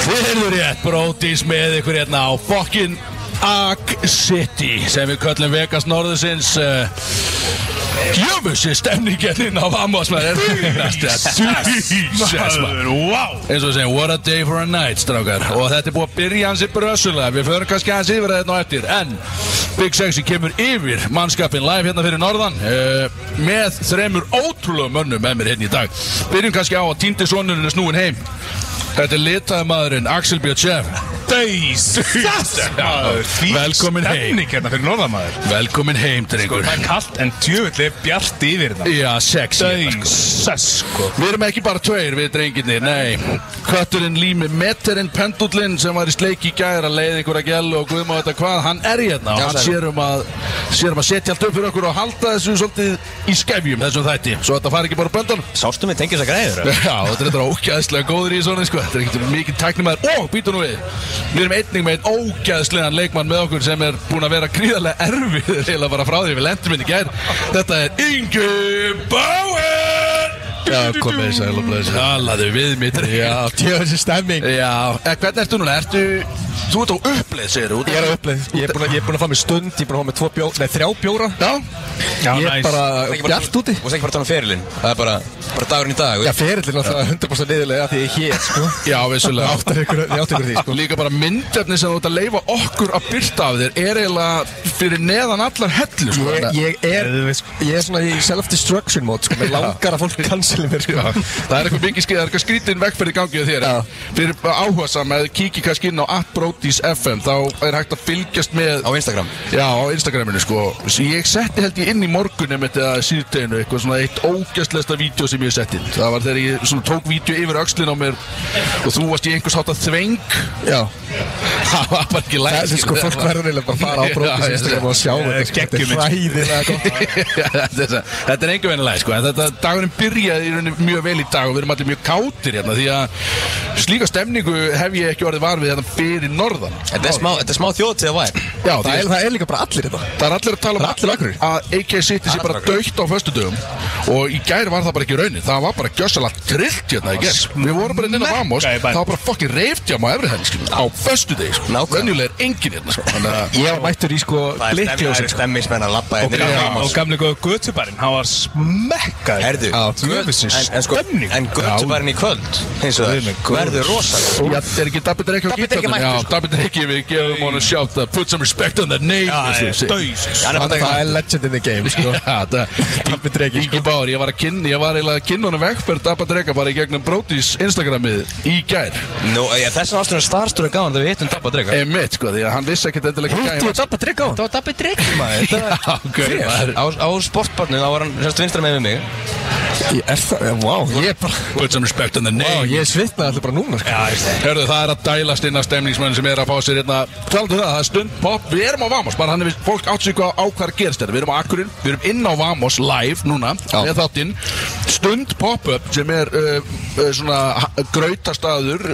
Þið hefur rétt brótis með ykkur hérna á fokkin Ag City sem við köllum Vegas eh, norðusins uh, Jöfussi stemningjarninn á Amos maður er fyrnast Jesus maður wow eins og við segjum what a day for a night strákar og þetta er búið að byrja hansi brössulega við förum kannski hans yfir þetta og eftir en Big Sexy kemur yfir mannskapin live hérna fyrir norðan uh, með þremur ótrúlega mönnum með mér hérna í dag byrjum kannski á að týndi sonurinn er snúin heim Þetta er litaði maðurinn Axel Björnsjef Velkomin heim Stemning hérna fyrir norðamæður Velkomin heim, drengur Það er kallt en djöfull er bjart yfir það Já, sexy hérna, sko. Dæsess sko Við erum ekki bara tveir við drenginni, nei Kötturinn Lími Metterinn Pendullinn sem var í sleik í gæra leið ykkur að gælu og guðma þetta hvað, hann er hérna og hann sér um, að, sér um að setja allt upp fyrir okkur og halda þessu svolítið í skefjum þessum þætti, svo þetta fari ekki bara úr böndunum Sástum við tengis að græður eða? Já, þetta er þetta ógæðslega góður í svona sko. Þetta er ekkert mikið tæknumæður og býtum nú við Við erum einning með einn ógæðslegan leikmann með okkur sem er búinn að vera gríðarlega erfið til að fara frá því við lendum inn í gær Þetta er Ingi Bauer Já, komið þess að lópa þess Allaðu við mitt Já, Tjóðsir stemming Já, eða hvernig ertu núna? Ertu, þú ert á uppleið, segir þú Ég er að uppleið Ég er búin að, ég er búin að fá mér stund Ég er búin að fá mér tvo bjóra Nei, þrjá bjóra Já, Já, Ég er næs. bara ekki bara- bjart úti Þú veist ekki bara að tala um ferilinn Það er bara, bara dagurinn í dag Já, ferillin alltaf 100% niðurlega Því ég er hér, sko já, vissulega Áttar ykkur, ég áttar ykkur því, sko Líka bara myndefni sem þú ert að leifa okkur að byrta af þér er eiginlega fyrir neðan allar hellu sko. Ég, ég er, sko. ég er svona í self-destruction mode, sko Mér Já. langar að fólk canceli mér, sko Já, það er eitthvað mikið skrið, það er eitthvað skrítin vegferð í gangi á þér en Fyrir áhuga saman, eða kíkir kannski inn á atbrotis.fm Þá er hægt að fylgjast með Á Instagram Já, á Instagraminu sko S- Ég setti held ég inn í morgunum eða síðteginu Eitthvað svona eitt ógæstlegasta vídeo sem ég setti Það var þegar ég svona tók vídeo yfir öxlin á mér Og þú varst í einhvers hátta þveng Já, Það var bara ekki læg það er sko, fólk verður eiginlega bara að fara á Já, brókis já, Instagram og sjá Eh, þetta, sko Þetta geggjum, er hræðilega gott þetta þetta er engum vennilega sko, en þetta dagurinn byrjaði í rauninni mjög vel í dag og við erum allir mjög kátir hérna því að slíka stemningu hef ég ekki orðið var við hérna fyrir norðan Þetta er smá, þetta er smá þjóðtíða vær Já, Það því er, það er líka bara allir hérna. þetta Það er allir að tala um Það er allir akkurir. að AK City sé bara dögt á föstudögum og í gær var það bara ekki raunin það var bara gjössalega trillt hérna í gær við vorum bara inn á Vamos Smekka í bænum. það var bara fokkin reyftjám á efri henni á föstudegi sko. Nákvæmlega. venjulega er engin hérna sko. þannig að Ég var mættur í, sko, blikkljósi stemmingsmenn að labba Og, hérna í gamla- Ramos. og gamli góðu götubarinn, hann var smekkað Herðu, Já, göt- djöfusins en, en sko, stemning. en göttubarinn í kvöld Hins Guð minn vegar góður. Verður rosalega Já, er ekki Dabbi Dreyk á Dabbi Dreki gítarnum? mættur, Já, sko. Dabbi Dreyki, við gefum honum sjátt að put some respect on that name eins og ég segi. Döys Hann er bara Það að taka- það er legend in the game, sko Já, það Dabbi Dreki, Ingi Bár, ég var að kynna, ég var eiginlega að kynna honum vegferð Dabba Dreyka bara í gegnum Brodís Instagramið í gær Nú, ég, þessan ástæðan starstúri gáðan þegar við hittum Dabba Drega Emitt, sko, því að hann vissi ekkert endilega hvað Þú er Dabbi Dreki á hann Það var Dabbi Drega maður þetta Já, gaur, Frér. maður. Á, á sportbarnu, þá var hann semst vinstra með við mig Ég er það, wow, ég er bara Put some respect on the Wow, name ég svitnaði alltaf bara núna, sko Hörðu, það er að dælast inn að stemningsmenn sem er að fá sér hérna Taldu það, það er stund pop, við erum á Vamos bara hann er við, fólk átt sig hvað á hvað gerst þetta Við erum á Akkurinn, við erum inn á Vamos live núna Já. með þáttinn Stund pop-up sem er uh, uh, svona ha- grautastaður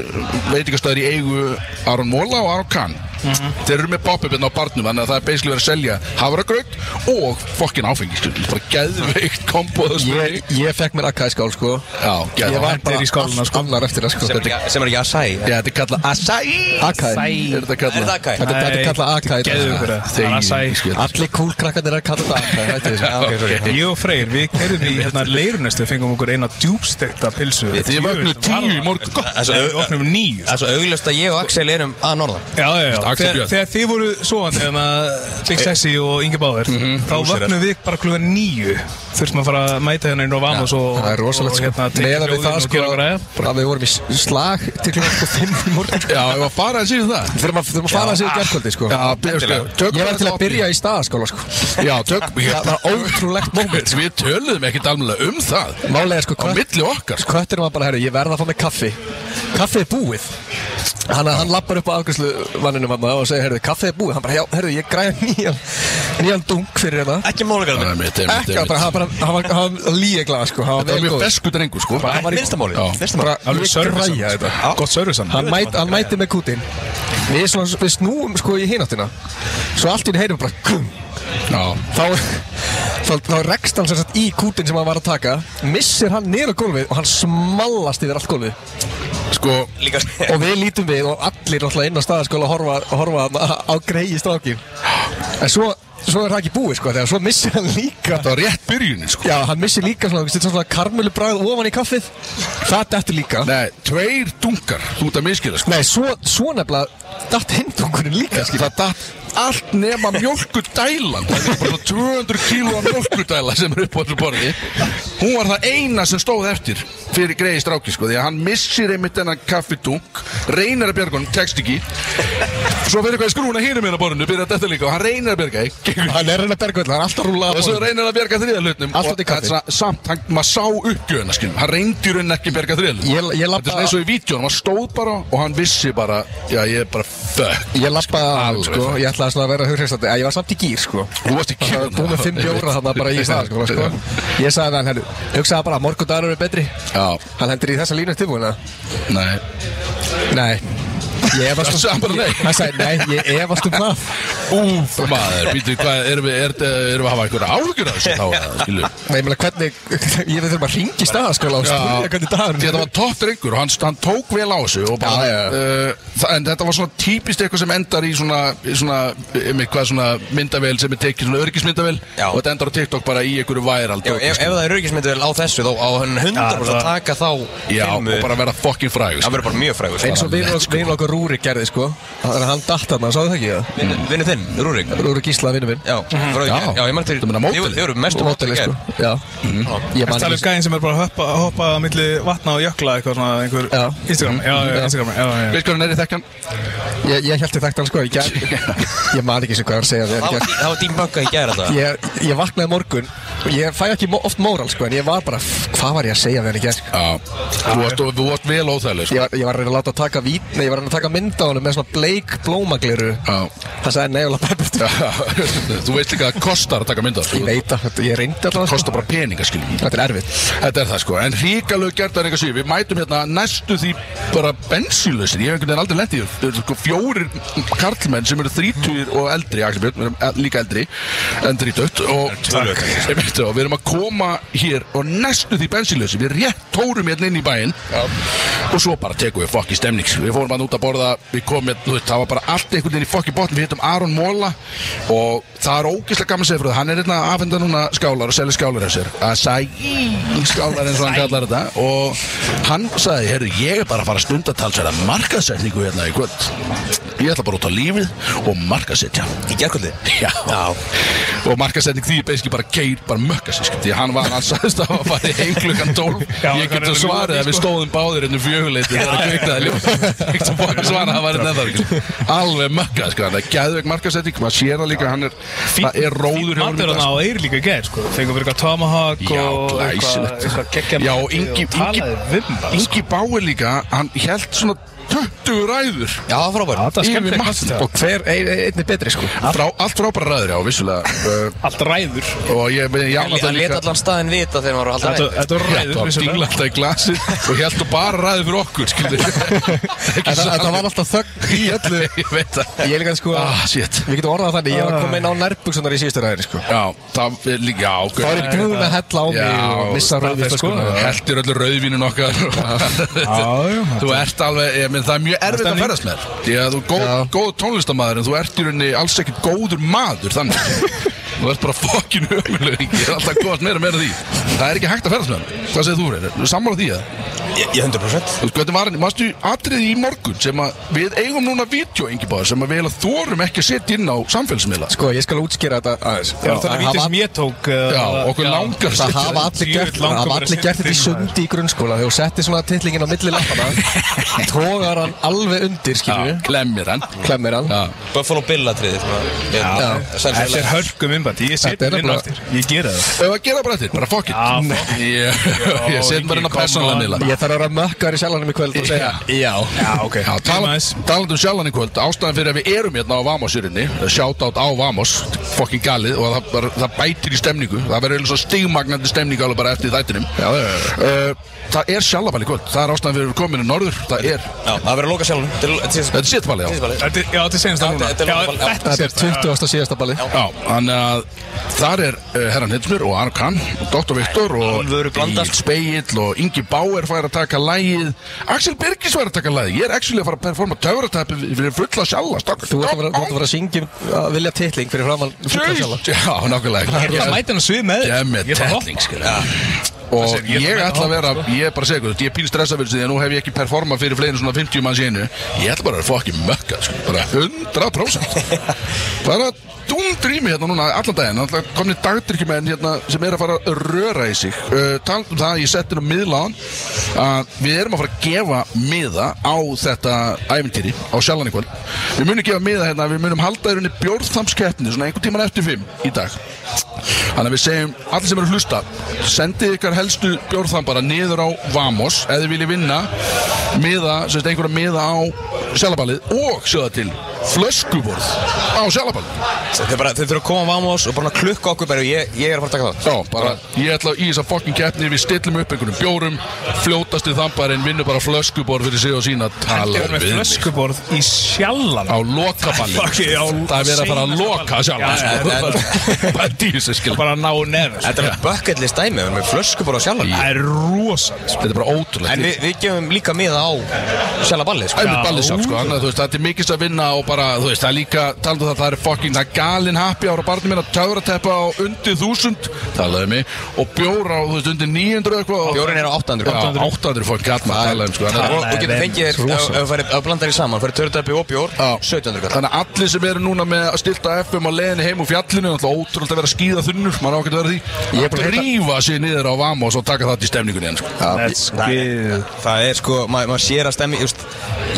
veitingastaður í eigu Aron Móla og Aron Kahn Mhm. Þeir eru með pop-up hérna á barnum þannig að það er basically verið að selja hafragraut og fokkin áfengi, skilur, bara geðveikt komboðu Ég, ég fekk mér akka í skál, sko Já, geðveikt. Ég var bara Hendir í skálina, allt annar eftir það, sko Sem er Þetta ekki- Sem er ekki að sæ Já, þetta er kallað Acai Acai. Er þetta kallað? Er þetta Acai? þetta- þetta er kallað akka í Geðu dag ykkur það Það er Þegi, að sæ skilur. Allir kúlkrakkarnir er að kalla þetta akka, hættu þessu Ok, sorry Ég og Freyr, við kerðum í hérna leirunestu Við fengum okkur eina djúbstekta pilsu Þið vögnuðu tíu í morgun Það Við er opnum níu svo augljóst að ég og Axel erum að norðan Já, já, já, Axel þegar, Björn. þegar þið voru svoandi hérna, Big Sexy og Inge Báður þá vögnum við bara klugan nýju þurftum að fara að mæta hérna inn á Vamos og, Það er rosalegt, og sko hérna tekið Meðan við hljóðin það, og sko gera græða Að við vorum í s- slag til klokka sko 5 í morgun, sko Já, ef að fara að síðan það Þurfum að þurfum að fara að segja gerkvöldi, sko Já, byrja, sko, tökum Ég var til þetta að opni. byrja í staðaskála, sko Já, tökum Það var ótrúlegt moment, Við töluðum ekkert alveg um það Málega, sko, Á hvað milli okkar sko. Kötturinn var bara, herru, ég verða að fá mig kaffi Kaffi er búið Hann, hann lappar upp á afgjörslu manninu mamma og segir, herru, kaffi er búið Hann bara, já, herru, ég græði nýjan Nýjan dunk fyrir hérna Ekki málega Það er mitt, það er mitt, Ekki, það er mitt. hann bara, hann bara, hann var, hann var líeglað, sko Hann Það var var vel mjög góð fesku drengu, sko Bara, hann var í- Minnstamáli Já. Bara, Alveg ég service græja samt, þetta. sko. Gott service hann Hann, mæt, hann mæti með kútin Við, svona, við snúum sko í hináttina Svo allt í henni heyrum við bara kum. Já, Þá, þá, þá rekst hann sem sagt í kútin sem hann var að taka missir hann niður á gólfið og hann smallast yfir allt gólfið Sko, Líka og við lítum við og allir náttúrulega inn á staðaskóla horfa, horfa þarna á greiði strákin en svo, svo er það ekki búið sko þegar svo missir hann líka þetta var rétt byrjunin sko já, hann missir líka svona, svona, svona karmölu bræð ofan í kaffið það dettur líka Nei, tveir dunkar Þú ert að miskila sko Nei, svo, svo nefnilega datt hindungurinn líka skil Það datt allt nema mjölkudælan Það er bara 200 kíló af mjölkudæla sem er upp á þessu borði Hún var það eina sem stóð eftir fyrir greiði stráki sko Því að hann missir einmitt þennan kaffidunk Reynir að bjarga honum, tekst ekki Svo fyrir hvað skrúna hinum hérna á borðinu Byrja þetta líka og hann reynir að bjarga því gengur Hann er henni að berga öll, hann er alltaf rúlað og svo reynir hann að bjarga þriðalutnum Allt út í kaffi. samt, hann, maður sá uppgjöðuna skilum hann reyndi í rauninni ekki að bjarga Ég- þriðalutnum ég labba- þetta er eins og í vídjónum, hann stóð bara og hann vissi bara, já ég er bara fuck Ég lappaði að hann Alveg. sko, ég ætlaði svona að vera hugreifstandi Ég var samt í gýr sko Þú varst í Það gýr. var búin með fimm bjóra þarna bara í stað sko, sko. Ég sagði við hann, henni, hugsaði bara morgundagur er betri Já. Hann hendur í þessa línu tilbúina nei, Nei Ég efast um- Sagði hann bara nei. Hann sagði nei, ég efast um það úf maður býtu, hvað, erum við, er, erum við að hafa einhverja áhugjur af þessu þá, skilum Nei, ég meina hvernig, ég við þurfum að ringi staðaskóla og spyrja hvernig dagur Því þetta var topp drengur og hann, hann tók vel á þessu og bara, Já, já, Uh, það, en þetta var svona típist eitthvað sem endar í svona, í svona, einmitt hvað svona myndavél sem er tekið svona örgismyndavél Já. og þetta endar á TikTok bara í einhverju sko. væral Já, ef, ef það er örgismynduvel á þessu þá á hann 100% að taka þá Já, og filmu. bara vera fucking sko. fræg Það verður bara mjög frægur sko. Eins og vinur ok- vinur okkur Rúrik gerði sko Það er að hann datt hann, sáðu það ekki það? Vinnu þinn, Rúrik Rúrik Gísla, vinur minn Já, frá, Já. já, ég mann til Þú meina módelið? Þið voru mest Mótali sko, já Ég man Það er ekki gæðin um sem er bara að hoppa, hoppa á milli vatna og jökla eitthvað svona einhver Já. Instagram Já, já, Já. Instagram, já, já, já. Veist hvað hann er í þekkan? Ég, ég held ég þekkt hann sko í gær Ég man ekki sem hvað hann segja við hann Það var- í gær það var dým banka í gæra það Ég, ég vaknaði morgun og ég fæ ekki mo- oft móral sko en ég var bara, "F- hvað var ég að segja við hann í gær? Já Þú varst, þú varst vel óþægileg Ég sko. var, ég var að reyna að láta að taka vít, nei, ég var að reyna að taka mynd á hann með svona bleik blómagliru Já Hann sagði nei og lappa eftir Já. Þú veist líka að það kostar að taka mynda Ég sko. veit að, þetta- ég reyndi alltaf Kostar bara peninga skilum Þetta er erfitt Þetta er það sko En ríkalög gert að reyna síðan Við mætum hérna næstu því bara bensílösin Ég hef einhvern veginn aldrei lent í því. Þau eru sko fjórir karlmenn sem eru þrítugir og eldri Axel Björn, við erum el- líka eldri en þrítugt og, Takk. Einmitt, og við erum að koma hér og næstu því bensílösin Við rétt tórum hérna inn í bæinn og svo bara tekum við fokki stemning sko. Við fórum hann út að borða Við komum hérna, þú veist, það var bara allt einhvern veginn í fokki botn Við hittum Aron Móla og það er ógeðslega gaman segir fyrir það Hann er hérna að afhenda núna skálar og selja skálar þessir Acai skálar eins og hann kallar þetta Og hann sagði, heyrðu, ég er bara að fara að stunda talsverða markaðsetningu hérna í kvöld Ég ætla bara út á lífið og markaðsetja Í gærkvöldi Já. og markasetning því er basically bara geir bara mökka sig sko. því að hann var hann sagðist að hann var í heim klukkan 12 Já, ég hann get er að að svara ljúga, að við sko. stóðum báðir inn um fjöguleiti það er að kvikna það ljós ég get að fokka svara að hann var inn eða sko. alveg mökka sko hann er gæðveg markasetning maður sér það líka hann er það er róður hjá honum í Matur dag, hann á eir líka í gær sko Fengum fyrir eitthvað tomahawk Já, og glæsilegt. eitthvað geggja Já, og Ingi- og talaði Ingi- við bara sko. Ingi Báir líka hann held svona 20 ræður Já, frábær Já, þetta yfir er skemmtilegt matn koncept, já. og Hver, ein, einn er betri sko frá, allt frábæra ræður já vissulega Uh, Allt ræður og ég ég ána það Hann líka leta allan staðin vita þegar maður var alltaf Þetta ræður Þetta þetta var ræður var vissulega. dingla alltaf í glasi og held þú bara ræði fyrir okkur skilur Þetta þetta var alltaf þögn í öllu Ég veit það Ég er líka sko Ah, shit Við getum orðað það þannig, ég var komin inn á nærbuksunar í síðustu ræðinni sko Já, það er líka Já, Þá er ég búin að hella á mig Já, og missa það er rauðvist sko. sko Heltir öllu rauðvínu nokkar já, Þú ert alveg ég, menn, Það er mjög erfitt að stemning. ferðast með þér Því að þú er góð, Já. góð tónlistamæður En þú ert í rauninni alls ekkert góður maður Þannig Þú ert bara fokkin ömuleg Ég er alltaf góðast meira meira því Það er ekki hægt að ferðast með þér Hvað segir þú, Reynir? Sammála því að Ég ég 100% Þú veist hvernig var hann, mástu atriði í morgun sem að við eigum núna vídeo Ingeborg sem að við eiginlega þorum ekki að setja inn á samfélagsmiðla Sko, ég skal útskýra þetta aðeins Það var þannig að um vítið sem hafa- ég tók uh, Já, okkur já. langar að Það setja hafa allir Djöfull gert þetta, langar hafa bara að allir setja gert þetta í þig, maður. sundi í grunnskóla Þegar þú settir svona tillingin á milli lappana Tógar hann alveg undir, skilur Já, við klemmir hann Klemmir hann Já, Buffalo Bill atriði Já. Þetta er hörgum innbætt Ég Þetta er setjum inn nefnilega- aftur Ég gera það ef að gera bara eftir, bara fuck it Já, Ég, ég setjum bara hérna inn á Ingi, come persónulega on. miðla Ég þarf þarf að vera mökkar í sjálfanum í kvöld og segja Já, Já, ok. Já, tala, Nice. talandi um sjálfan í kvöld, ástæðan fyrir að við erum hérna á Vamosjörunni, shoutout á Vamos, fokkin galið og það, bara, það bætir í stemningu, það verður eins og stigmagnandi stemningu alveg bara eftir þættinum. Já, uh, það er sjálfan í kvöld, það er ástæðan fyrir að við komum inn í norður, það er, Já, það verður að loka sjálfum þetta er sittfalið já. Þetta Þetta, já, þetta er senast Já, það núna. þetta er Já, lokaball, já. þetta þetta er er 20. síðasta balli Já, þannig að þar er uh, herran Hilsmur og Arn Kahn og Dr. Viktor og Alvöru blandað. Speill og Ingi Bauer fær að taka lægið Axel Birgis fær að taka lægið Ég er actually að fara að performa töfratæpi fyrir fulla sjálfa strákar. Þú ert að vera- þú ert að vera að syngja um að vilja titling fyrir framann fulla sjálfa. Já, nákvæmlega Ég mæti hann að svið með Ég er með Ég er bara að tettling, skilja. Og Það sé, ég ég, ætla að mæta ætla að vera, hoppa, sko. ég er bara að segja eitthvað, ég er pín stressað fyrir því að nú hef ég ekki performað fyrir fleiri en svona 50 manns í einu. Ég ætla bara að fá ekki mökka, sko, bara 100%. bara dundri mig hérna núna allan daginn, alltaf komni dagdrykkjumenn hérna sem er að fara að röra í sig. Uh, Taland um það, ég setti nú miðláðan að við erum að fara að gefa miða á þetta æfintýri á sjálfan í kvöld. Við munum gefa miða hérna, við munum halda í rauninni bjórþamskeppni svona einhvern tíman eftir fimm í dag. Þannig að við segjum, allir sem eru að hlusta sendið ykkar helstu bjórþambara niður á Vamos, ef þið viljið vinna miða, sem sagt einhverja miða á sjálfaballið og sjöða til flöskuborð á sjálfaballið er bara, þið þurfum að koma á Vamos og bara klukka okkur bara ég, ég er að fara að taka það Já, bara, ég ætla í þess að fokkin keppni við stillum upp einhverjum bjórum fljótasti þambarinn vinnur bara flöskuborð fyrir sig og sína Ég tala er með við mig flöskuborð í sjallan á lokaballið Fuck, já, það er verið að fara að seinasta loka ballið. sjálf Já, sko. já, bara, bara dísu skil Bara að ná nefn Þetta er alveg bucket list dæmi, við erum með flösku bara á sjálfum Það er rosalega þetta er bara ótrúlegt En við, við gefum líka miða á sjálfa ballið sko. Æmið Já. ballið sjálf sko, annað, þú veist, þetta er mikilst að vinna og bara, þú veist, það er líka, talandi um það, það er fucking, það er galin happy ára barnum minna, töfrateppa á undir þúsund, talaðu um mig, og bjóra á, þú veist, undir 900 eitthvað. og- Bjórinn er á 800 Já, 800 fucking gall maður talaðu um sko, þannig Og að- þú getur fengið þér, ef- ef þú færir- ef þú blandar í saman, færi törðarbi og bjór, Já. 1700 kall Þannig að allir sem eru núna með að stilta FM á leiðinni heim úr fjallinu, þannig að ótrúlega að vera að skýða þunnur, maður á ekki að vera því, Ég er að búin að drífa sér niður á Vamos og taka það til stemningunni enn sko. Let's go Það er sko, maður ma sér að stemmi, just,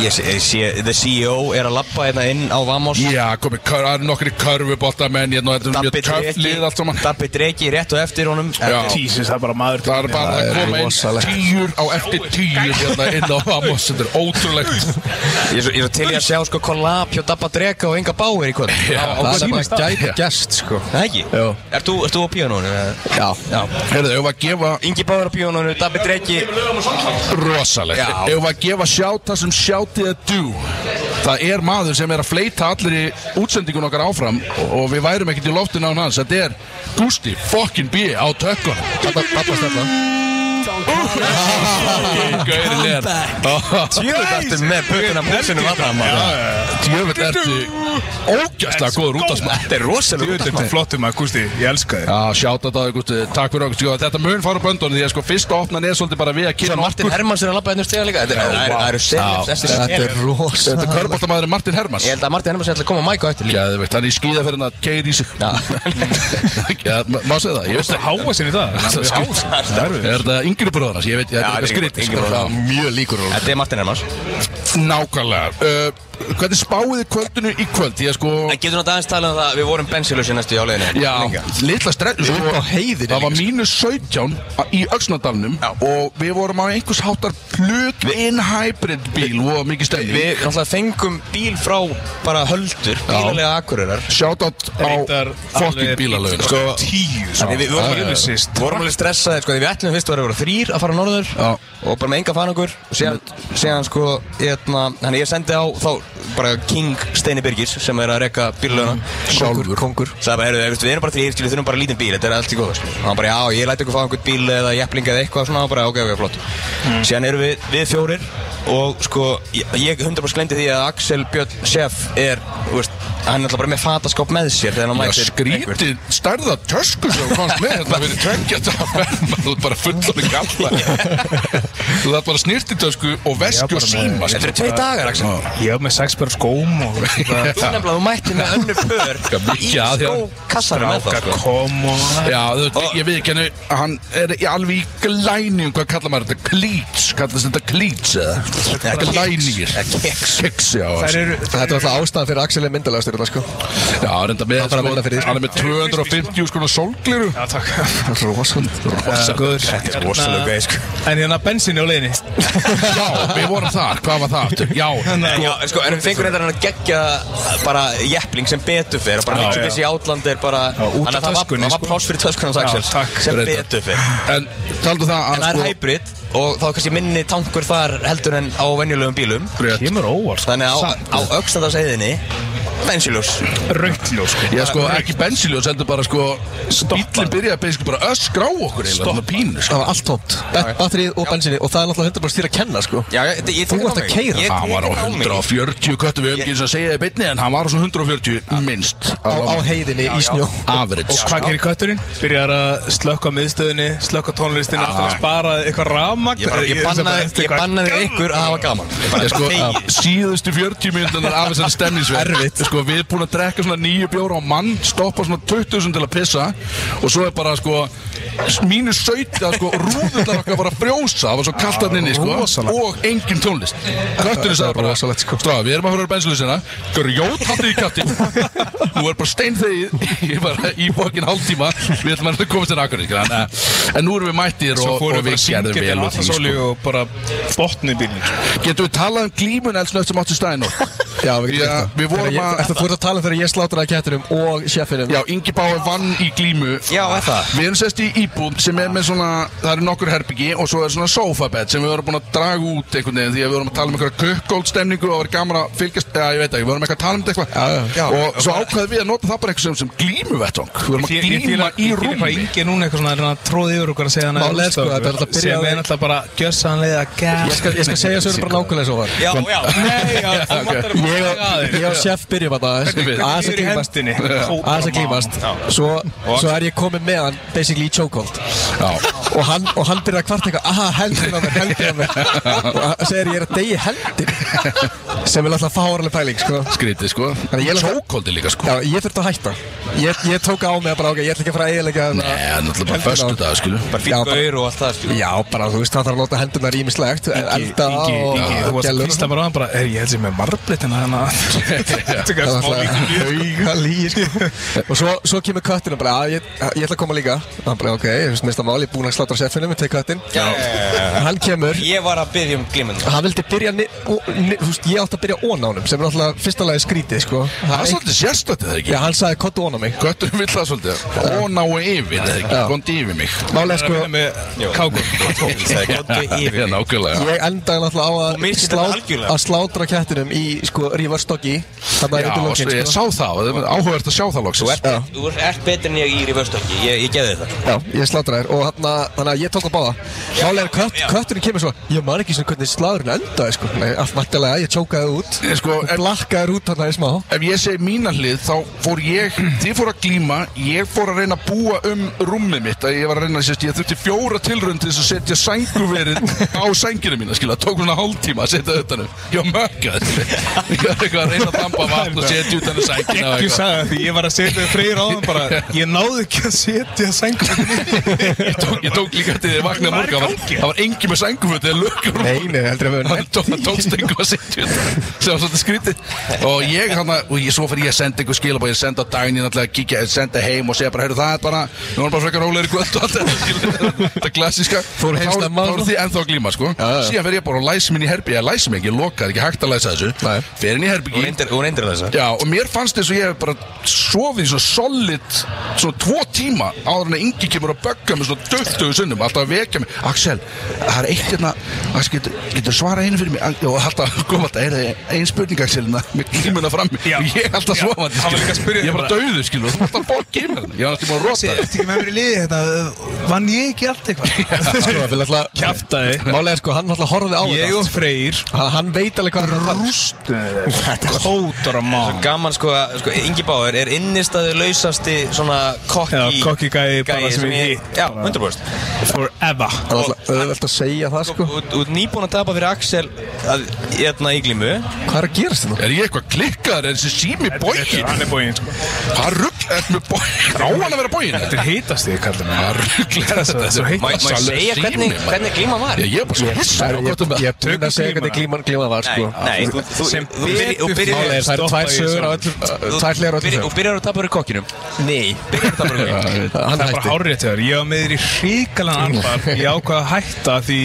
ég sé, ég sé, the CEO er að lappa hérna inn á Vamos Já, komið, kör- það eru nokkri körfuboltamenn, hérna, og þetta er mjög töflið allt saman. Dabbi Dreki rétt og eftir honum Já. Jesus, það er bara maður Það er bara að koma inn rosalegt. tíur á eftir tíur hérna inn á Amos, þetta er ótrúlegt Ég er svo- ég er svo til í að sjá sko kollab hjá Dabba Dreka og Inga Bauer í kvöld Já, Á- á Það er Guðmund. bara gæti Já. gæst sko Það ekki? Jó. Ert þú, ert þú á píanónu? Já, Já Herðu, ef að gefa Ingi Bauer á píanónu, Dabbi Dreki rosalegt Já. Ef að gefa sjáta sem sjátið að dú Það er maður sem er að fleita allir í útsendingun okkar áfram og- og við værum ekkert í loftinu án hans Þetta er Gusti fucking B á tökkunum Þetta er þetta Gaurin er Tjöfut ertu með bukuna músinu vatna maður Tjöfell ertu ógæslega góður út af smá Þetta er rosalega Þetta er flottum að Gústi, ég elska þig Já, sjáta þetta, Gusti, takk fyrir okkur sko, Þetta mun fara á böndunum því að sko, fyrsta opnan er svolítið bara við að kynna Martin Hermans er að lappa hérna um stiga líka Þetta er- það eru- það eru selefs eftir þetta er rosa Þetta er körbóltamæðurinn Martin Hermans Ég held að Martin Hermans er alltaf að koma á mæk á eftir líka Geðveikt, hann er í skýðaferðin að keir í sig Já. Já, má- Má segja það, ég veist Það háa sinni það það er skrýt. Er þetta yngri bróðarnas? Ég veit, þetta Já, er þetta er skrítið sko. yngri bróðir hans. Mjög líkur honum. Þetta er Martin Hermans Nákvæmlega uh, Hvernig spáið þið kvöldinu í kvöld? Ég sko En getur náttúrulega aðeins talað um það að Við vorum bensilösi næstu í áleginu Já, litla strenn sko, á heiðinni Það var mínus 17 a- í Öxnadalnum Já. Og við vorum á einhvers háttar plug-in hybrid bíl Og mikið stemning Við náttúrulega fengum bíl frá bara höldur Bílalega akkurirar Shoutout á Reyndar fokkin alveg bílalögin Sko, Tíu Þannig við vorum hérna Það er alveg- sýst. við vorum alveg stressaði sko, því við ætlum fyrst að vera að vera þrýr að fara norður Já. og bara með enga fanangur og síðan, síðan sko, hérna, þannig ég sendi á þá bara King Steini Birgis sem er að rekka bíluna Mhm. Sjálfur. kongur sagði bara, heyrðu, heyrðu, við erum bara þrýr, skilju, þurfum bara lítinn bíl þetta er allt í góða, skilju og hann bara, já, ég læti ykkur fá einhvern bíl eða jeppling eða eitthvað svona og bara, ok, ok, flott Mhm. síðan erum við, við fjórir og sko, ég, ég hundar bara sklendi því að Axel Björn Sef er, þú veist, hann er alltaf bara með fataskáp með sér þegar hann Já, mætir einhvern. skrítið Sko, stærða tösku sem þú komst með hérna fyrir tvengja dagarn þú ert bara fulla með galla þú ert bara snýrtið tösku og vesku og síma Þetta eru tvei dagar, Axel Ég hef með sex börn skóm og Þú nefnilega, þú mætti með önnur pör Já, í mikið að þér. skókassanum með það Ráka kom og Já, þú veit, ég veit ekki henni, hann er í alveg í glæni um hvað kallar maður þetta, klíts, kallast þetta klíts eða, glæningir, Keks keks, já, Það eru Þetta er alltaf ástæðan fyrir að Axel er myndalega þetta sko já, reynda með, bara að vinna fyrir sko, því, sko. hann er með 250 skona sólgliru, Já, takk Rosa Góður Þetta er rosalega gæði, sko. En hérna bensinni á á leiðinni Já, við vorum þar, hvað var það aftur? Já, Nei, Já, sko, en við fengum reyndar hann að gegja bara jeppling sem betur fyrir bara Já, Mitchell já. Bissy Outland er bara Já, út þannig af að það var- töskunni, það var sko. pláss fyrir töskunans Axel takk, sem reyndar. betur fyrir en taldu en það að það er sko hybrid og þá er kannski minni tankur þar heldur en á venjulegum bílum Rétt. Kemur óvart sko. þannig að Samt. á, á Öxnandarsæðinni bensiljós Rauðljó sko Já sko, ekki bensinljós, heldur bara sko Stoppa. Bílinn byrjaði basically bara að öskra á okkur eiginlega, svona pínu, sko. Það var allt tómt Batterið og bensinni Og það er náttúrulega 100% þér að kenna sko Já, ég, ég, ég Þú ert að keyra. Ég Hann var á tek þetta á mig. 140 köttu við umgins að segja þið beinni en hann var á svona 140 minnst Á, á heiðinni í snjó Average Og hvað gerir kötturinn? Byrjar að slökka á miðstöðinni, slökka á tónlistinni, alltaf að spara eitthvað rafmagn Ég bara- Ég bannaði- ég bannaði ykkur að hafa gaman Ég bara- Ég sko, Þegi. síðustu 40 myndunar af þessari stemningsverð Erfitt Sko, við erum búin að drekka svona nýju bjóra á mann Stoppa svona 20.000 til að pissa Og svo er bara, sko, mínus 17 sko, Rúðurnar okkar bara að frjósa Það var svo kallt hann inni, sko rosalegt. Og engin tónlist Kötturinn sagði bara Rosalegt, sko Stá, við erum að fyrir bensinlýsina Grjót hattu í kattin Nú er bara steinþegið Ég bara í bókin hálftíma Við ætlum að komast til akkurinn En nú erum við mættir Svo og, og fórum við við bara gerðum að hérna vel vel úr því, sko. og bara botnu bílinn sko. Getum við talað um glímun elsnögt sem átti stæðin og Já, við getum Já, gert það. við vorum Þegar ég- að- Ertu þú ert að tala um þegar ég slátraði kettinum og sjefinum Já, Ingi Báir vann í glímu Já, er það Við erum sest í íbúð sem er með svona Það eru nokkur herbyggi og svo er svona sofabed sem við vorum búin að draga út einhvern veginn því að við vorum að tala um einhverja kökkóldstemningu og það var gaman að fylgjast Já, ég veit ekki, við vorum eitthvað að tala um þetta eitthvað já. Og svo ákvaðum við að nota það bara eitthvað sem, sem glímuvettvang Við vorum að glíma í Ég rúmi ingi núna eitthvað svona að reyna að tróði yfir okkur að segja hann Málið er, sko, þetta er alltaf byrjað- Sem er alltaf bara gjössanlega Ég skal, ég skal segja þessu bara nákvæmlega svo var Já, já Nei, já, það ok. vantar að búið aðeins Ég og sjef byrjum að það Hvernig- Aðeins að Yfir í klímast hendinni Aðeins að klímast svo, svo er ég komið með hann Basically í chokehold Já, og hann, og hann byrjar að kvarta eitthvað aha, hendin á mér, hendin á mér og hann segir ég er að deyja hendin sem er alltaf fárlega pæling sko. skrítið sko Þannig ég- Sjókóldi líka sko já, ég þurfti að hætta ég, ég tók á mig að bara, ok, ég ætla ekki að fara að eiginlega Nei, náttúrulega bara föstu dag, skilu Bara Já, fýtt bara- gaur og allt það sko. skilur. já, bara, þú veist, það þarf að nota hendunar ímislegt elda Ingi, og Ingi, þú og varst að gælur. kvísla bara á hann bara Er ég held sem með marbletina hann að Þetta er Það smá var alltaf auga líi sko. Og svo, svo kemur köttin og bara "Ah, ég, ég ætla að koma líka Og hann bara ok, þú veist minnst að máli, ég er búin að slátra seffinum Ég tek köttin Já, já, já, já. Hann kemur Ég var að byggja um glimminu Hann vildi byrja, ni, ó, ni, þú veist, ég átti að byrja ón á honum Sem er alltaf fyrsta lagi skrítið sko Það er Hann- svolítið sérstöttið eða ekki Já, hann sagði kottu ón á mig Götturinn vill það svolítið Óná og yfir eða ekki, Já. kondi yfir mig Málega sko, Með kákum Já, Hérna. Góttu nákvæmlega ég endaði náttúrulega á Þú að, misstir þetta algjörlega. að slátra kettinum Í sko, rífa stoggi Þannig Já, að og lókin, ég sko. sá það, það er áhugavert að sjá það Þú loksins ert, þú ert betur en ég í rivörstöki Ég, ég geði þetta Já, ég slátra þér og þarna, þannig að ég tók að báða Málega er kött, já. kötturinn kemur svo Ég man ekki sem hvernig slagurinn endaði sko Nei, allt vantilega, ég tjókaði út Ég sko, Og en- blakkaði út hann aðeins smá Ef ég segi mína hlið, þá fór ég, þið fór að glíma, ég fór að reyna að búa um rúmið mitt að ég var að reyna að sést, ég þurfti fjóra tilrönd til þess að setja sænguverið á sængina mína, skilja, tók svona hálftíma að setja utan um, ég var mökkað, ég var eitthvað að reyna að dampa vatn og setja utan um sængina og Ekki eitthvað, sagði því, ég var að setja freyr á hann bara Ég náði ekki að setja sængur ég tók, ég tók líka til því vaknaði morgun, það var- Hvað er í gangi? það var engi með sænguverið, þegar lögur Nei, nei, heldur að við hann tó, hann tókst einhver að setja þetta sem var svolítið skrítið og ég hann og ég, svo fyrir ég að senda einhver skil og ég senda á daginn alltaf að kíkja, senda heim og segja bara, heyrðu það er bara, nú erum bara frekar rólegri kvöld og allt þetta, skilur, þetta klassiska Fór heim Þá- snemma, þá eru sko. þið ennþá að glíma sko já. síðan fer ég bara og læsi minn í herbyggi, ég læsi mig ekki, ég loka, það er ekki hægt að læsa þessu Nei. fer inn í Hún herbyggi reyndir, hún reyndir þessa Já, og mér fannst þess að ég hef bara sofið í svona solid, svona tvo tíma áður en að yngi kemur að bögga mig svona 20 sunnum, alltaf að vekja mig Axel, það er eitt hérna, Axel, getur, getur svarað einu fyrir mig Ang- og alltaf kom alltaf, er það ein spurning Axel hérna, með glímuna fram og Já. ég er alltaf Já, svofandi, hann var líka að spyrja ég er bara bara. dauður, skilur, þú mátt að bók í mér ég er alltaf búin að rota Þetta þér er ekki með mér í liði þetta Vann ég ekki allt eitthvað sko, Kjaftaði. Málega sko, hann alltaf horfði á Ég þetta og Freyr Hann- Hann veit alveg hvað hann Rústu Kótur á mann Gaman sko að sko, Ingi Báður er innistæðu lausasti svona kokki Já, kokki gæi bara sem ég hitt. Já, 100% Forever Hann alltaf auðvelt að segja það sko Þú þú ert nýbúin að tapa fyrir Axel að, Hérna í glímu Hvað er að gerast hérna? þetta? Er ég eitthvað klikkaður, er þessi sími bókin? Hann er bóin sko Hvað rugg er með bókin? Á hann að vera bókin? Þetta er heitast þig kallar mig Hvað rugg er þetta? Þetta er svo heitt. Má má ég Salur segja sími, hvernig, maður. hvernig glíman var? Ég ég er bara svo hissa Ég gott um það. ég er búinn að segja Tökum hvernig glíman glíman var Nei, sko nei, þú, þú, Sem þú, byrj- þú, betur byrjar- fer- Málega, það eru Stoppa tvær ég sögur á svona. öllum þú- uh, Tvær hliðar á þú byrjar- öllum Þú byrjar að tapa fyrir kokkinum Nei Byrjar að tapa fyrir kokkinum sögum Hann Það er bara hætti hárrétt hjá þér, ég var með þér í hríkalan anfall Ég ákvað að hætta því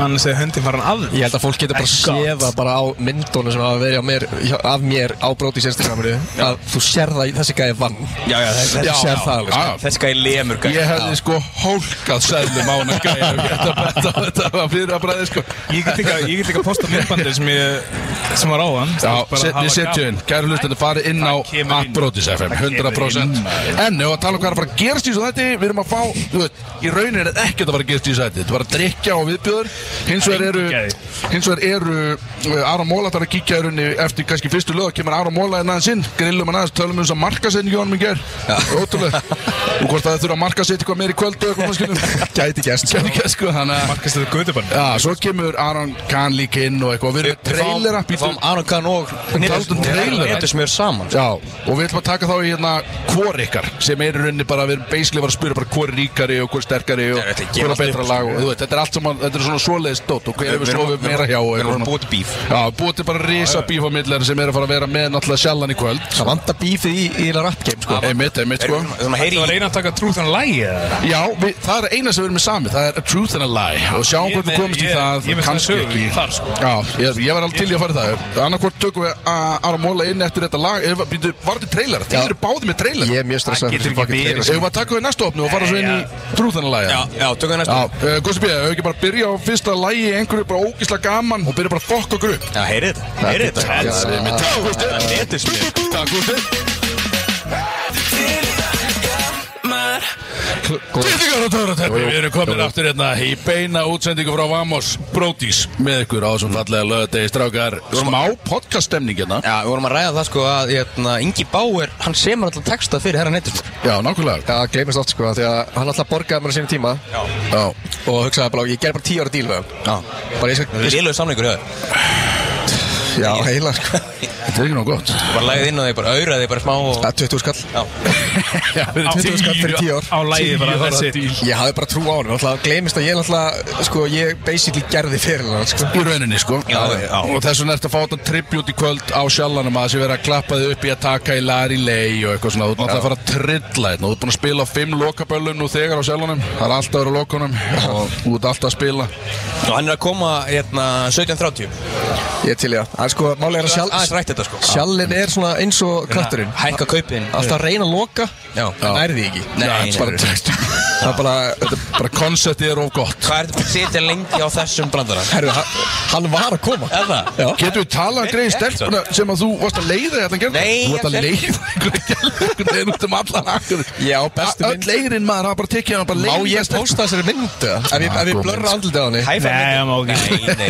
annars er höndin farin að Ég held að fólk getur bara Thank God. séð það bara á myndunum sem hafa verið á mér, hjá- af mér á bróti sérstakraminu að þú sér það í þessi gæði vann Já, já, þessi, Þú sér það alveg sko. Já, þessi gæði lemur gæði Ég hefði sko hólkað seðlum á hana gæja ef ég ætti að betta á Þetta var fyrir að bræði sko Ég get líka, ég get líka posta myndbandir sem, ég, sem var á hann Já, Bara set, hafa við setjum inn, kæru hlustandi, farið inn á Það kemur inn. Appbrotis FM, Það kemur 100% inn, maður. En ef að tala um hvað er að fara að gerast í þessu þætti, við erum að fá, þú veit, í raun er þetta ekkert að fara að gerast í þessu þætti Þetta var að drikja og viðbjöður, hins vegar eru, engin gæði. hins vegar eru uh, Aron Móla þarf að kíkja í rauninni eftir kannski fyrstu lög, kemur Aron Móla en aðeins inn, grillum hann aðeins, tölum um þess að markasetningu honum í ger Ótrúlega, og hvort að það þurfa að markasetja eitthvað meir í kvöld og eitthvað skilum Gæti gæst Gæti ekki sko, þannig að Markast þetta gödubann Já, svo kemur Aron Kahn líka inn og eitthvað Við erum með trailera Við fáum Aron Kahn og Talandi um trailera. Netus mér saman Já, og við ætlum að taka þá í hérna hvor ykkar sem er í rauninni bara, við erum basically bara að spyrja bara hvor er ríkari og hvor er sterkari og Þetta er ekki hvor er gefast betra upp, lag og þú veit, þetta er allt saman, þetta er svona svoleiðis dót og Við- hver hefur við erum- sofið við erum- meira hjá og við erum eitthvað búið til bíf. svona. Já, búið til bara risa bíf á millir sem eru að fara að vera með náttúrulega sjallan í kvöld Það vanda bífið í, í það rap game sko Einmitt, einmitt sko Við þurfum að Það heyri var í eina að taka trúð þannig lægi eða? Já, við, það er eina sem við erum með sami, það er a truth and a lie og sjáum Ég hvernig við með- komumst í ég- það, ég með kannski það sögu ekki í þar, sko. Já, ég, ég var alveg til í að fara í það Annarkvort tökum við að Aron Móla inn eftir þetta lag, Ef- býtu, var þetta trailer? Þið eru báði með trailer Ég er mjög stressað getur fyrir ekki fucking verið, trailer, Ef við bara taka við næsta opnu og fara svo inn í trúðanalæja Já, já, tökum við Já, næsta uh, Gusti B, ef við ekki bara byrja á fyrsta lægi einhverju bara ógislega gaman og byrja bara að fokka okkur upp Já, heyri þetta Heyri þetta Netus mér Takk Gusti Tvítingar og törratæmi, við erum komin aftur hérna í beina útsendingu frá Vamos Brodís með ykkur á þessum fallega lögadegi strákar Smá podcaststemning hérna Já, við vorum að ræða það sko að hérna, Ingi Bauer, hann semur alltaf texta fyrir herra Netus mér Já, nákvæmlega Það gleymist oft sko af Því að hann alltaf borgaði mér á sínum tíma Já, Og hugsaði bara, ég ger bara 10 ára díl með hann Já Bara ég Það skal, er liðlega samlingur hjá þér já heila sko þetta er ekki nóg gott Bara lagðið inn á þig, bara auraði þig bara smá og... Það er 20 skall Já, Já, við Á erum Tuttugu skall fyrir tíu- tíu ár. Á lægi bara Tíu ára þessi díl. Ég hafði bara trú á hann Alltaf gleymist að ég alltaf Sko ég basically gerði fyrir hann sko í rauninni sko Já, já. og þess vegna ertu að fá þetta tribut í kvöld á sjallanum að þessi verið að klappa þig upp í að taka í lari lei og eitthvað svona þú ert náttúrulega að fara að trilla þetta þú ert búin að spila á fimm lokaböllum nú þegar á sjallanum það er alltaf að vera á lokunum og þú ert alltaf að spila og hann er að koma hérna 17.30 Ég er til ég að Sko máli er að sjálf Aðeins rætt þetta sko Sjallin er svona eins og kratturinn Hækka kaupin Alltaf að reyna að loka Já. En nærði ekki Nei, nei, bara, nei. Það er bara þetta er bara- bara konceptið er of gott Hvað ertu búin að sitja lengi á þessum brandara? Herru, hann- hann var að koma Er það? Já Getur við talað um greið stelpuna sem að þú varst að leiða hérna gerð? Nei, Þú varst að ég- leiða einhverja gerð einhvern veginn út um allan akkur Já, bestu mynd- Öll leirinn maður hafa bara tekið hann bara Má ég leiða posta þessari myndu? Ef ég, ef ég góð blörra andlitið á henni High five Nei, það má ekki. Nei,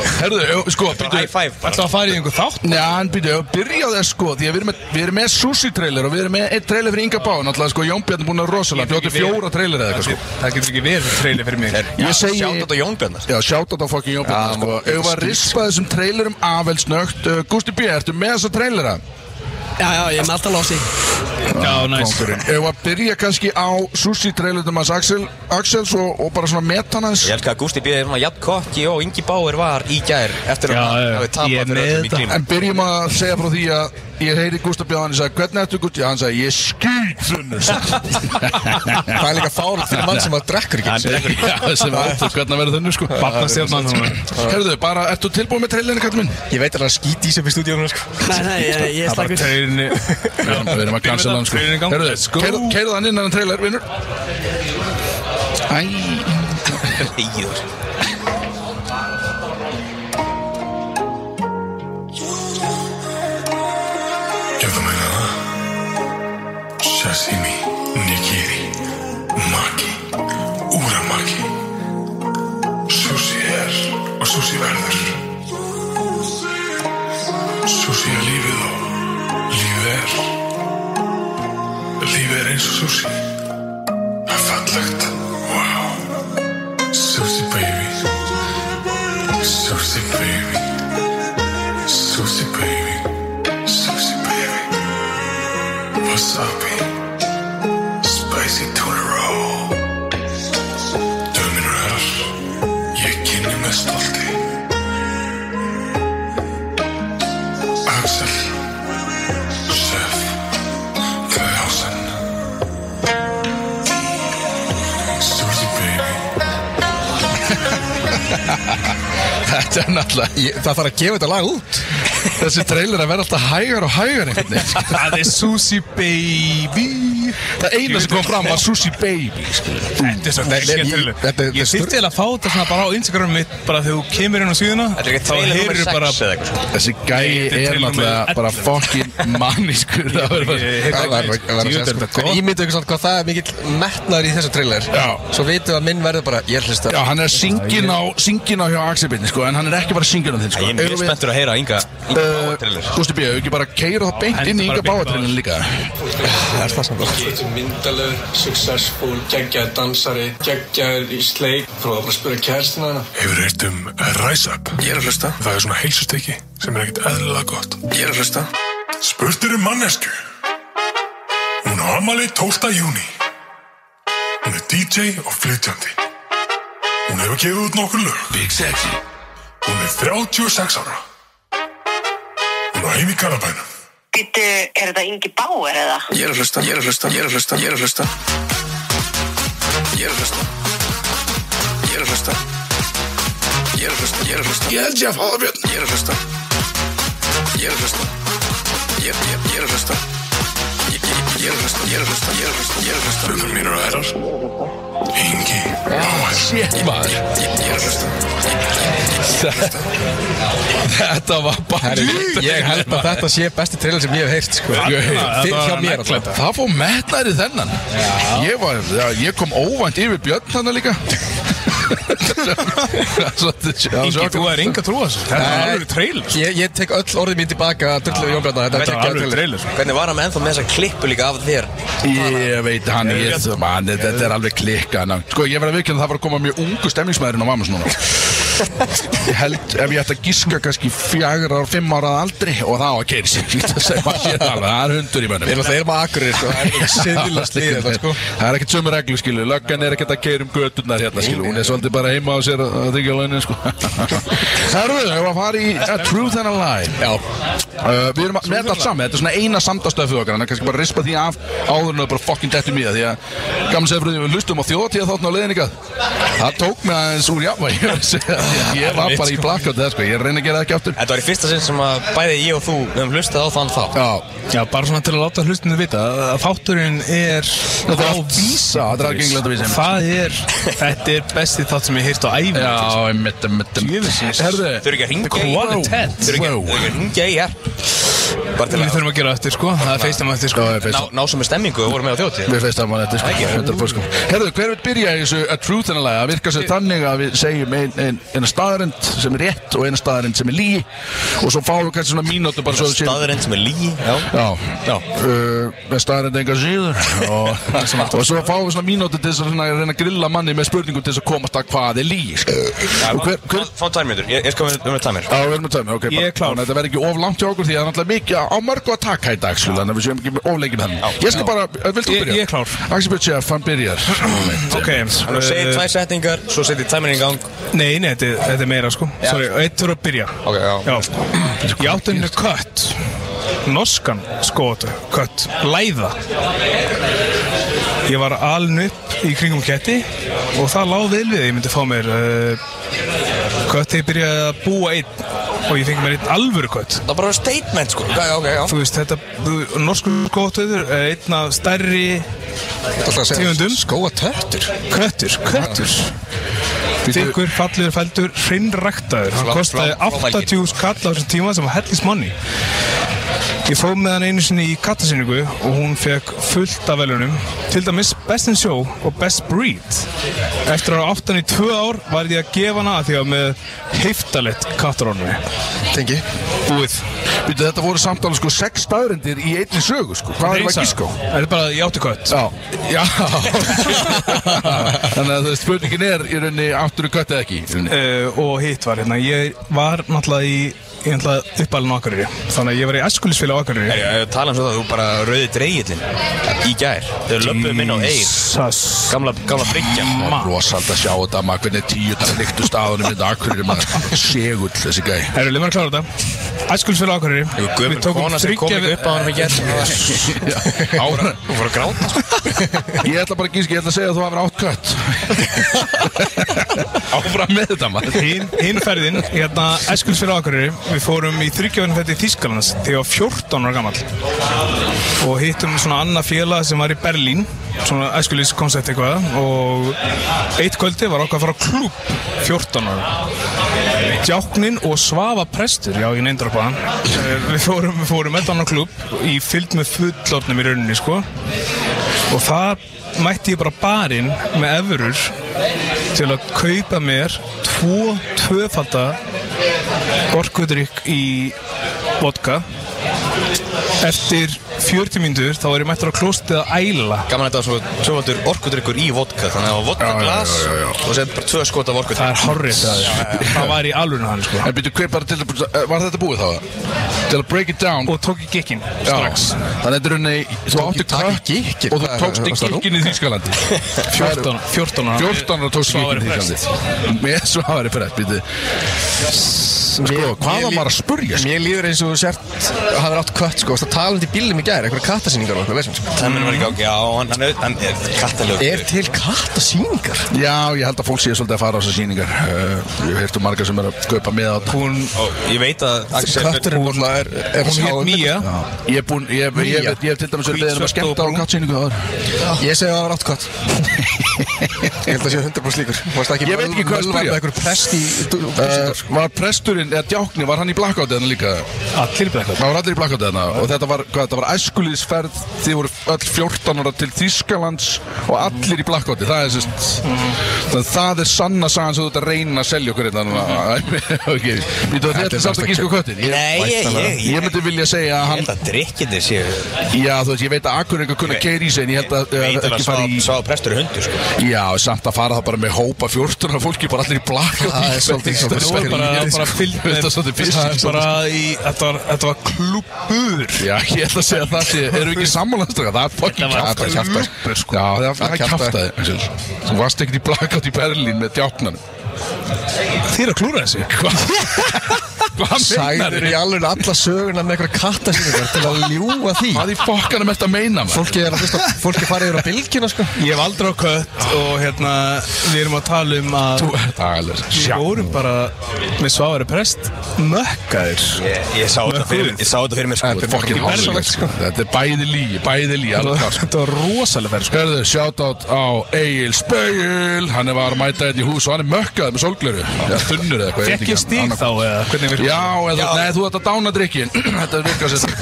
nei Herðu, sko, Bara býtu High five Ætlaðu að fara í einhver þátt? Já, en býtu, ef við byrja á þess sko Því að við erum með, við erum með sushi trailer og við erum með einn trailer fyrir Inga Bá Náttúrulega sko, Jón Bjarni búin að rosalega Ég Bjóti ekki við. fjóra trailer eða eitthvað sko Það getur ekki verið treyli fyrir mig Ég segi- Sjátt þetta Jón Bjarnar Já, sjátt á það fokkin Jón Já, Bjarni sko maður- Ef við að rispa þessum trailerum af vel snögt uh, Gusti B, ertu með þessa trailera? Já, já, ég er með alltaf lási Já, næs Ef við að byrja kannski á sushi trailernum hans Axel, Axels og, og bara svona metanans Ég elskar að Gústi býðir svona Jatt Kokki og Ingi Báir var í gær Eftir Já, að hann já, hafi ég er tapað fyrir með öllum í þetta. klíma En byrjum að segja frá því að ég heyri Gústa Bjarni sagði, hvernig ertu Gústi? Hann sagði, ég skýt þunnu Það er líka fárið fyrir mann sem að drekkur ekki Já, sem er ótrúð, hvernig verður þunnu sko Barnastjarnan Herðu, bara, ertu tilbúið með trailerinu, kallum minn? Ég veit að það skýt í sem í stúdíónu sko. Nei, nei, ég, ég er slagur Treylinni Já, við erum að cancela hann sko Trailerinn í gang. Herðu, Let's go. keirðu- keirðu hann inn hann trailer, vinnur Æ Þegiður Gefðu mér hana Sashimi Nigiri Maki Úramaki Sushi er og sushi verður Sushi er lífið og lífið er Lífið er eins og sushi Það er fallegt Wow Sushi baby Sushi baby Sushi baby Sushi baby Wasabi Spicy tuna roll Döminur er Ég kynni með stolti Axel Chef Klausen Sushi baby Þetta er náttúrulega Ég, það þarf að gefa þetta lag út Þessi trailer að vera alltaf hægar og hægar einhvern veginn sko. Það er Susi Baby Það eina sem kom fram var Sushi Baby sko. Þetta er svo Nei, nei, ekki ég- trailer Ég þetta er- þetta er þurfti eiginlega að fá þetta svona bara á Instagram mitt bara þegar þú kemur inn á síðuna Þetta er ekki trailer nummer 6 bara eða eitthvað sko. Þessi gæi Þetta er er trailer náttúrulega númer bara fokkin manniskur Það var Ég- bara Það var- það var að segja, Jú, þetta er sko, gott. Ímyndu ykkur samt hvað það er mikill metnaður í þessu trailer Já. Svo vitum við að minn verður bara Ég hlusta Já, hann er syngin á, syngin á hjá Axelbyrni, sko, en hann er ekki bara syngin á þinn, sko. eh, Ég er mjög spenntur að heyra Inga Inga Eh, Bauer trailer. Gústi B, hefur ekki bara keira það beint inn í Inga Hendur bara beint í Báatrillin líka? Það er það samt myndalög, successful, geggjaður dansari, geggjaður í sleik. Prófa bara að spyrja kæristina hana. Hefur eitt um Ræsap? Ég er að hlusta. Það er svona heilsustykki sem er ekkit eðlilega gott. Ég er að hlusta. Spurt er um mannesku. Hún á amali 12. júni. Hún er DJ og flytjandi. Hún hefur gefið út nokkur lög. Big Sexy. Hún er 36 ára. Hún á heim í Garabænum. Býttu, er þetta Ingi Bauer eða? Ég er að hlusta, ég er að hlusta, ég er að hlusta, ég er að hlusta Ég er að hlusta Ég er að hlusta Ég er að hlusta, ég er að hlusta Ég held ég að fá það björn Ég er að hlusta Ég er að hlusta Ég, ég, ég er að hlusta Ég, ég, ég er að hlusta, ég er að hlusta, ég er að hlusta, ég er að hlusta Brunum mínur og herrar Ingi Báar Shit, maður. Ég er að hlusta Þetta var bara... Ég held að þetta sé besti trailer sem ég hef heyrt sko. Ég- Fyrir var hjá að mér sko. negla alltaf Það fór metnaður í þennan. Ég, var, já, ég kom óvænt yfir Björn þannig líka. Ingi, Ingi, þú er enga trú þessu Þetta er Nei. alveg trailer Ég, ég tek öll orðið mín tilbaka að Dullu Jón Bjarnar Þetta Þetta er er ekki alveg trailer trailer Hvernig var hann með ennþá með þessa klippu líka af þér? Ég veit hann, ég, man, þetta er alveg klikka Sko, ég verði að vikina að það var að koma mjög ungu stemmingsmaðurinn á mammas núna Ég held, ef ég ætti að gíska kannski fjagra og fimm ára að aldri og það á að keiri sér Það segir maður sér alveg, það er hundur í mönnum Ég er alltaf, ég er maður akkurir sko. Það er siðilast í þetta sko. Það er ekkert sömu reglu skilu Löggan er ekkert að keira um göturnar hérna skilu Hún er svolítið bara heima á sér að að þykja launin sko Það eru við, við erum að fara í uh, Truth and a Lie Já, Uh, við erum að með þetta allt saman, þetta er svona eina samtastöð fyrir okkar, en það er kannski bara að rispa því af áður en það er bara fokkin dettum í það, því að gaman segir fyrir því að við lustum á þjóðtíða þáttan á leiðin ykkar það tók mig aðeins úr jáfnvæg ég, verð að segja það, því að ég var bara í blackout það sko, ég reyna að gera það ekki aftur Þetta var í fyrsta sinn sem að bæði ég og þú höfum hlustað á þann þá Já, Já, bara svona til að láta hlustinu vita að- að þátturinn er þetta er á allt vísi vísa, þetta er algengilegt að vísa Það er, þetta er besti þátt sem ég heilt á æfum Já, mitt, mitt, mitt Herðu, Þau eru ekki að ringja í Qualitet. Þau eru ekki- þau eru ekki að ringja í hér Bara til Við að þurfum að gera eftir sko, það er feistam eftir sko ná, ná sem er stemmingu og voru með á þjótið Við feist að maður þetta sko, þetta er fór sko Herðu, hver vil byrja í þessu að truth and a lie Það virkar sér þannig að við segjum ein, ein, eina staðarind sem er rétt og eina staðarind sem er lí og svo fáum við kannski svona mínútu bara svo við séum Staðurinn sem er lígi Já Já, Já. Uh, með staðarind enga síður og, og svo fáum við svona mínútu til þess að svona reyna að grilla manni með spurningum til þess að komast að hvað er lí sko. og hver, hver, Fá- Fá tvær mínútur, ég, ég skal vera með tvær mínútur Já, við erum að tæmi, ok Ég er klár. Þetta verður ekki of langt hjá okkur því að það er náttúrulega mikið á- á mörgu að taka í dag sko, Þannig að við séum ekki of lengi með hann Ég skal bara, uh, vilt þú Ég- byrja? ég er klár. Axel Björn Sjöf, hann byrjar Ok, Þannig að þú Eh, segir tvær setningar, svo setjið tæminn í gang Nei, nei, þetta, er- þetta er meira sko Sorry, eitt þurfa að byrja Ok, já. sko já. Ég átti henni kött Norskan skotu, kött Læða Ég var aln upp í kringum ketti Og það láð vel við að Ég myndi fá mér uh, Kött þegar ég byrjaði að búa einn Og ég fengi mér einn alvöru kött Það er bara statement sko Já, já, ok, já Þú veist, þetta, þú- norsku skotuður er einn af stærri ég ætla að segja Tegundum. Skóa töttur köttur, köttur Þykkur, fallir, fældur, hrinnræktaður Hann Flá- kostaði flá- fláfælgin. 80 skall á þessum tíma sem var hellis manni Ég fóð með hann einu sinni í kattasýningu og hún fekk fullt af velunum til dæmis Best in Show og Best Breed Eftir að átta hann í tvö ár var ég að gefa hana að því að með heiftalett kattarónu Tengi Búið Býtu, þetta voru samtala sko sex staðrindir í einni sögu sko Hvað er það gískó? Er þetta bara ég átti kött? Já, já Þannig að það Eh, spurningin er í rauninni áttur og kött eða ekki í rauninni. uh, og hitt var hérna ég var náttúrulega í ég ætla að uppalina Akureyri Þannig að ég var í æskulisfélag á Akureyri Herri, ég tala um svo það, þú bara rauði dreigillin í gær. Þau löpum inn á eir. Jesus. Gamla, gamla bryggja. Rósald að sjá þetta maður hvernig tíu dagar líktu staðunum þetta akkurir maður segull þessi gæ Herru, leið mér að klára þetta Æskulisfélag á Akureyri Einhver gömul Við tókum kona sem kom þriggja ekki upp á honum í gær. Ára, Þú fór að gráta, sko. ég ætla bara að gíska, ég ætla að segja að þú hafði átkvæmt Áfram með þetta maður Hinn hin ferðin, hérna Æskulisfélag á Akureyri Við fórum í þryggjafinn fætti í Þýskalands Þegar ég var 14 ára gamall Og hittum svona annað félag sem var í Berlín Svona æskuliskoncept eitthvað Og eitt kvöldi var okkar að fara á klúb 14 ára Djáknin og Svafa Prestur, já ég neyndur upp á hann Eh, Við fórum, við fórum með hann á klub í fylgd með fullotnum í rauninni sko Og það mætti ég bara barinn með efurur til að kaupa mér tvo tvöfalda orkudrykk í vodka Eftir 40 mínútur þá var ég mættur á klostið að æla Gaman að þetta var svo, svo vantur orkudrykkur í vodka, þannig að það var vodka glas og sem bara tvö skot af orkudrykk. Það er horrið það, það var í alvörinu hann sko En byrju, hver bara til að, eh, var þetta búið þá? Til að break it down Og tók í gikkinn Já. strax Þannig að þetta er unni, þú átti taka kött gikkinn? og þú Hvað er- tókst í varstu að gikkin í Þýskalandi 14, 14 ára 14 og tókst í Svavari gikkin í Þýskalandi Með svavari frett, byrju Sko, hvað var maður að spurja? sko? Mér líður eins og þú sért hafði átt kött sko, það talandi í bílum í gæri einhverja kattasýningar og eitthvað, veist sko. Það minnum var í gangi, já, hann, hann, hann er kattalög. Er til kattasýningar? Já, ég held að fólk sé svolítið að fara á þessar sýningar Uh, Ég hef hirtu margar sem er að kaupa með á þetta Hún Og ég veit að Axel... Kötturinn náttúrulega er, er Hún sá- hétt Mía Já, Ég hef búin, ég hef- ég hef- ég hef til dæmis verið beðin um að Hvítsvört og skemmta á brún. kattsýningu áður Ég segi að það var átt kött Ég held að sé 100% slíkur Varst ekki Ég veit ekki hvað að spyrja. Mölvar með einhverju prest í eh, Uh, Var presturinn, eða djáknir, var hann í blackout eða líka? Allir blækla Það var allir í blackout eða og þetta var, hvað, þetta var æskulíðsferð þið voru öll 14 ára til Þýskalands og allir í blackouti það er, sest, það, það er sanna sagan sem þú ert að reyna að selja okkur hérna núna ok, býtu að þetta er samt að gíska á köttin ég, Nei, ég, ég, ég myndi vilja segja að Ég hann held að drikkindir séu Ég já, þú veist, ég veit að akkur einhver kunna keiri í sig en ég held að veit uh, alveg ekki fara að í svá prestur er hundur sko. já, samt að fara það bara með hópa 14 ára fólki bara allir í blackout Það er svolítið Þetta er svolítið skrýtið, sko. Þetta bara, bara fyllt svolítið er svolítið Það er business, bara í Þetta var, þetta var klúbur Já, ég ætla að segja það sé, erum við ekki sammálað strákar? Það er fucking var kjaftaði kjaftaði. sko. Já, það var- það er kjaftaði. kjaftaði Þú varst ekkert í blackout í Berlín með djáknanum Þið er að klúra þessi Hvað Sæður í alveg alla söguna með einhverja kattasýningar Til að ljúa því Hvað í fokkanum ert að meina maður? Fólki er að fyrsta Fólki farið yfir á bylgjuna sko Ég hef aldrei á kött og hérna Við erum að tala um að Þú ert aðeins Við vorum bara með sváari prest Mökkaðir Ég, ég sá þetta fyrir, ég sá þetta fyrir mér sko. Þetta er fokkin berserk, hálfilegt sko. sko. Þetta er bæði lígi, bæði lígi alveg klart, sko. Þetta var rosalega ferð sko. Hörðu, shoutout á Egil Spegil Hann er var að mæta þetta í hús og hann er mökkað með sólglöru Já, þunnur eða eitthvað veit Fekk ekki, ég stíg annað- þá eða Hvernig virkar Já, eða, nei, þú ert að dána drikkin Þetta virkar sér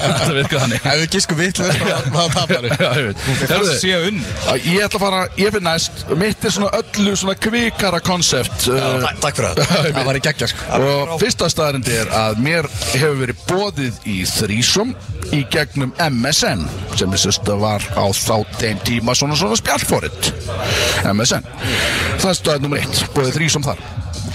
Þetta virkar þannig Ef við giskum vitlega Það tapar við. Já, ég veit. það? Herðu, Sé unn Ég ætla að fara, ég finn næst Mitt er svona öllu svona kvikara konsept uh, Takk fyrir það Það var í geggja sko Og fyrsta staðarindi er að mér hefur verið bóðið í þrísum Í gegnum MSN Sem ég sérst að var á þá þeim tíma svona svona spjallfórit MSN Það er staðar nummer eitt, bóðið þrísum þar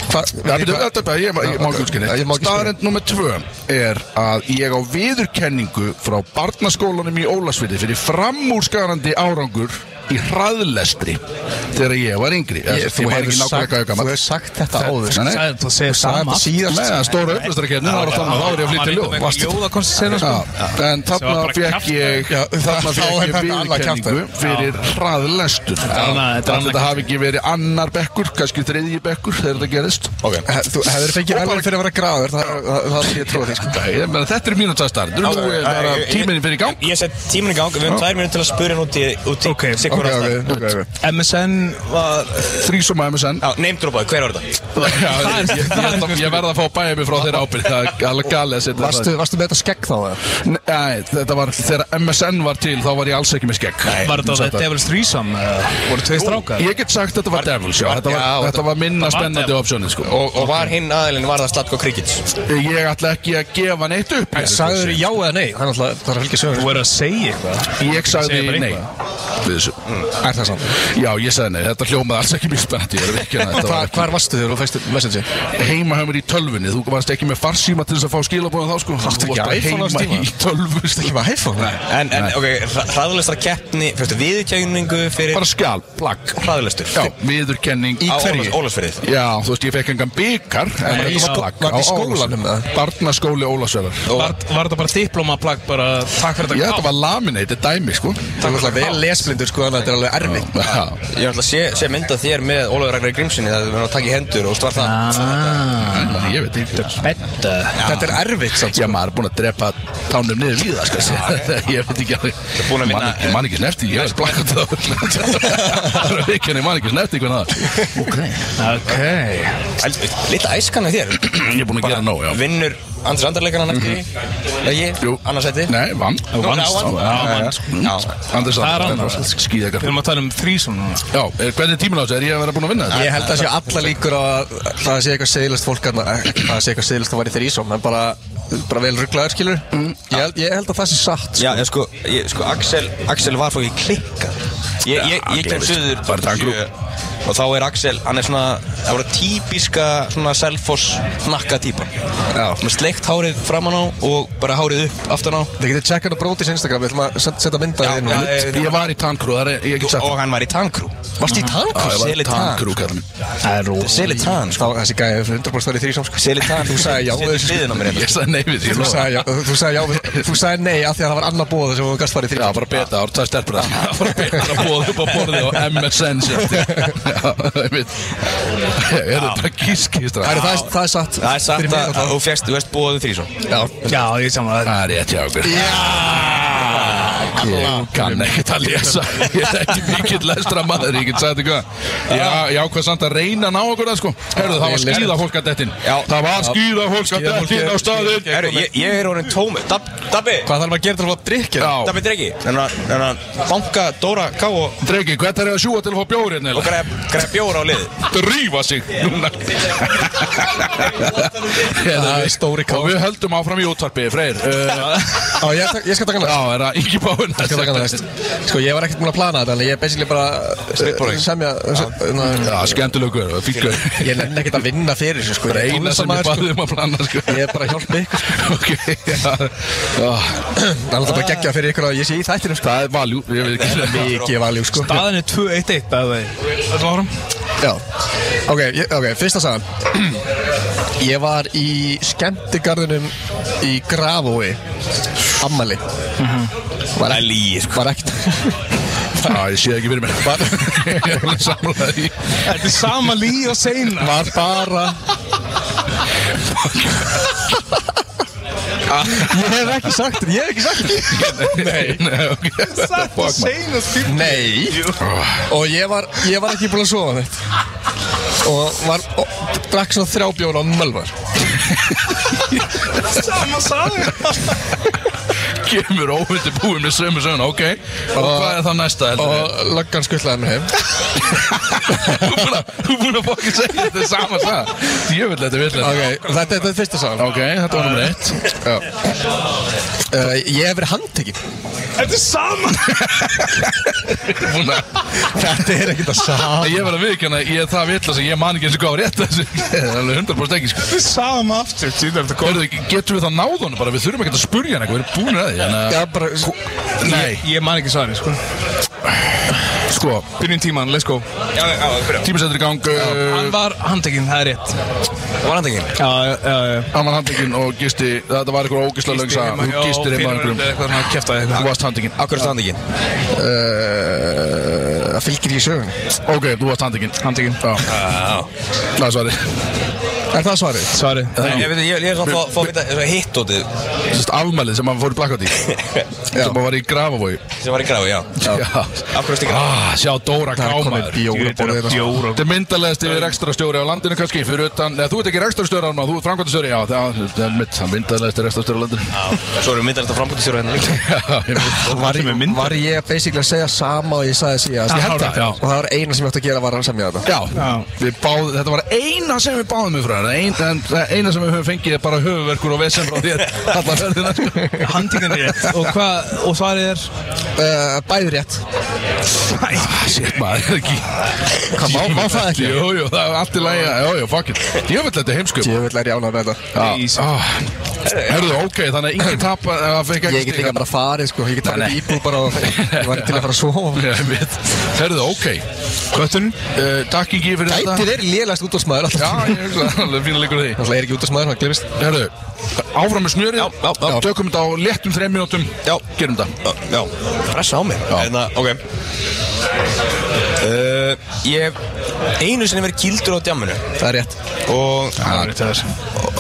Já, byrju, þetta er bara, ég, ég, ég má ekki Já, ég má útskynni ekki útskýra. Staðarind nummer tvö er að ég á viðurkenningu frá barnaskólanum í Ólasviti fyrir framúrskarandi árangur í hraðlestri þegar ég var yngri Ég- Þú man hefur ekki nákvæmlega sagt, hvað ég þú gamall. hefur sagt þetta áður Nei, nei. Sagði þetta að segja sama þetta síðast Nei, það er stóra upplýstarkerni, það var alltaf að þá er ég að flytja ljóð Varst Varstu- ljóða konsertinu Já, sko En Sem var þarna bara fekk kjaftaði. ég já, þá Þarna fekk er ég þetta annað viðurkenningu kjaftaði. fyrir hraðlestur annað- Að þetta er annað Þetta hafi ekki verið annar bekkur, kannski þriðji bekkur þegar þetta Eh, gerist He- Þú hefur fengið velum fyrir að vera gráður Það það- það er ég trúið því sko Ég meina, Þetta er mínu tæstar Nú er bara eh, tíminn fyrir í gang Ég set tíminn í gang, við höfum tvær mínútur til að spyrja hann út í út í Ok, sitt hvora Ok, staðar. ok, ok, ok. MSN var Þrísum að MSN Já, name dropaði, hver var þetta? Já, ég- ég- ég- Ég verð að fá bæja mig frá þeirra ábyrð Það er alveg galið að setja Varstu, varstu með þetta skegg þá? eða? Nei, Þetta var, þegar MSN var til þá var ég alls ekki með skegg Var þetta The Devil's Threesome eða voru tvei strákar? Ég get sagt þetta var Devils, já, þetta var, þetta var minna spennandi optionið, sko. Og Og var hinn aðilinn, var það Slatko Krikits? ég ætla ekki að gefa neitt upp. Sagður já eða nei? Það er alltaf, það er helgi sögur Þú er að segja eitthvað Ég sagði Segðu bara nei. eitthvað. við þessu Er það samt? Já, ég sagði nei, þetta hljómaði alls ekki mjög spennandi Ég er ekki að þetta var Hvar varstu þegar þú fæst messengi? ekki heima hjá mér í tölvunni Þú varst ekki með farsíma til þess að fá skilabóðan þá sko Þú Áttu ekki varst bara iPhone á þess heima tíma? í tölvunni Þú ekki bara iPhone? En, en ok, hraðlestra keppni, fyrstu viðkjöningu fyrir Bara skjal, plagg hraðlestur Já, viðurkenning Í á hverju? Ólafs- Ólasferðið Já, þú veist, ég fekk engan byggar En Nei, þetta var- var plagg var á þetta í skólanum, Ólafsverðar eða? Barnaskóli Ólafsverðar Var, var þetta bara diplomaplagg bara takk fyrir Já, þetta þetta var laminated dæmi sko Það er alltaf vel lesblindur sko, þannig að þetta er alveg erfitt Já, Ég ætla að sé, sé mynda þér með Ólafur Ragnar Grímsinni Það við erum að taka í hendur og stvar Ah. það Ah. ég veit ekki Betta Þetta er erfitt samt Já, maður er búinn að drepa tánum niður við það, sko. Ég veit ekki alveg. búinn að vinna- Man- Ég man ekki snefti, ég er blakkað það. Það er ekki hann, ég man ekki snefti hvernig það. Ok. Ok Lilla æskan af þér Ég er búinn að gera nóg, já. Vinnur Andris Andarleikarna nætti mm. Ég, Jú. annars seti Nei, vann. vannst. Já, Já, já, já. vannst. Mm. Anders Það er Andri, annað. skýðakar. Við erum að tala um þrísum núna Já, er- hvernig er tíminn á þessu? Er ég að vera búinn að vinna þetta? Ég held að sé alla líkur á að að það sé eitthvað seðilast fólk að það sé eitthvað seðilast að væri þeir ísóm en bara, bara vel rugglaður skilur Mm. ég held, ég held að það sé satt Já, en sko, ég, sko Axel, Axel var fókið klikkað Ég, ég, ég kem suður Bara daggrú. sjö, Og þá er Axel, hann er svona Það voru típiska svona Selfoss Nakka típan Með sleikt hárið framan á og bara hárið upp aftan á Þið getið tjekkan á Brótis Instagram, við ætlum að set- setja mynda Já, þér já, inn já, Ég var í tankrú, það er ég ekki sagt. Og hann var í tankrú Varst í tank? Mm. Já, ég var í Seli Tan. tankrú, kallar minn. Það er rúst Seli Tan, sko Þá þessi gæði 100% verið þrísóm sko Seli Tan, Þú sagði já við Setur þessu, sko. hliðin á mér hérna. Ég sagði nei við því, ég Þú lofa. sagði já, þú sagði já við- Þú sagði nei af því að það var annað bóð sem þú gast farið Já, þrísóm bara beta, það voru tvær stelpur að það voru betra að bóða upp á borðið og MSN sér Já, ég veit Ég er þetta bara gískist Það Það er, það, er- það er satt Það er Fyrir satt mig að alltaf. þú fjast, þú veist búið þrísum Já, ég saman að er rétt hjá okkur Ég kann ekkert að lesa Ég er ekki mikill lestra maður Ég get sagt eitthvað Já, já, hvað samt að reyna að ná okkur það sko Herðu, það var skýða fólkadettin Já. Það var skýða fólkadettin á staðinn Herru, ég, ég er orðin tóm Dab, Dabbi, Hvað þarf maður að gera til að fá að drikja? Já, Dabbi Dregi Þannig að banka Dóra K og, Dregi, hvað er það að sjúa til að fá bjórið og greið gref bjóra á lið drífa sig núna Hérna, Það er stóri kál. Og við höldum áfram í útvarpi, Freyr uh, Já, ég, tak- ég skal taka hana Já, er það ekki báinn Ég skal taka hana næst. Sko, ég var ekkert múin að plana þetta en ég er basically bara uh, semja na- Já, sko. skemmtilegur, fíkur Ég nenni ekkert að vinna fyrir þessu sko Það er Ég er eina sem ég tónlistarmaður, baði um að plana sko. sko. Ég er bara að hjálpa ykkur sko. Ok, já ah, Það er alltaf bara geggjað fyrir ykkur að ég sé í þættinum sko Það er valjú, ég veit ekki Mikið valjú sko Staðan er 2-1-1 bæði Þetta var áfram Já Ok, ég, ok, fyrsta sagan Ég var í skemmtigarðinum í Grafói Ammali Var ekki Lí, Var ekkert Já, ég sé ekki fyrir mér Ég er alveg samlega því Þetta er sama lí og seina Var bara Ég hef ekki sagt þetta, ég hef ekki sagt þetta Nei, nei, ok Þetta Fuck, man. seina stíl Nei Og ég var, ég var ekki búin að sofa neitt Og var og, Drakk svona þrjá bjóra og mölvar Sama saga Kemur óhundi búin með sömu söguna, ok Og hvað er það næsta? heldur við? Og löggan skuttlaði mig heim Þú er búin að- þú er búin að fokkin segja þetta er sama sag Jöfull, þetta er villega Ok, þetta, þetta er fyrsta sagan Ok, þetta var nummer eitt uh, Ég hef verið handtekinn Þetta er sama Búin að- Þetta er ekkert að saga Ég verð að viðkjanna, ég er það vitla sem ég man ekki eins og hvað var rétt að þessu Það er alveg 100% ekki sko Þetta er sama aftur Þetta er þetta góð Hörðu, getum við það náð honum bara, við þurfum ekki að spurja hann eitthvað, við erum búin að því Þannig Já, bara að, nei, Ég man ekki svarið sko sko, Byrjum tíman, let's go Já, já, fyrir tímasettur í gang uh, Hann var handtekinn, það er rétt Það var handekinn Já, já, já Hann var handikinn og gisti, þetta var eitthvað ógislega lögns að þú gistir heima á einhverjum Eitthvað svona kæftaði Þú varst handikinn Akkur er það handekinn uh, Það fylgir í sögunni Ok, þú varst handikinn Handtekinn Já, það er svarið Er það svarið? Svarið Ég veit, ég, ég er svona að fá- fá að vita þessu hittótið Sest afmælið sem hann fór í blakkot í Sem hann var í Grafavogi sem var í grafi, já Já Af hverju stíka Ah, sjá Dóra Það er Kámaður komið bjóra bóra þetta Jóra Þetta er myndalegast yfir rekstrastjóri á landinu kannski fyrir utan, eða þú ert ekki rekstrastjóri ánum þú ert framkvæmtastjóri, já það það er mitt það er myndalegast rekstrastjóri á landinu Svo erum við myndar þetta frambúttisjóra hérna líka Já, ég veit. Var, Ertu með mynd? var ég basically að segja sama og ég sagði síðast Ég Ég held held það, já. Og það var eina sem ég átti að gera var að semja þetta Já, við báðum, þetta var eina sem við báðum við frá nokkrar en ein- en það eina sem við höfum fengið er bara höfuverkur og vesen frá þér alla ferðina sko. Handingin er rétt Og hvað, og svarið er Uh, bæði rétt Æ, Ah, Shit maður, er ekki Hvað, má- má það ekki? Jú, jú, það er allt í lægi Jú, jú, fuck it Djöfull þetta er heimskum Ég vil læri ánað með þetta Ah. Herðu, ok, þannig að enginn tapa eh, það fekk ekki Ég get líka stig. bara farið sko Ég get farið í íbúð bara og Ég var til að fara að sofa Ég veit. Herðu, ok Köttun, uh, takk ekki fyrir Gæti þetta verið lélægst útdómsmaður Já, alltaf ég hugsa, alveg fína líkur á því Það er ekki útdómsmaður, hann glemist Herðu, áfram með smjörið já, já, já. Tökum þetta á léttum þreim mínútum Já. Gerum þetta Já, pressa á mig Hérna, ok uh, Ég hef einu sinni verið kildur á djamminu Það er rétt Og,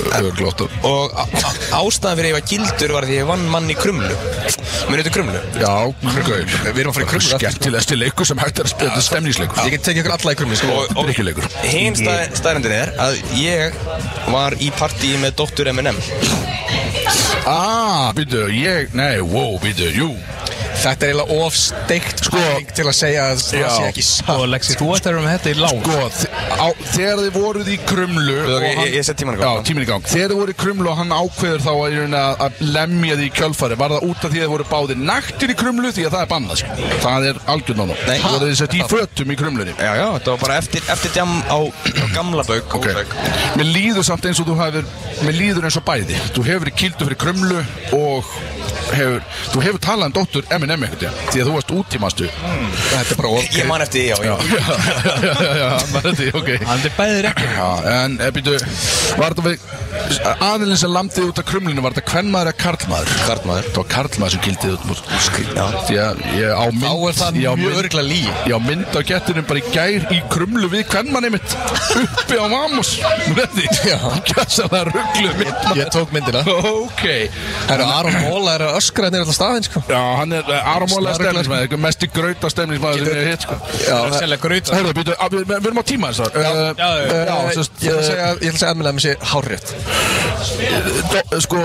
Það er glótt og- og á- á- ástæðan fyrir að ég var kildur var því ég vann mann í krumlu Mér þetta krumlu Já, krökkur Við erum að fara í krökkur Skemmtilegasti leikur sem hægt er að spila Þetta er stemningsleikur Ég get tekið ykkur alla í krumni sko Og, og Drykkjuleikur. hinn stað, staðrendin er að ég var í partíi með dóttur M&M Ah, býtu, ég, nei, wow, býtu, jú Þetta er eiginlega of steikt sko Til að segja að það Já. sé ekki satt og Lexi, þú ættir að vera með þetta í lág Sko, þi- á, þegar þið voruð í krumlu Ég, og ég, hann- ég sett tíman í Já, gang tíminn í gang Þegar þið voru í krumlu og hann ákveður þá að, í rauninni að, að lemja því í kjölfari Var það út af því að þið voru báðir naktir í krumlu Því að það er bannað sko. Það er algjörn á nú Nei. Það voru þið sett í fötum í krumlunni Já, já, þetta var bara eftir, eftir djam á, á gamla bauk Ok, mér líður samt eins og þú hefur Mér líður eins og bæði Þú hefur verið kýldu fyrir krumlu Og hefur, þú hefur talað um dóttur M&M einhvern veginn Því að þú varst útímastu Hmm. Þetta er bara of Ég man eftir því, já, já. Já, já, já, já, já, maður þetta, ok Hann er bæðið rétt Já, en eh, býtu, var þetta við aðilins sem landið út af krumlinu, var þetta kvenmaður eða karlmaður? Karlmaður. Það var karlmaður sem kildið út múl. Já. Því að ég á mynd... Þá er það ég á mjög mynd- örugglega lygi. Ég á mynd á gettinum bara í gær í krumlu við kvenmanni mitt, uppi á Mamos. Nú er því, gæsalega rugglu mynd. Ég tók myndina Ok. Það eru Aron Móla er að öskra hérna alltaf staðinn sko Já, hann er eh, áramólega Snaruglar. stemningsmæður, einhver mest í gröta stemningsmæður sem ég hef hitt, sko. Já, að selja gröyt Herðu, býtu, að við við erum á tíma þessar. Já, já, já. Já, já, sem Sko, ég sagt, ætla að eh, segja, ég ætla að segja að Eminem sé hárrétt Dó- sko,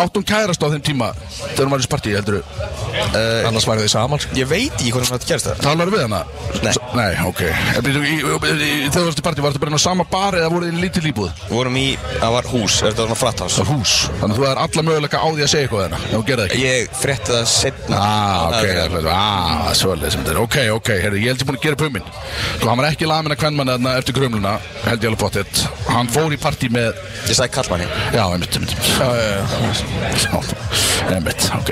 áttum kærast á þeim tíma þegar hún var í spartíi, heldur þú? Eh, Annars væri þið saman sko Ég veit ekki hvernig þetta gerst það Talar við hana? Nei. S- Nei, ok. En býtu, í- í- í- Þegar þú varst í partíi, varstu bara inn á sama bar eða voruð þið í lítil íbúð? Við vorum í, það var hús, þetta var svona fratthás Það hús. Þannig að þú er alla möguleika á því að segja eitthvað hérna, ef þú gerði ekki. Ég frétti það setna Ah, ok, Það er- það er- ah, svolítið sem þetta er Ok, ok, herri, ég held ég búin að gera pumin Sko, hann var ekki lamin að kvennmann þarna eftir grumluna Held ég alveg bóttið Hann fór í partí með Ég sagði kallmanni Já, einmitt, einmitt Já, já, já Einmitt, ok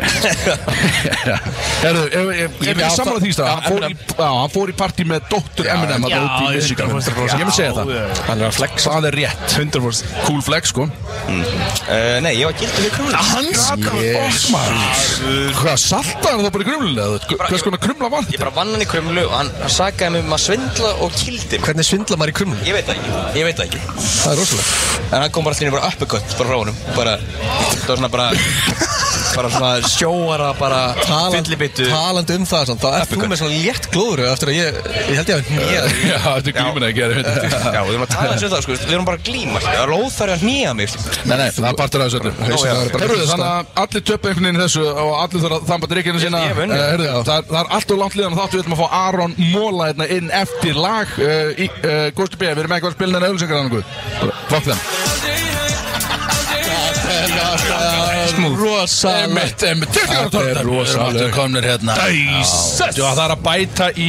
Herðu, ef- ef- ég vil Já, samla það- því stað já, Hann fór í- já, Hann fór í partí með dóttur Eminem já, þarna úti í ég- Michigan. 100%. Ég vil segja það Já, já, Hann er að flex Það er rétt 100% Cool flex, sko uh, Nei, ég var gildur við krumlu Hans Yes maður. Hvað, saltaði hann þá bara í krumlulega? Hvers konar krumla var Ég þetta? bara vann hann í krumlu og hann, hann sagaði mig um að svindla og kildi mig Hvernig svindla maður í krumlum? Ég veit það ekki, ég veit það ekki Það er rosalega En hann kom bara allir bara uppecut, bara frá honum Bara, það var svona bara Bara svona sjóara, bara Fyllibittu Talandi um það samt, Þá er þú með svona létt glóður Eftir að ég, ég held ég að nýja Já, þetta er glímin að gera þetta. Já, við erum að tala eins um það, sko, við erum bara að glíma Það er óþarri að hnýja mig sko. Nei, nei, það er partur af þessu öllu já. Herruðu, þannig að allir töpu einhvern veginn í þessu og allir þarf að þamba drikkina sína Ég- ég vinn, já. Eh, heyrðu, það, er- það er allt og langt liðan og þáttu við ætlum að fá Aron Móla hérna inn eftir lag uh, í uh, Gusti B, við erum eitthvað að spila henni auðlýsingar annað guð Fokk þeim Rosalega Emmett, Emmett, þetta er rosalega komnir hérna Dæsast Það er að bæta í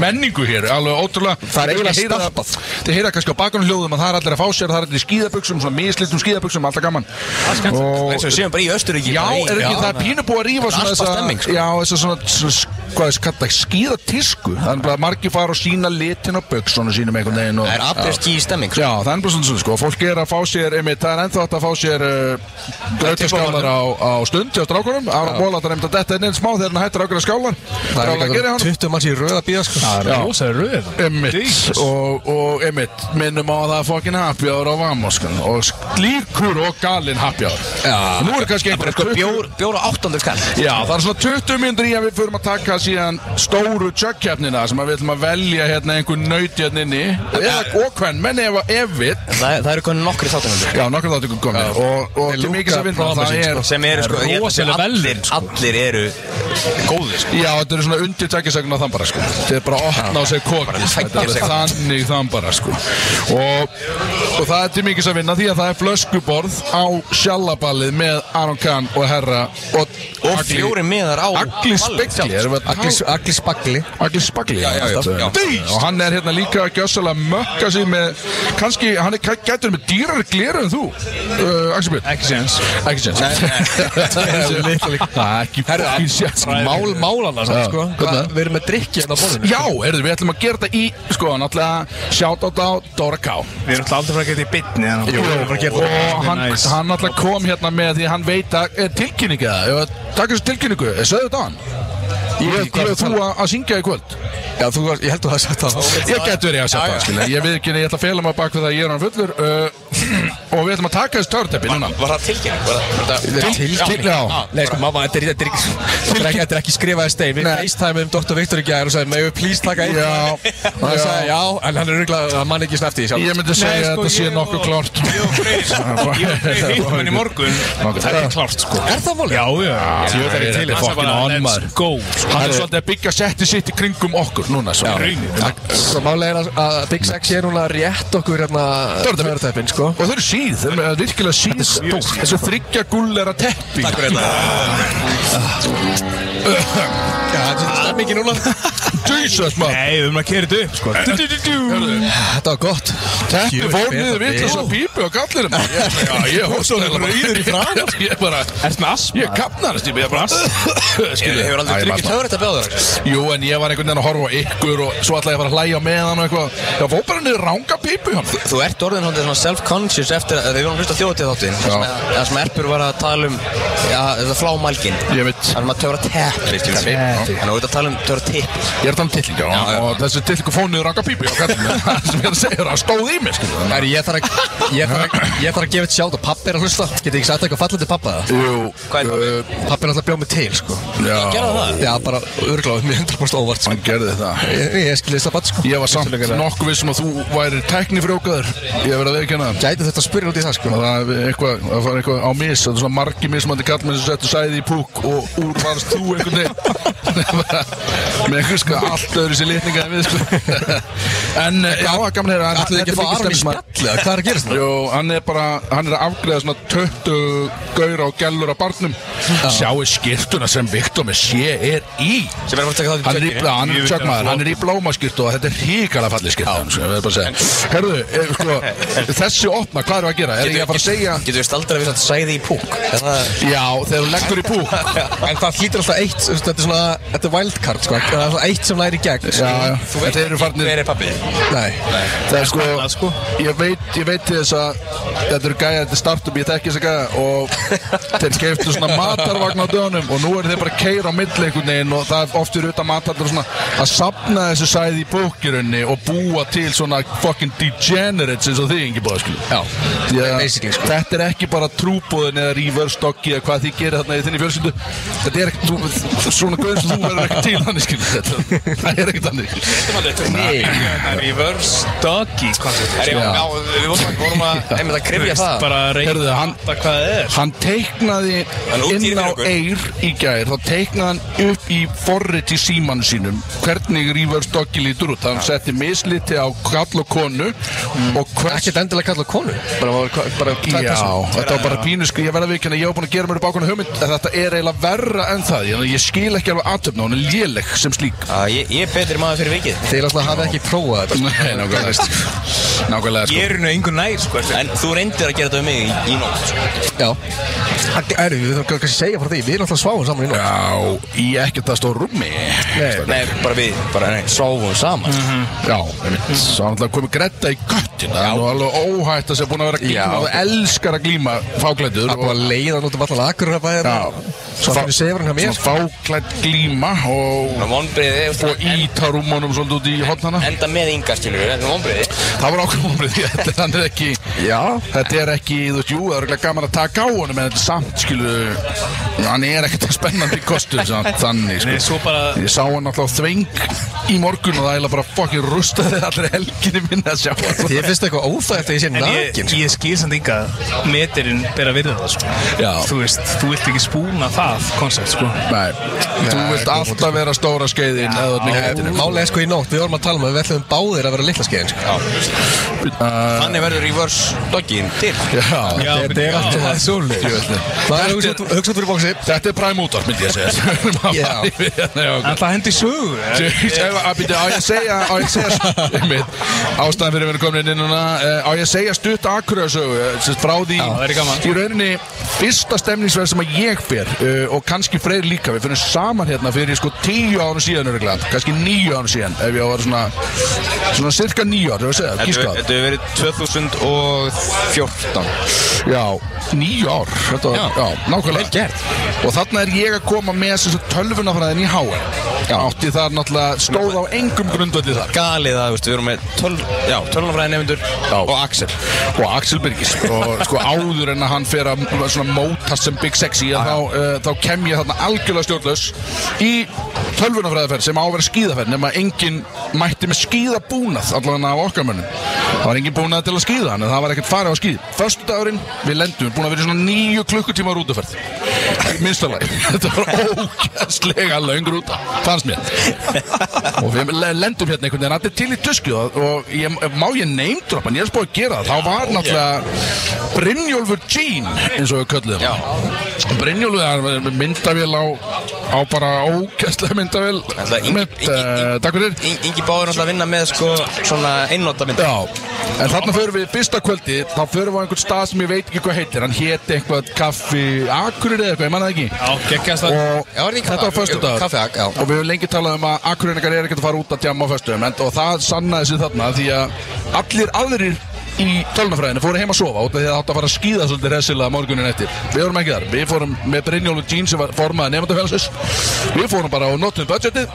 menningu hér Alveg ótrúlega Það er eiginlega Þið heyrið stampað. það- Þið heyra kannski á bakunum hljóðum að það er allir að fá sér Það er allir í skíðabuxum, svona mislitum skíðabuxum, alltaf gaman Og Eins og við séum bara í Östuríki Já, bara í- er ekki Já. það er pínu búið að rífa svona Alpa þessa stemming, sko. Já, þessa svona, svona hvað er þetta, skýða tísku Það er bara að margir fara og sína litin á böksunum sínum einhvern veginn og, Það er allir skýr stemming sko. Já, það er bara svona svona, sko Fólk er að fá sér, einmitt, það er ennþá hægt að fá sér uh, grötaskálar á, á stund hjá strákunum Ára Bólatar einmitt að detta inn einn smá þegar hann hættir ákveða skálar Það er Brála líka gerir svona hann 20 manns í röða bíða sko Það Já. er rosalega röð Emmitt og, og Emmitt minnum á að það er fokkin happy hour á Vamoskan og slíkur og galinn happy hour Já. Nú er kannski einhverja Sko, bjór, bjór á 800 skall Já, það er svona 20 myndir í að við förum að taka síðan stóru tjökkjafnina sem að við ætlum að velja hérna einhver nöyt hérna inni eða okkvenn, menn ef að ef við Það, það eru konið nokkri þáttunandi Já, nokkur þáttu komið og, og til mikið sem vinna það er sem eru sko ég held að rosalega allir, velin, allir eru góðir sko. Já, þetta eru svona undir tækisækun á þambara sko Þetta er bara að opna á sig kokið Þetta er sig. Þannig þambara sko Og og það er til mikils að vinna því að það er flöskuborð á sjallaballið með Aron Kahn og Herra og, Og fjóri miðar á Agli Spegli erum við að tala- Aglis, aglis bagli Agli Spagli já, já, alltaf. já. Beast! Og hann er hérna líka að gjössalega mökka sig með kannski, hann er gæ- gætur með dýrar gleru en þú uh, Axel Björn Ekki séns Ekki séns Nei, Nei, ekki fokkin séns Mál, málan það Já, sko Hvað, hvernig? Við erum með drikki hérna á borðinu Já, heyrðu, við ætlum að gera þetta í, sko, náttúrulega, shoutout á Dóra K. Við erum alltaf aldrei að fara að geta í bytni Jú, við erum bara að gera það. Og hann, Nice. hann náttúrulega kom hérna með því hann veit að er tilkynningu það, ef að taka þessu tilkynningu, sögðu þetta á hann. Ég Ég veit ekki hvað er þú þú að, að syngja í kvöld. Já, þú, var- ég held að það sagt það Ég getur verið að setja það, skilja. Ég við ekki, ég ætla að fela mig á bak við það, ég er hann fullur. Uh, og við ætlum að taka þessu törteppi núna. Var það tilkynning? Var það- var það- Þetta er tilkynning Já. Nei, sko, mamma, þetta er, þetta er, ekki- þetta er, ekki- þetta er ekki skrifaði stein Við Nei. facetimeum Dr. Viktor í gæðar og sagði May we please taka einn Já. Og hann sagði, já, en hann er rugglað að mann ekki snæfti Ég myndi segja að sko, þetta sé ég nokkuð og- klárt. Ég og Freyr hittum henni í morgun Það er ekki klárt sko Er það málið? Já, já Ég það er til í fucking on, maður. Let's go Hann er svolítið að byggja setti sitt í kringum okkur núna, svo. Raunin Svo málega er að- að Big Sex er núna rétt okkur hérna Törteppi. Törteppin, sko Og þau eru síð, þau eru virkilega síð stór Þessu þryggja gullera teppi Takk fyrir Það er mikið núna Jesus maður Nei, við erum að kera þetta upp sko Þetta var gott Teppi Jú, fór betra niður fyrir. vitlösa pípu á gallinum Ég- Já, ég hótt svo hérna rauður í fram Ég bara, Ertu með asma? ég kapnar þessi Ég bara, skilu Hefur aldrei drukkið sko. töfrætt að bjóða þér? Jú, en ég var einhvern veginn að horfa á ykkur og svo ætla ég að fara að hlæja með hann og eitthvað Það fór bara niður ranga pípu hjá mér Þú ert orðin hóndið svona self-conscious eftir að við vorum hlust á þjóðatíð þáttin Það sem Erpur var að tala um ja, það flá mælgin Ég veit. Það sem að töfra teppi Teppi Þannig að þú ert að tala um töfra teppi Ég er þannig tillinga Já, já. og þessi tillingu fór niður ranga pípu hjá gallinum Það sem ég er að segja það stóð í mér, skilu Æri, ég þarf að, ég þarf að, ég þarf að gefa þetta sjátt og pappi er að hlusta Geti ekki sagt eitthvað fallandi pappa það? Jú, Hvað er uh, Pappi er alltaf bjóð mig til, sko já, Gerða það? Já, bara örgláð, mér 100% óvart, sko hann gerði það Ég, ég skilist það bara, sko Ég var samt nokkuð vissum að þú væri tæknifrjókaður Ég hef verið að viðkjanna það Gæti þetta að spyrja út í það, sko Og Það er eitthvað, það var eitthvað á mis Það er svona margi mismandi kallmenn sem settu sæði í púk Og úr varst þú einhvern veginn Með einhver sko allt öðru sér litninga en við sko En eh, já, það er gaman að heyra Ætlaðu ekki að fá Aron í spjallið, hvað er að gerast það? Jó, hann er bara, hann er að afgreða svona 20 gaur og gælur á barnum Sjáu skiptuna sem Viktor með sé er í Sem er að fara að taka Hann það er í, til blá, hann, Ég veit tjökk að maður, fló- hann er í blámaskýrt og þetta er hríkala fallið skýrt Herðu, e, sko, þessi opna, hvað erum við að gera? Er ég að fara að segja Getur við staldra við svona sæði í púk? Er það- Já, þegar þú leggur í púk En það hlýtur alltaf eitt, þú veist, þetta er svona, þetta er wildcard, sko Það er alltaf eitt sem læri í gegn, Já, sko já, en þeir eru farnir Hver er pappið? Nei, Það er sko, ég veit, ég veit til þess að Þetta eru gæja, þetta er startup, ég þekki þess að gæja Og þeir keiftu svona matarvagn á dögunum Og nú eru þeir bara að keira á milli einhvern veginn Og það er oft fyrir utan matarlar svona Að sapna þessu sæði í bókirunni Og búa til svona fucking degenerates eins og þig, Ingi Bóða, skilu já, Því að basically, sko Þetta er ekki bara trúbúðin eða reverse doggy eða hvað þið gerir þarna í þinni fjölskyldu Þetta er ekki, þú, svona guður sem þú verður ekki til hann, skil Þetta, það er ekki þannig Reverse doggy konceptið Já, við vorum að- vorum að einmitt að krifja það Bara að reyna Herðu, hann, að hvað það er hann teiknaði Hann útskýrir inn á fyrir okkur. eir í gær þá teiknaði hann upp í forrit í símanu sínum hvernig reverse doggy lítur út hann setti misliti á kall og konu og hvers Mm. Ekkert endilega kalla konu Bara, bara, bara Já, þetta var bara pínusk Ég verða að viðkynna, ég var búin að gera mér upp ákvæmna hugmynd en Þetta er eiginlega verra en það Ég, ég skil ekki alveg aðtöfna, hún er léleg sem slík Já, Ég ég er betri maður fyrir vikið Þeir alltaf hafa ekki prófað þetta sko. Nei, nákvæmlega sko. Nákvæmlega sko Ég er henni engu nær sko eftir- En þú reyndir að gera þetta um mig í- í nótt Já Það er, við þurfum kannski að segja frá því Við erum alltaf sváum saman í nótt Já, í ekkert að stóra rúmi Já, Nei, bara við, bara nei, sváum saman Mhm. einmitt Svo hann ætlaði að koma gretta í göttin Það er nú alveg óhætt að sé búin að vera að glíma Já. og elskar að glíma fáklættur Það er búið að leiða hann út um allan akkurabæðir Já. Svo hann finnur sefur hann hjá mér Svona fáklætt glíma og, Ná, vonbriðið og íta rúmunum svolítið út í hotnana Enda með ynga, skilur við, enda vonbriðið Það var ákvæmumrið því að þetta er ekki Já Þetta er ekki, þú veist, jú, það er örugglega gaman að taka á honum en þetta er samt, skilu hann er ekkert spennandi kostur samt, þannig, sko. Nei, svo skilu bara Ég sá hann alltaf á þveng í morgun og það eiginlega bara fokkin rustaði allri helginni minna að sjá hann Þið finnst eitthvað óf ennþá eftir að ég sé En ég, nakin sko. ég skil samt ekki að metirinn ber að virða það sko. Já. Þú veist, þú vilt ekki spúna það koncept sko. Nei, þú vilt alltaf vera stóra skeiðin eða þú ert mikið Nei, hættinu Málega sko í nótt, við vorum að tala um að við ætlum báðir að vera litla skeiðin sko. Þannig verður reverse doggin til Já, Já, þetta er já, alltaf það er svoleið Það er hugsað- hugsað fyrir bóksi Þetta er præm útvarp, myndi ég að segja Já. Já, ok. En það hendi sögu eh? Ef- að byrja, Á ég að segja, á ég að segja einmitt, ástæðan fyrir að vera komin inn í núna eh, á ég að segja stutt akkuröðsögu sem frá því það er gaman. í rauninni fyrsta stemningsverð sem að ég fer eh, og kannski freyr líka við finnum saman hérna fyrir sko tíu árum síðan örgulega, kannski níu árum síðan ef ég á að vera svona svona cirka níu árum, ef ég að segja, Þetta hefur- gíska á það. þetta hefur verið 2014 Já, níu ár, þetta var, já, nákvæmlega Vel gert Og þarna er ég að koma með þessu tölvunafræðin í HR Já, átti þar náttúrulega stóð á engum grundvöldi þar Galið að, veist, við erum með töl- já, tölunafræði nefndur og Axel og Axel Birgis og sko áður en að hann fer að m- svona mótast sem Big Sexy að þá, uh, þá kem ég þarna algjörlega stjórnlaus í tölvunafræðaferð sem á að vera skíðaferð nema enginn mætti með skíðabúnað allavega af okkar mönnum það var enginn búnað til að skíða hann en það var ekkert farið á skíð förstu dagurinn við lendum búin að vera í svona níu klukkutíma rútuferð minnstalega þetta var ógæstlega löng rúta fannst mér og við le- lendum hérna einhvern veginn allir til í tusku og, og ég, má ég neymdropa en ég er spóið að gera það þá var náttúrulega Brynjólfur Jean eins og við köllum það Brynjólfur hann var með myndavél á, á bara ókæstlega myndavél Alltaf Ingi- með, Ingi- uh, takk fyrir Ing- Ingi Báður er alltaf að vinna með sko svona einnóta mynd Já, en þarna förum við fyrsta kvöldi þá förum við á einhvern stað sem ég veit ekki hvað heitir hann héti eitthvað kaffi Akurir eða eitthvað, ég manna það ekki Já, geggjast það og Já, var það ekki þetta var kaffi- förstu jú, dagur kaffi- já. og við höfum lengi talað um að akkurinningar er ekkert að fara út að tjama á föstum en, og það sannaði sig þarna því að allir aðrir í tölnafræðinu fóru heim að sofa út af því að það átt að fara að skýða svolítið resilega morgunin eftir við vorum ekki þar, við fórum með Brynjólf og Jean sem var formaði nefndafélagsins við fórum bara og notum budgetið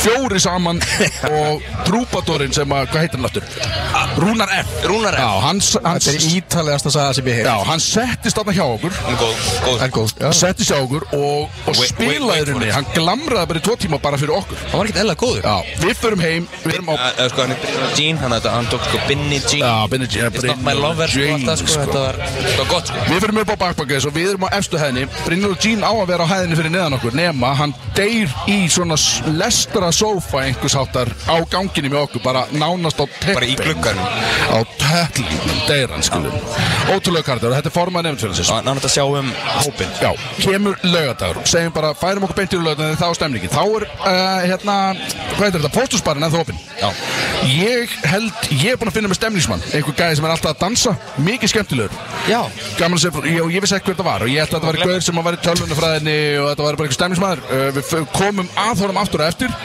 fjóri saman og trúbadorinn sem að, hvað heitir hann aftur? Rúnar F Rúnar F. Já, hann, hann, Þetta er ítalegast að saga sem ég já, hef hann settist þarna hjá okkur Góð, góð En góð já. setti sér á okkur og, og Wait- wait- spilaði wait for henni it. hann glamraði bara í tvo tíma bara fyrir okkur Það var ekkert eðla góður já, við förum heim við erum á Að- að, Sko hann er Brynjar Jean, hann, þetta- hann tók sko Binni Jean já, Benny Jean It's not my lover sko Jean, alltaf sko Þetta var, þetta var gott sko Við fyrir upp á bakbakkis og við erum á efstu hæðinni Brynjólf Jean á að vera á hæðinni fyrir neðan okkur nema hann deyr í svona s- lestra sófa einhvers háttar á ganginni með okkur bara nánast á teppi Bara í glugganum. á teppi deyr hann skulum ótrúlega kardur og þetta er formað nefndsfélagsins Og hann átt að sjá um hópin Já, kemur lögadagur Segjum bara, færum okkur beint í lögadagur Þá er stemningin Þá er, uh, hérna, hvað heitir þetta? Póstusbarinn ennþá opinn Já. Ég held, ég er búinn að finna með stemningsmann Einhver gæði sem er alltaf að dansa Mikið skemmtilegur Já Gaman að segja, frá- ég, og ég vissi ekki hver þetta var Og ég ætla að þetta var gauður sem að var í tölvunafræðinni Og þetta var bara einhver stemningsmaður uh, Við f- komum að honum aftur og eftir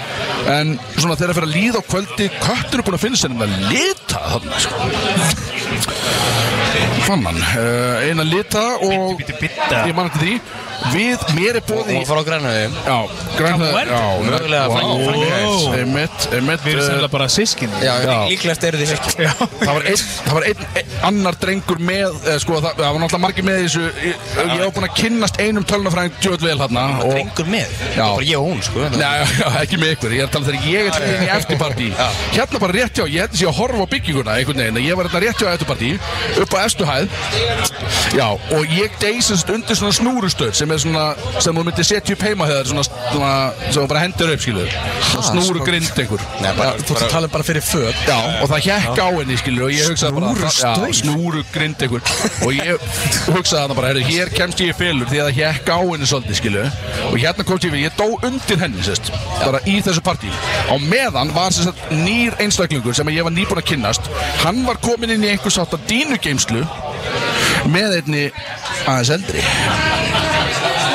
En svona þegar að fyrir að líða á kvöldi Köttur er búinn að finna sér nefnilega lita þarna, sko. Fann hann, uh, eina lita og Bíddu, bíddu, bíddu. ég man eftir því Við, mér er búið í Og fara á grænöðu Já, grænhöð Kaffi Já, Mögulega vá, Frank- Frank- wow. Einmitt, einmitt Við erum eh, sennilega bara sískinni Já, Já. líklegt eru þið sko. ekki Já. Það var einn, það var einn, einn annar drengur með, eh, sko, það, það var náttúrulega margir með í þessu Ég, ég var búinn að kynnast einum tölunafræðing djöð vel hérna og, Drengur með Já. Bara ég og hún sko þetta- Nei, já, ekki með ykkur, ég er að tala um þegar ég er tveið í eftirpartí Hérna bara rétt hjá, ég held að ég að horfa á bygginguna einhvern veginn Ég var hérna rétt hjá eftirpartí, upp á efstu hæð Já, og ég deysast undir svona snúrustöð sem er svona, sem þú myndir setja upp heima þegar svona, svona, sem þú bara hendur upp, skiluðu Svona snúrugrind einhver sko. Nei, bara, Þú ert að tala um bara fyrir föt Já, og það hjekk á henni, skilur, og ég hugsaði bara Snúrustaur? já, Snúru grind einhver Og ég hugsaði þarna bara, herru, hér kemst ég í fylur Því að það hjekk á henni svolítið, skilur Og hérna komst ég fyrir, ég dó undir henni, sérst Bara í þessu partí Á meðan var sérst nýr einstaklingur sem ég var nýbúinn að kynnast Hann var kominn inn í einhvers átt að dínugeimslu Með einni aðeins eldri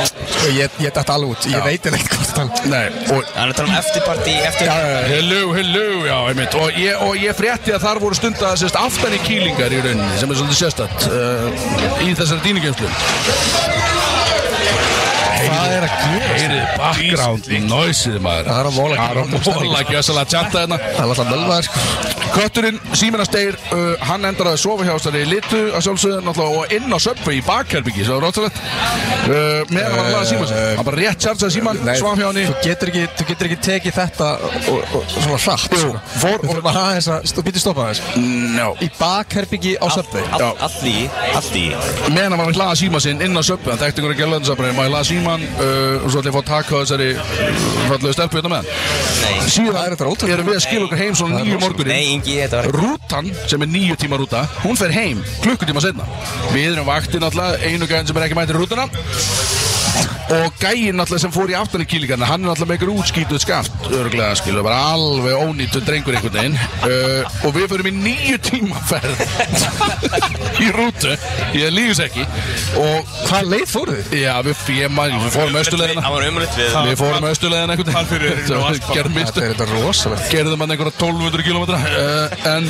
Og Sko, Ég, ég dætt alveg út, ég veit eða eitthvað þannig Nei, og Hann er að tala um eftirparti eftir Hello, hello, já, einmitt Og ég, og ég frétti að þar voru stundað sérst, aftan í kýlingar í rauninni sem er svolítið sérstætt uh, í þessari dýningeimslu Hvað er að gera? Heyrið background noise-ið maður Það er að móla- Það er að móla ekki þess að tjanta hérna Það er alltaf mölvaður sko Kötturinn, Sýmina Steir, uh, hann endar að sofa hjá þessari litu að sjálfsögðu náttúrulega og inn á söpfu í bakherbyggi, svo ráttalegt uh, meðan hann var að síma sig hann bara rétt tjartsaði síman, svaf hjá henni Þú getur ekki, þú getur ekki tekið þetta og, og svona hratt sko. Jú, fór- Þú þurfum að hafa þess að, þú býttu stoppa þess no. Í bakherbyggi á söpvei Já. Allt í, allt í meðan hann var að hlaða síma sinn inn á söpfu hann þekkti einhverja gæla þess að bara, maður hlaða síman uh, og svo ætla ég að fá takk á þessari fallegu stelpu hérna með hann Það er þetta síðan ótrúlega. erum við að skila okkur heim svona nýju morgunin Nei, Ingi, þetta var Rútan sem er nýju tíma rúta Hún fer heim klukkutíma setna Við erum vaktin alltaf Einu gæðin sem er ekki mættir í rútuna Og gæinn alltaf sem fór í aftan í kýlingarna Hann er alltaf með ykkur útskýtuð skaft Örglega skilu, bara alveg ónýttu drengur einhvern veginn uh, Og við förum í nýju tíma ferð Í rútu Ég lífis ekki Og Hvað leið fóruð þið? já, við fjema Við fórum östulegina Það var umrætt við Við fórum östulegina einhvern veginn Svo Gerðum mistök Þetta er þetta rosalegt gerðum hann einhverja 1200 km uh, en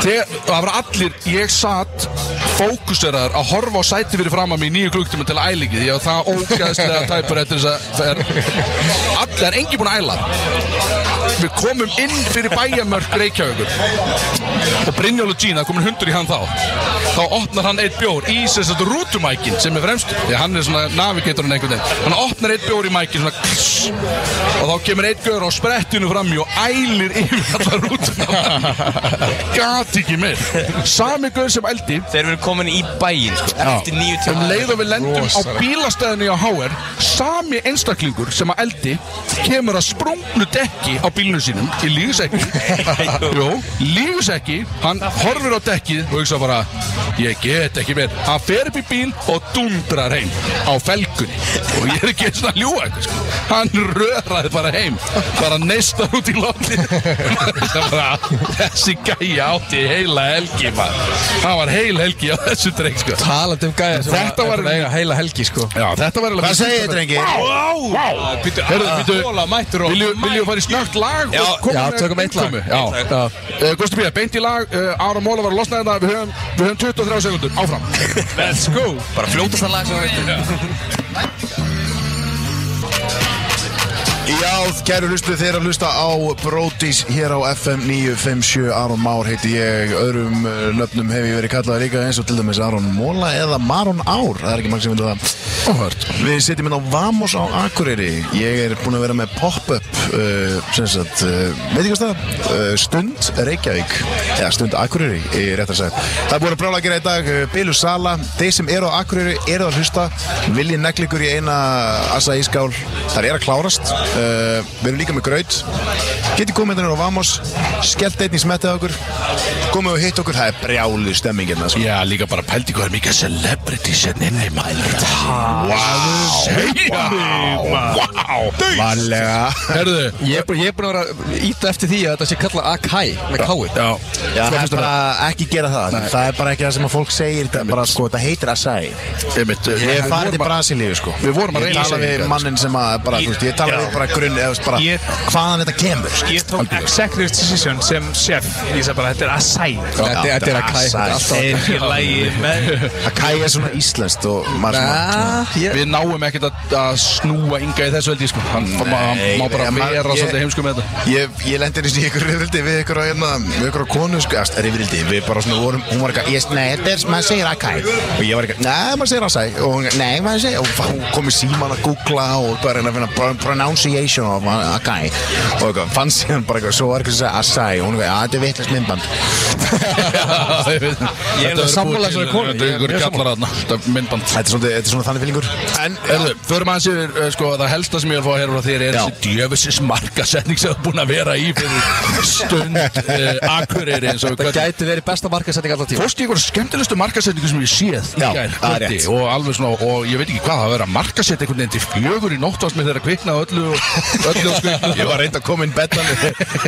þegar, það var allir, ég satt fókuseraður að horfa á sæti fyrir fram að mig í nýju klukktíma til að æla ekki því að það ógæðslega tæpur eftir þess að það er, allir er engi búin að æla við komum inn fyrir bæjarmörk Reykjavíkur og Brynjólu Gina komin hundur í hann þá þá opnar hann eitt bjór í sem sagt rútumækin sem er fremst því að hann er svona navigatorinn einhvern veginn hann opnar eitt bjór í mækin svona kss, og þá kemur eitt gaur á sprettinu fram í og ælir yfir alla rútuna gati ekki meir sami gaur sem eldi Þeir eru komin í bæinn, sko Eftir nýju um tíma leið og við lendum á bílastæðinu á HR sami einstaklingur sem að eldi kemur að sprungnu dekki á bílnum sínum í lífusækki Jó, lífusækki hann horfir á dekkið og hugsa bara ég get ekki með hann fer upp í bíl og dundrar heim á felgunni og ég er ekki eins og að ljúa eitthvað sko. hann röraði bara heim bara neistar út í lofti bara, þessi gæja átti heila helgi maður. hann var heil helgi á þessu dreik sko. Talandi um gæja sem Þetta var- er búin að eiga heila helgi sko Já, þetta var alveg Hvað segir Ah. þið, drengir? Herðu, býtu, mættur viljum viljum við fara í snögt lag Já, og koma já, með tökum eitt lag. innkomu? Já, uh, Gusti Bíða, beint í lag uh, Ára Móla var að losna þetta Við höfum, við höfum 23 sekundur, áfram Let's go Bara fljótast að laga sem við veitum Já, kæru hlustu, þeir að hlusta á Brodís hér á FM 957 Aron Már heiti ég, öðrum eh, nöfnum hef ég verið kallaði líka eins og til dæmis Aron Móla eða Maron Ár, það er ekki mann sem vilja það Óhört Við sitjum inn á Vamos á Akureyri Ég er búinn að vera með pop-up uh, sem sagt, uh, veit ekki hvað stað uh, Stund Reykjavík eða Stund Akureyri, ég rétt að segja Það er búin að brála að gera í dag, uh, Bilu Sala Þeir sem eru á Akureyri eru að hlusta Vilji neglikur í eina assa í skál Það er að klárast uh, Við erum líka með graut Getið komið hérna niður á Vamos Skellt einn í smettið á okkur Komið og hitt okkur, það er brjáli stemmingina sko. Já, líka bara pældi hvað er mikið celebrity sem inn í mælur Wow Segja Wow Varlega Herðu Ég er búin ég er búinn að vera að íta eftir því að þetta sé kallað Akai með kái Já, Já, það er bara ekki gera það Það er bara ekki það sem að fólk segir Það, er bara, sko, það heitir Asai einmitt uh, Ég við er farin vorum til að- Brasilíu sko. Við vorum að Ég reyna að sko. tala segja við þetta, mannin sem að bara, þú veist, Ég tala við bara grunn eða, þú veist, bara, Ég- Hvaðan þetta kemur sko. Ég tók executive decision sem chef Ég sagði bara, þetta er assæ Þetta þetta er Akai Þetta er alltaf er ekki lægi með Akai er svona íslenskt og maður svona Ah, ég- Við náum ekkert að, að snúa Inga í þessu veldi sko. Hann má, má bara ég- vera ég- svolítið heimsku með þetta Ég, ég lendir í ykkur rifrildi við ykkur á hérna, við ykkur á konu, sko, eða rifrildi, við bara svona vorum, hún var eitthvað, yes, nei, þetta er, maður segir Akai, og ég var eitthvað, nei, maður segir Asai, og hún, nei, maður segir, og hún kom í síman að googla og bara reyna að finna pro- pronunciation of Akai, og eitthvað, fann sér hann bara eitthvað, svo var eitthvað sem segir Asai, og hún eitthvað, að þetta er vittlust myndband, Ég alveg sammála þessari konu. Þetta er Ég- ég ykkur er sammála. kallar aðna Þetta er myndband þetta er svona, þetta er svona þannig fylgjur. En, erðu, förum aðeins yfir, uh, sko, það helsta sem ég vil fá hér frá þér er þessi djöfisins markasetning sem þú er búin að vera í fyrir stund uh, akureyri eins og Þetta gæti verið besta markasetning alltaf tíma Fórst í einhverja skemmtilegustu markasetningu sem ég séð í Já, gær, það er kvöldi rétt. og alveg svona, og ég veit ekki hvað, það verður að markasetja einhvern veginn til fjögur í nóttast með þeirra kviknað öllu og Öllum sko Ég var reynd að koma inn betan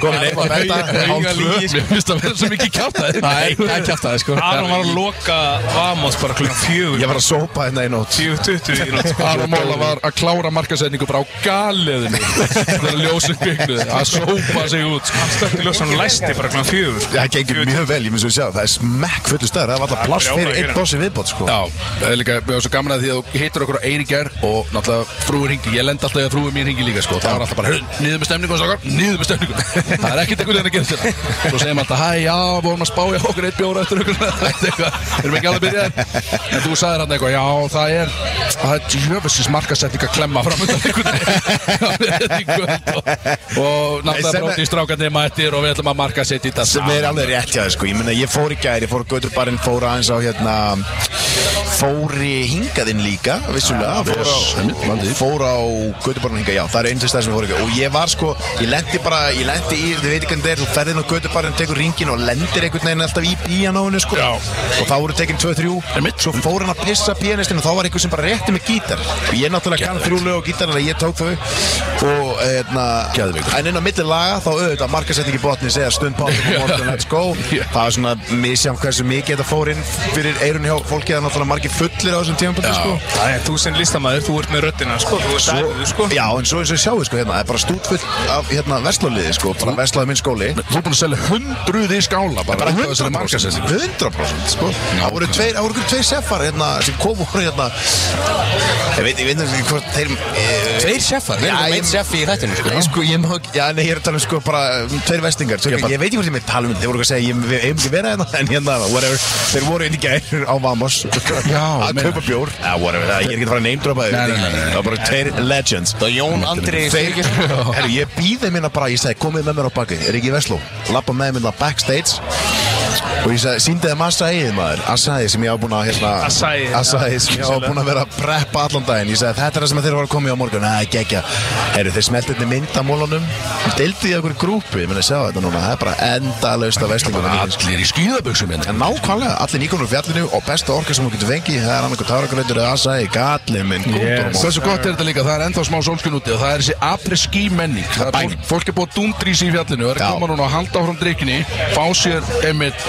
Komin einn að beta Hálf tvö sko. Mér finnst að vera svo mikið kjátaði Það er ekki aft aðeins sko Aron var að loka Amos bara klukkan fjögur Ég var að sópa hérna í nótt 10.20 í nótt sko. Aron Móla var að klára markasetningu bara á galiðinu þegar ljósum kviknuði að sópa sig út sko. Stökti ljós hann læsti bara klukkan fjögur Það gengur mjög vel, ég minnst að sjá Það er smekk fullu staðar, það var alltaf plass fyrir einn bossi viðbót sko. Já, það er líka, við erum svo gaman að því að þú hittir okkur á Eiri gær og náttúrulega frúir hingi, ég lend alltaf í að frúir mín hingi líka sko, það var alltaf bara, "Hurr, niður með stemningun strákar, niður með stemningun, það er ekkert einhvern veginn að gera þetta, svo segjum alltaf, hæ, já, vorum að spája okkur eitt bjóra eftir okkur, eitthvað, erum ekki alveg byrjað, en þú sagðir hann eitthvað, já, það er, það er jöfisins markasetning að klemma fram undan einhvern veginn í kvöld og, og Nei, sem náttúrulega er- bróti strákarnir mættir og við ætlum að markasetja þetta sem er saman. alveg rétt hjá þér sko ég meina ég fór í gæri, ég fór á Gauturbarinn fór aðeins á hérna fór í hingaðinn líka vissulega, fór á, fór á Gauturbarinn hinga, já, það er einn til stað sem ég fór í gær. og ég var sko, ég lendi bara ég lendi í, þið veit ekki hvernig það er, þú ferðin á Gauturbarinn tekur ringin og lendir einhvern veginn alltaf í bíjan á hennu sko, já. og þá voru tekin 2-3, svo fór hann að pissa pianistinn og þá var einhver sem bara rétti með gítar og ég náttúrulega kann þrjú lög á gítar en ég tók þau og hérna en inn á milli laga þá auðvitað markasetningi botni segja stund báttum og morgun let's go það var svona misjám hversu mikið þetta fór inn fyrir eirun hjá fólki það er náttúrulega margir fullir á þessum tímapunkti sko Það er þú sem listamæður, þú ert með röddina sko Þú ert æfðu sko Já, en svo eins og ég sjáu sko hérna, það er bara stútfull af hérna vestlóliði sko, bara vestlaði minn skóli Þú er búin að selja hundruð í skála bara, bara út af þessari 100% markaðssetningu. 100% sko það voru tveir, það voru ykkur tveir seffar hérna sem kom og voru hérna ég veit, ég veit ekki hvort þeir eh, Tveir sjeffar, við erum Já, með ég- einn sjeffi í þættinu sko Nei, sko, ég má ekki, já, nei, ég er að tala um sko bara um, tveir vestingar, svo, ég, veit ekki hvort ég með tala um þetta, þeir voru ekki að segja, ég, við eigum ekki að vera hérna, en hérna, whatever, þeir voru inn í gær á Vamos, Já, að meina. kaupa bjór, já, whatever, það, ég er ekki að fara að neymdropa Nei, nei, þau, nei, nei, nei. það var bara tveir legends. hérna. Það er Jón Andri Þeir, herru, ég býði minna bara, ég segi, komið með mér á baki, er ekki í Vestló, lappa með minna backstage og ég segi, síndi þeim Asai maður, Asai sem ég á búin að, hérna, Acai, já. Acai sem ég á búin að vera að preppa allan daginn, ég segi, þetta er það sem þeir voru að koma í á morgun, að gegja, herru, þeir smelti þetta mynd af mólunum, deildi í okkur grúpu, ég meina, sjá þetta núna, það er bara endalaust af vestlingum. Allir í skýðaböksum hérna En nákvæmlega, allir nýkonur fjallinu og besta orka sem þú getur fengið, það er annarkoð táragröður eða Asai, gallið minn, Yes. kúndormóð. Hversu gott er þetta líka, það er ennþá smá sólskun úti og það er þessi afreski menning það er fólk, fólk er búið að dúndrýsi í fjallinu það er að Já. koma núna að halda áfram drikkinni fá sér einmitt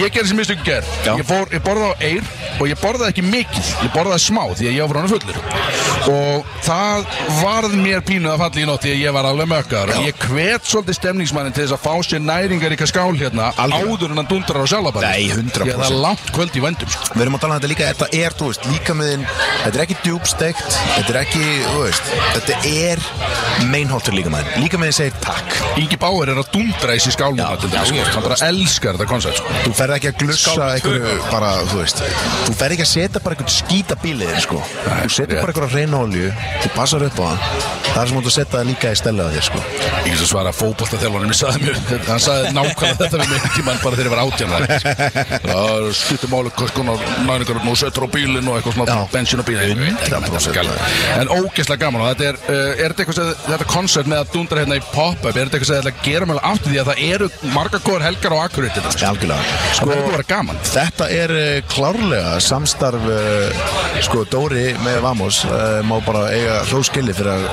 ég gerði sem mistökum ger Já. ég, fór, ég borðaði á eir og ég borðaði ekki mikið ég borðaði smá því að ég var hann fullur og það varð mér pínuð að falla í nótt því að ég var alveg mökkar og ég hvet svolítið stemningsmannin til þess að fá sér næringar skál hérna Algjörlega. áður en hann dundrar á sjálfabarið Nei, 100%. Því að það er langt kvöld í vendum sko. Við erum að tala um þetta líka, þetta er, þú veist, líkamiðin, þetta er ekki djúbstegt, þetta er ekki, þú veist, þetta er meinholtur líkamiðin. Líkamiðin segir takk. Ingi Bauer er að dundra í sér skálum til dæmis, sko. hann bara elskar þetta koncept sko. Þú ferð ekki að glussa einhverju, bara, þú veist, þú ferð ekki að setja bara einhvern skítabilið, sko. Þú setur bara einhverja reyna olju, þú passar upp á hann, það er sem þú setja það líka í stellaða þér, sko. Ég get að svara fókbalta þjálfanum, ég sagði mér, hann sagði nákvæmlega þetta við mig tímann bara þegar ég var átján sko. Það er skuttum áli, hvers konar næningar og setur á bílinn og eitthvað svona Já. bensin á bílinn Ég veit ekki, þetta er 100%. galið. En ógeðslega gaman og þetta er, uh, er þetta eitthvað sem þetta koncept með að dundra hérna í pop-up, er þetta eitthvað sem þetta gera mjög aftur því að það eru marga góðar helgar á akkurat Sko, þetta Já, algjörlega. Sko, Það er búið að vera gaman Þetta er eh, klárlega samstarf eh, sko Dóri með Vamos eh, má bara eiga hróskilli fyrir að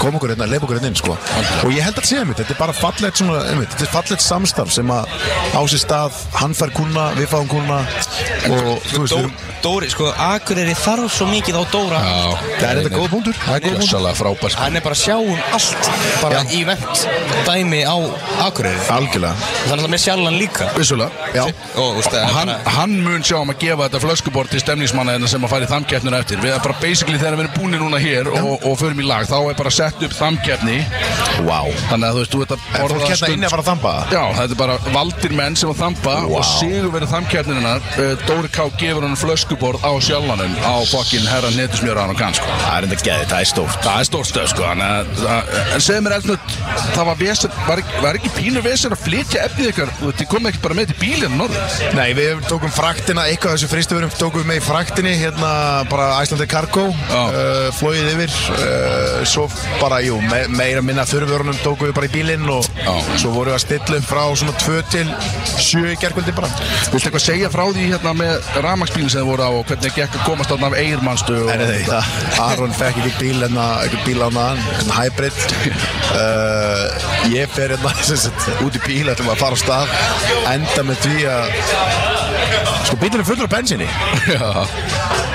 koma okkur hérna, leipa okkur hérna inn sko og ég held að segja mitt, þetta er bara fallegt svona, einmitt, þetta er fallegt samstarf sem að á sér stað, hann fær kuna, við fáum kuna og þú veist, Dó- við- Dóri, sko, Akureyri þarf svo mikið á Dóra það er þetta góð punktur Það er góðsalega frábært sko. Hann er bara að sjá um allt Bara Já. í vent dæmi á Akureyri Algjörlega, Það er alltaf með sjálfan líka Vissulega, já Og, úst, Og hann, hann mun sjá um að gefa þetta flöskubort til stemningsmanna hérna sem að fara í þamkeppnuna eftir við erum bara basically þegar við erum búinir núna hér og, og förum í lag, þá er bara sett upp þamkeppni Wow þannig að þú veist, þú ert að Er fólk borða hérna inni að fara að þamba? Já, þetta er bara valdir menn sem að þampa Vá. og sigur verið þamkeppninina uh, Dóri K. gefur hann flöskubort á sjálfanum á fokkin herran netusmjöra hann og kann sko. Það er enda geðið, það er stórt Það er stórt stöð sko En, en segðu mér eldnöð Það var, vesen, var, ekki- var ekki pínu vesen að flytja efnið ykkar Þú veit, þið komið ekkert bara með til bílinn norður Nei, við tókum fraktina, eitthvað af þessu fristuverum tókum við með í fraktinni, hérna bara Æslandi Cargo, Já. uh, flóið yfir, uh, svo bara, jú, me meira minna þurrvörunum tókum við bara í bílinn og Já. svo vorum við að stilla um frá svona 2 til 7 í gerkvöldi bara. Viltu eitthvað segja frá því hérna með rafmagsbílinn sem þið voru þetta og hvernig gekk að komast þarna af eirmannstu og... Nei, nei, nei, það- Aron fekk ekki bíl en eitthvað bíl á hann, eitthvað hybrid uh, Ég fer hérna sem sagt, út í bíl, ætlum að fara á stað Enda með því að Sko, bílinn er fullur af bensinni Já.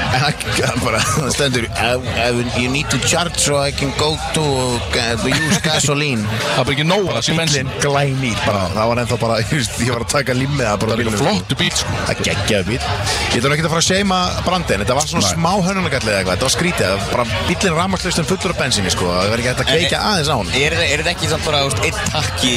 En hann- hann bara, hann stendur I, I, You need to charge so I can go to uh, use gasoline Það er bara ekki nóg að sé bensin glæni bara, það var ennþá bara, ég veist, ég var að taka limmið það bara Það er bílnum. líka flottu bíl sko Það geggjaði bíl Ég þarf ekki að fara að seima brandin Þetta var svona Nei. smá hönunagallið eða eitthvað Þetta var skrítið, það var bara bílinn rafmakslustum fullur af bensinni sko Það verður ekki hægt að kveikja aðeins á hún Er þetta- er þetta ekki samt bara, þú veist, eitt takki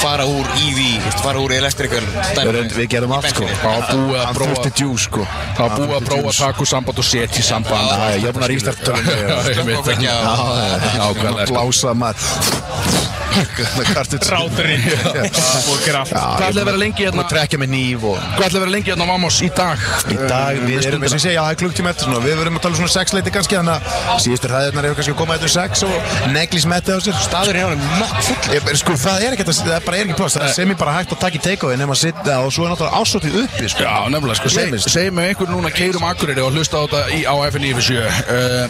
fara úr EV, þú veist, fara úr elektrikal dæmi? Við, við gerum allt sko bensinni. Það var búið að Hann prófa þurfti djús sko Það var búið að Hann prófa þurfti takusamband og setjusamband djús. Já, jöfnar ístartölun Slökkva og kveikja á- Nákvæmlega sko. Blása maður Kartið Ráturinn og gera allt Hvað ætlaði að vera lengi hérna Og trekja með nýf og Hvað ætlaði að vera lengi hérna á Vamos í dag? Í Eh, dag, við erum, eins og ég segja, það er klukktíma eftir svona Við verum að tala um svona sex leiti kannski Þannig að síðustur hæðirnar eru kannski að koma eftir sex Og neglis metti á sér Staðurinn hjá hann er mökk full. Ég, bara- sko, það er ekkert, að- það er bara er ekki pláss Eh. Það er sem ég bara hægt að taka í takeaway nema að sitja og svo er náttúrulega ásótið uppi sko. Já, nefnilega, sko, seg, Gleymist. segjum við einhvern núna keirum Akureyri og hlusta á þetta í, á FN uh,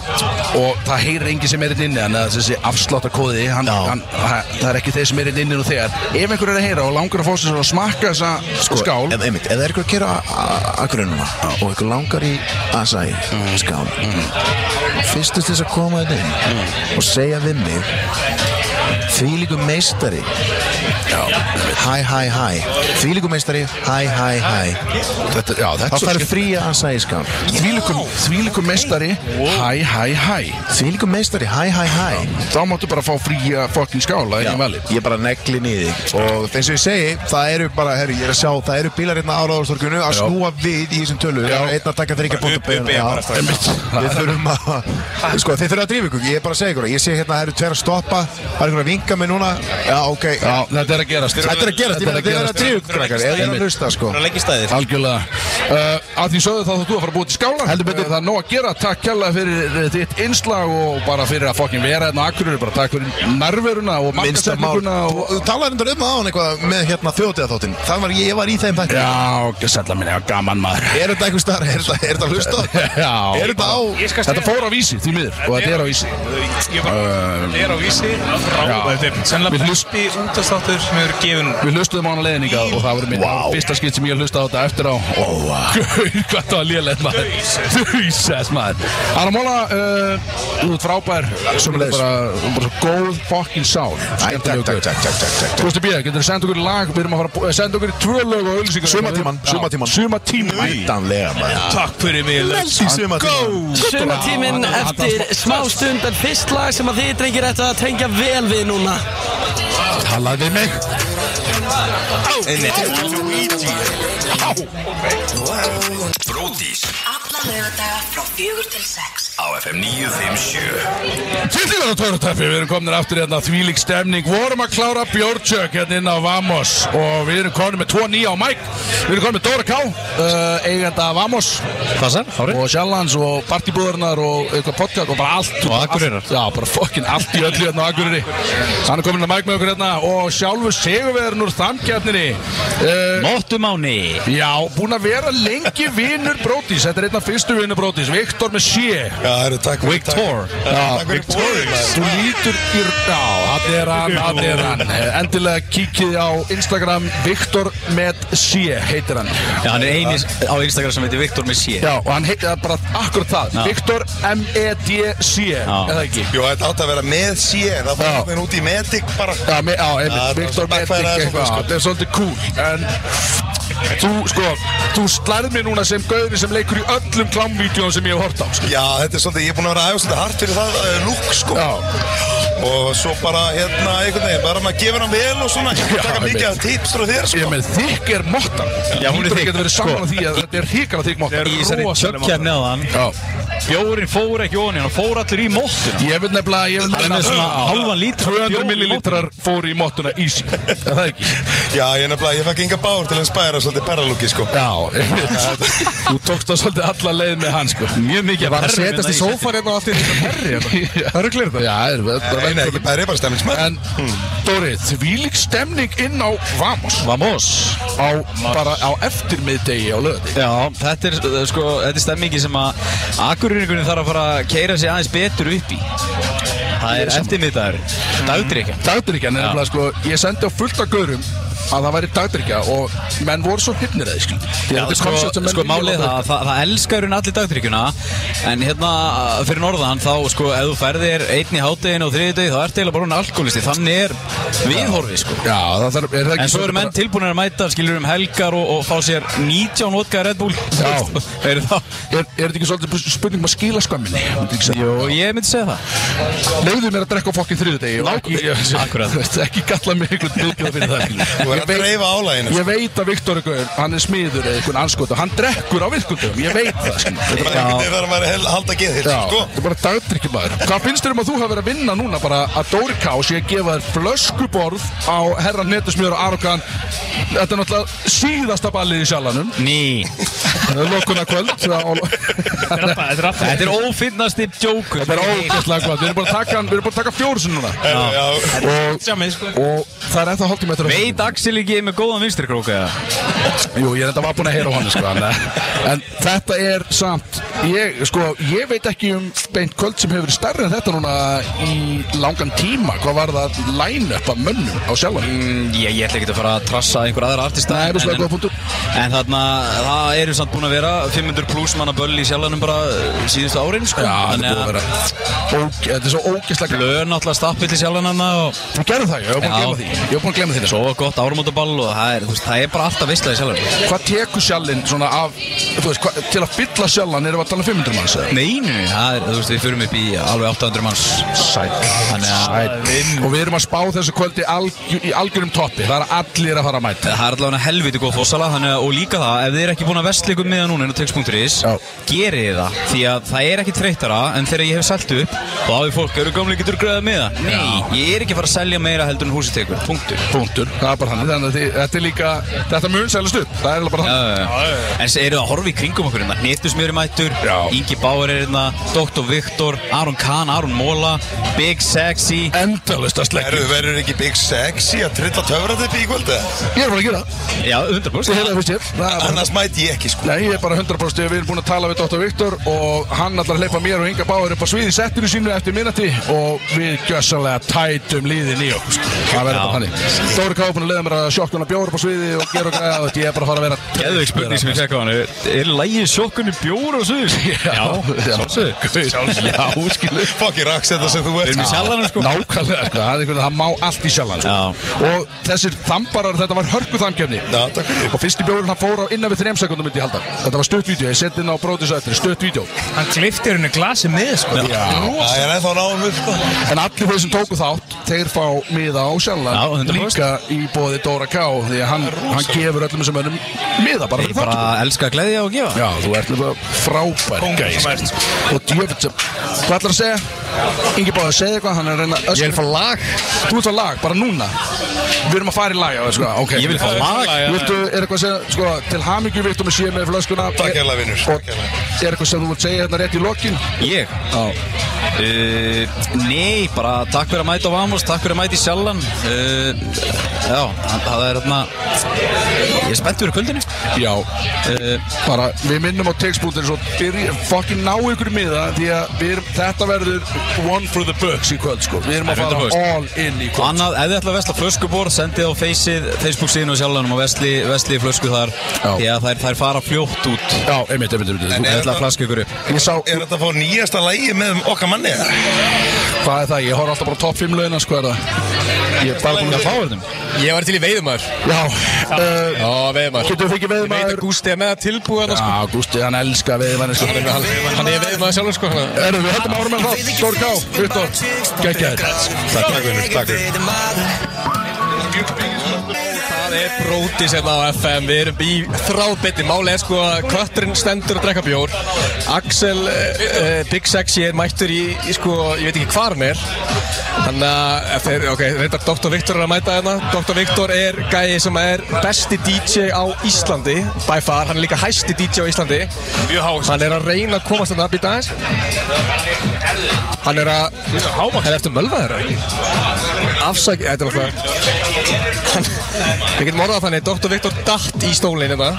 og það heyrir enginn sem er inn inni þannig að þessi afsláttakóði hann, Já. hann, það, það er ekki þeir sem er inn inni og þegar ef einhver er að heyra og langar að fá sér svona að smakka þessa skál Sko, Ef, einmitt, ef það er ykkur að gera akkurununa og ykkur langar í Asai Mm. skál fyrstust þess að koma þetta inn Mm. og segja við mig því líku meistari hæ hæ hæ því líku meistari hæ hæ hæ þetta, Já, þetta þá er svo færðu skemmt fría Asai skál Þvílikum, þvílikum mestari Hæ, hæ, hæ því líku meistari hæ hæ hæ Þá máttu bara fá fría fucking skála Já, ekki valið ég bara negli niði og eins og ég segi, það eru bara herri, ég er að sjá, það eru bílar hérna á ráðarstorkunu að Já. snúa við í þessum tölu Já. einn að taka þryggja bóttu Upp- upp í bara strax. við þurfum að sko, þið þurfum að drífa ykkur, ég er bara að segja ykkur ég sé hérna, það eru tver að stoppa, það er ykkur að vinka mig núna já, ok, Já, þetta er að gerast þetta er að gerast, ég meina, þið verður að drífa ykkur krakkar, eða er að hlusta sko Það er ekki staðið. Algjörlega uh, Að því sögðu þá þarf þú að fara að búa til skála Heldur betur Það er nóg að gera Takk kjalla fyrir eh, þitt innslag og bara fyrir að fokkin vera hérna á Akureyri bara takk fyrir nærveruna og minnsta mál, markasetninguna og þú talaði endur um það á hann eitthvað með hérna þjótiða þáttinn, það var ég, ég var í þeim þætti Já, ok, sætla minni, já, gaman maður er þetta einhver starf, er þetta- er þetta hlusta Já, er þetta á þetta fór á vísi, því miður og þetta er á vísi Ég bara, ég er á vísi Já. Ráða Þetta er Við sennilega hlust- besti útastáttur sem hefur gefin Við hlustuðum á hana leiðninga og það voru minn Vá. fyrsta skipt sem ég hlustaði á þetta eftir á oh, wow. Hvað það var lélegt maður Þauðsess maður Anna Móla, uh, þú ert frábær Sem er Sömuleiðis. bara, bara svo góð fokkin sál Æ, takk, takk, takk, takk, takk, takk. Kosti Bíða, getur þú senda okkur í lag Við erum að fara að bú- eh, senda okkur í tvö lög og auðlýsingar Sumartímann, Já, sumartímann. Sumartímann Væntanlega maður Takk fyrir mig Let's Í sumartímann Sumartíminn eftir smá stund en fyrst lag sem að þið drengir ættu að tengja vel við núna Talaði við mig Bródís Alla lögadaga frá fjögur til sex. á FM 957 Tillingar og törutæfi, við erum komin aftur hérna þvílík stemning, vorum að klára Björnsjök hérna inn á Vamos og við erum komin með 2-9 á Mike við erum komin með Dóra K, uh, eigenda Vamos Passar, hárið og Sjallands og partibúðurnar og eitthvað podcast og bara allt Og Akureyrar. allt- Já, bara fokkin allt í öllu hérna á Akureyri Hann er komin að Mike með okkur hérna og sjálfur segurverðin úr þamkjarninni uh, Móttumáni Já, búin að vera lengi vinnur Brótis, þetta er einn af fyrstu vinnur Brótis Viktor með sé Já, það eru takk Victor Já, Þú lítur í Já, hann er hann, hann er hann Eh, Endilega kíkið á Instagram Viktor með C heitir hann Já, hann er eini á Instagram sem heitir Viktor Messi Já, og hann heitir það bara akkurat það E Já. Viktor M-E-D-C Eða ekki Jú, þetta átti að vera með síðan, það Já. fór mér út í Medic bara Já, me, já einmitt, Já, Viktor það var Metik svona backfire eitthvað, sko. aðeins svona, þetta er svolítið cool En þú, sko, þú slærð mér núna sem gauðin sem leikur í öllum klámvídeóum sem ég hef hort á sko. Já, þetta er svolítið, ég er búinn að vera aðeins svolítið hart fyrir það uh, lúk, sko Já. Og svo bara, hérna, einhvern veginn, bara maður gefur hann vel og svona Ég Já, vil taka mikið af einmitt. tips frá þér, Ég sko með þykk er mottan Já, hún er þykk, getur verið sko. saman á því að þetta er hrikala þykk mottan Í þessari tjökkjarni á hann Já, Bjórin fór ekki ofan í hann, hann fór allir í móttuna ég vil nefnilega, ég vil Hann er nefnilega með svona hálfan lítra 200 bjór í millilitrar fóru í mottuna easy Er það ekki? Já, ég nefnilega, ég fekk enga bár til að spæra svolítið perralúki, sko Já, Þú tókst það svolítið alla leið með hann sko Mjög mikið Ég var að setjast í sófann hérna og allt í þetta perri hérna Það eru klirð það? Já, það er bara Nei, nei, velkomin. ekki perri, bara stemningsmenn. En Dóri, þvílík stemning inn á Vamos Vamos Á bara á eftirmiðdegi á löði Já, þetta er, uh, sko, þetta er stemmingi sem að Akureyringunni þarf að fara að keira sig aðeins betur upp í Það er eftirmiðdagur Dagdrykja Dagdrykjan er nefnilega sko Ég sendi á fullt af gaurum að það væri dagdrykja og menn voru svo hrypnir að Já, því Þetta er sko, koncept sem menn sko vilja málið er láta- það, það, það elskar hún allir dagdrykjuna En hérna fyrir norðan þá sko Ef þú ferðir einn í háttegin og þriðdegi Þá ertu eiginlega bara hún alkoholisti Þannig er viðhorfið sko Já, það þarf er það En svo eru menn tilbúinir að mæta skilur um helgar og, og fá sér 19 vodka Red Bull Já Er þetta ekki svolítið spurning um að skila skömminni? Jó, ég myndi segja það Leifðu mér að drekka á fokkin þriðdegi og ekki, Akkurat. Þú veist, ekki kalla mig einhvern viðbjóð fyrir það skilur. Þú er Ég að veit- dreifa álaginu, sko. Ég veit að Viktor Gaur, hann er smiður eða einhvern anskotu Hann drekkur á virkundum, ég veit það skilur. Þetta er bara einhvern veginn þegar maður hel- halda geðhirðu, Já, sko. Þetta er bara dagdrykkjumæður Hvað finnst þér um að þú hafa verið að vinna núna bara að Dóri Ká sé að gefa þér flöskuborð á herran netusmjör og Arokan Þetta er náttúrulega síðasta ballið í sjalanum Ný Lokuna kvöld Þetta er ófinnasti djókur Þetta er ógæstlega gott, við erum bara að taka, hann- við erum bara að taka fjórusun núna Já. Og, og það er ennþá hálftíma eftir að- sko. Veit Axel ekki með góðan vinstri króka Jú, ég er þetta var búinn að heyra á hann sko, en, eh, en þetta er samt ég, sko, ég veit ekki um beint kvöld sem hefur verið stærri en þetta núna í langan tíma hvað var það line-up af mönnum á sjálfan mm, ég, ég ætla ekki að fara að trassa einhver aðra artista Nei, rosalega góða en, en þarna, það eru samt búin að vera 500 pluss manna böll í sjálfanum bara eh, síðustu árin sko. Já, þetta er búið að vera óg, Þetta er svo ógæslega Blöð náttúrulega stappið til sjálfanum og... Þú gerðu það, ég var búinn að gleyma því Ég var búinn að gleyma því Svo gott árumótaball og það er, þú veist, það er bara alltaf veistlega í sjálfanum Hvað tekur sjálfinn svona af þú veist, hva, til að fylla sjálfan erum við að tala um 500 manns eða? Nei, nei, það er, þú veist, við fyrum upp í alveg 800 manns Sæl Sæl Og við erum að spá þessu kvöldi alg, í algjörum toppi Það er allir að fara að mæta Það er allavega helviti góð fósala þannig, að- og líka það, ef þið er ekki búin að vestla ykkur meða núna inn á text.is, gerið þið það því að það er ekki þreytara en þegar ég hef selt upp, þá hafið fólk, eru gamlega getur græðað meða? Nei, ég er ekki að fara að selja meira heldur en húsið tekur, punktur Punktur, það er bara þannig, þannig að þið- þetta er líka, þetta mun selast upp, það er eiginlega bara þannig. Eh, En þessi eru að horfa í kringum okkur hérna Netusmjöri mættur, Ingi Bauer er hérna Dr. Viktor, Aron Kahn, Aron Móla Big Sexy Endalust að Erðu, verður ekki Big Sexy að trilla töfratippi í kvöldu? Ég er bara að gera Já, 100% Ég heyrði það fyrst hér. Það er bara- Annars mæti ég ekki, sko Nei, ég er bara 100% við erum búin að tala við Dr. Viktor og hann ætlar að hleypa mér og Inga Báður upp á sviði settinu sínu eftir minnati og við gjössalega tætum líðin í okkur sko. Það verður bara þannig Dóri Káfinn að leiða mér að sjokkuna bjóður upp á sviði og gera og græða þetta ég er bara að fara að vera Geðveik spurning sem ég fekk á hann Er lægið sjokkunni bjór og suðis? Já, sjálfsög Já, skilu Fokki raks þetta sem þú ert Já, Nákvæmlega, sko, það, er einhvern, það má allt í sjálfan sko. Og þessir þambarar, þetta var hörku þamkjöfni Og fyrsti bjórun hann fór á innan við þrejum sekundum myndi ég halda Þetta var stutt vídeo, ég seti inn á bróðis og eftir, stutt vídeo Hann klifti henni glasi með sko Já. Það er ennþá náðum við, sko En allir þeir sem tóku þátt, þeir fá miða á sjálfan Líka í bóði Dóra K Því að hann, hann gefur öllum þessum önnum miða bara fyrir bara elska að gleðja og gefa Já, þú ert nefnilega frábær Kóngur gæi, sem sko. ert, Og djöfitt sem Hvað ætlar að segja? Ingi báði að segja eitthvað, hann er að reyna Ég vil fá lag Þú vilt fá lag, bara núna Við erum að fara í lag, já, sko, ok Ég vil fá lag. Viltu, er eitthvað að segja, sko, til hamingju Viltu með sé með flöskuna Takk hérlega, vinur. Og er eitthvað sem þú vilt segja hérna rétt í lokin Ég? Já Nei, bara takk fyrir að mæta á Vamos, takk fyrir að mæta í Sjallan uh, Já, það er hérna Ég er spennt fyrir kvöldinu Já eh, Bara, við minnum á textbúndin Svo byrja, fokkin ná ykkur í miða Því að við erum, þetta verður One for the books í kvöld, sko Við erum að fara all in í kvöld Annað, ef þið ætla að vesla flöskubor, sendið á feysið Facebook síðan og sjálfanum og vesli, vesli flösku þar Því að þær, þær fara fljótt út Já, einmitt, einmitt, einmitt En ef ætla að flaska ykkur upp Ég sá Er þetta að fá nýjasta lægi með okkar manni? Hvað er það? Ég horf alltaf bara á topp 5 launa, sko, er það Ég er bara búin að fá þetta Ég var til í veiðumar Já uh, Já, veiðumar Getur við ekki veiðumar? Ég veit að Gústi er með það tilbúið þarna, Já, Gústi, hann elskar veiðmann sko. sko Hann- Hann er veiðumar sjálfur sko hann- Erum við höldum árum með þá? Dóri Ká, Viktor, geggjaður Takk, takk, vinur, takk Það er brótis hérna á FM Við erum í þráðbytti Málið er sko að kötturinn stendur að drekka bjór Axel uh, Big Sexy er mættur í, í sko Ég veit ekki hvað hann er Þannig að ef þeir, ok, reyndar Dr. Viktor er að mæta hérna Dr. Viktor er gæi sem er besti DJ á Íslandi By far, hann er líka hæsti DJ á Íslandi Mjög hást Hann er að reyna að komast þarna að býta aðeins Hann er að Hann er eftir mölvaður Afsæk, þetta var það Hann, við getum orðað þannig Dr. Viktor datt í stólinn hérna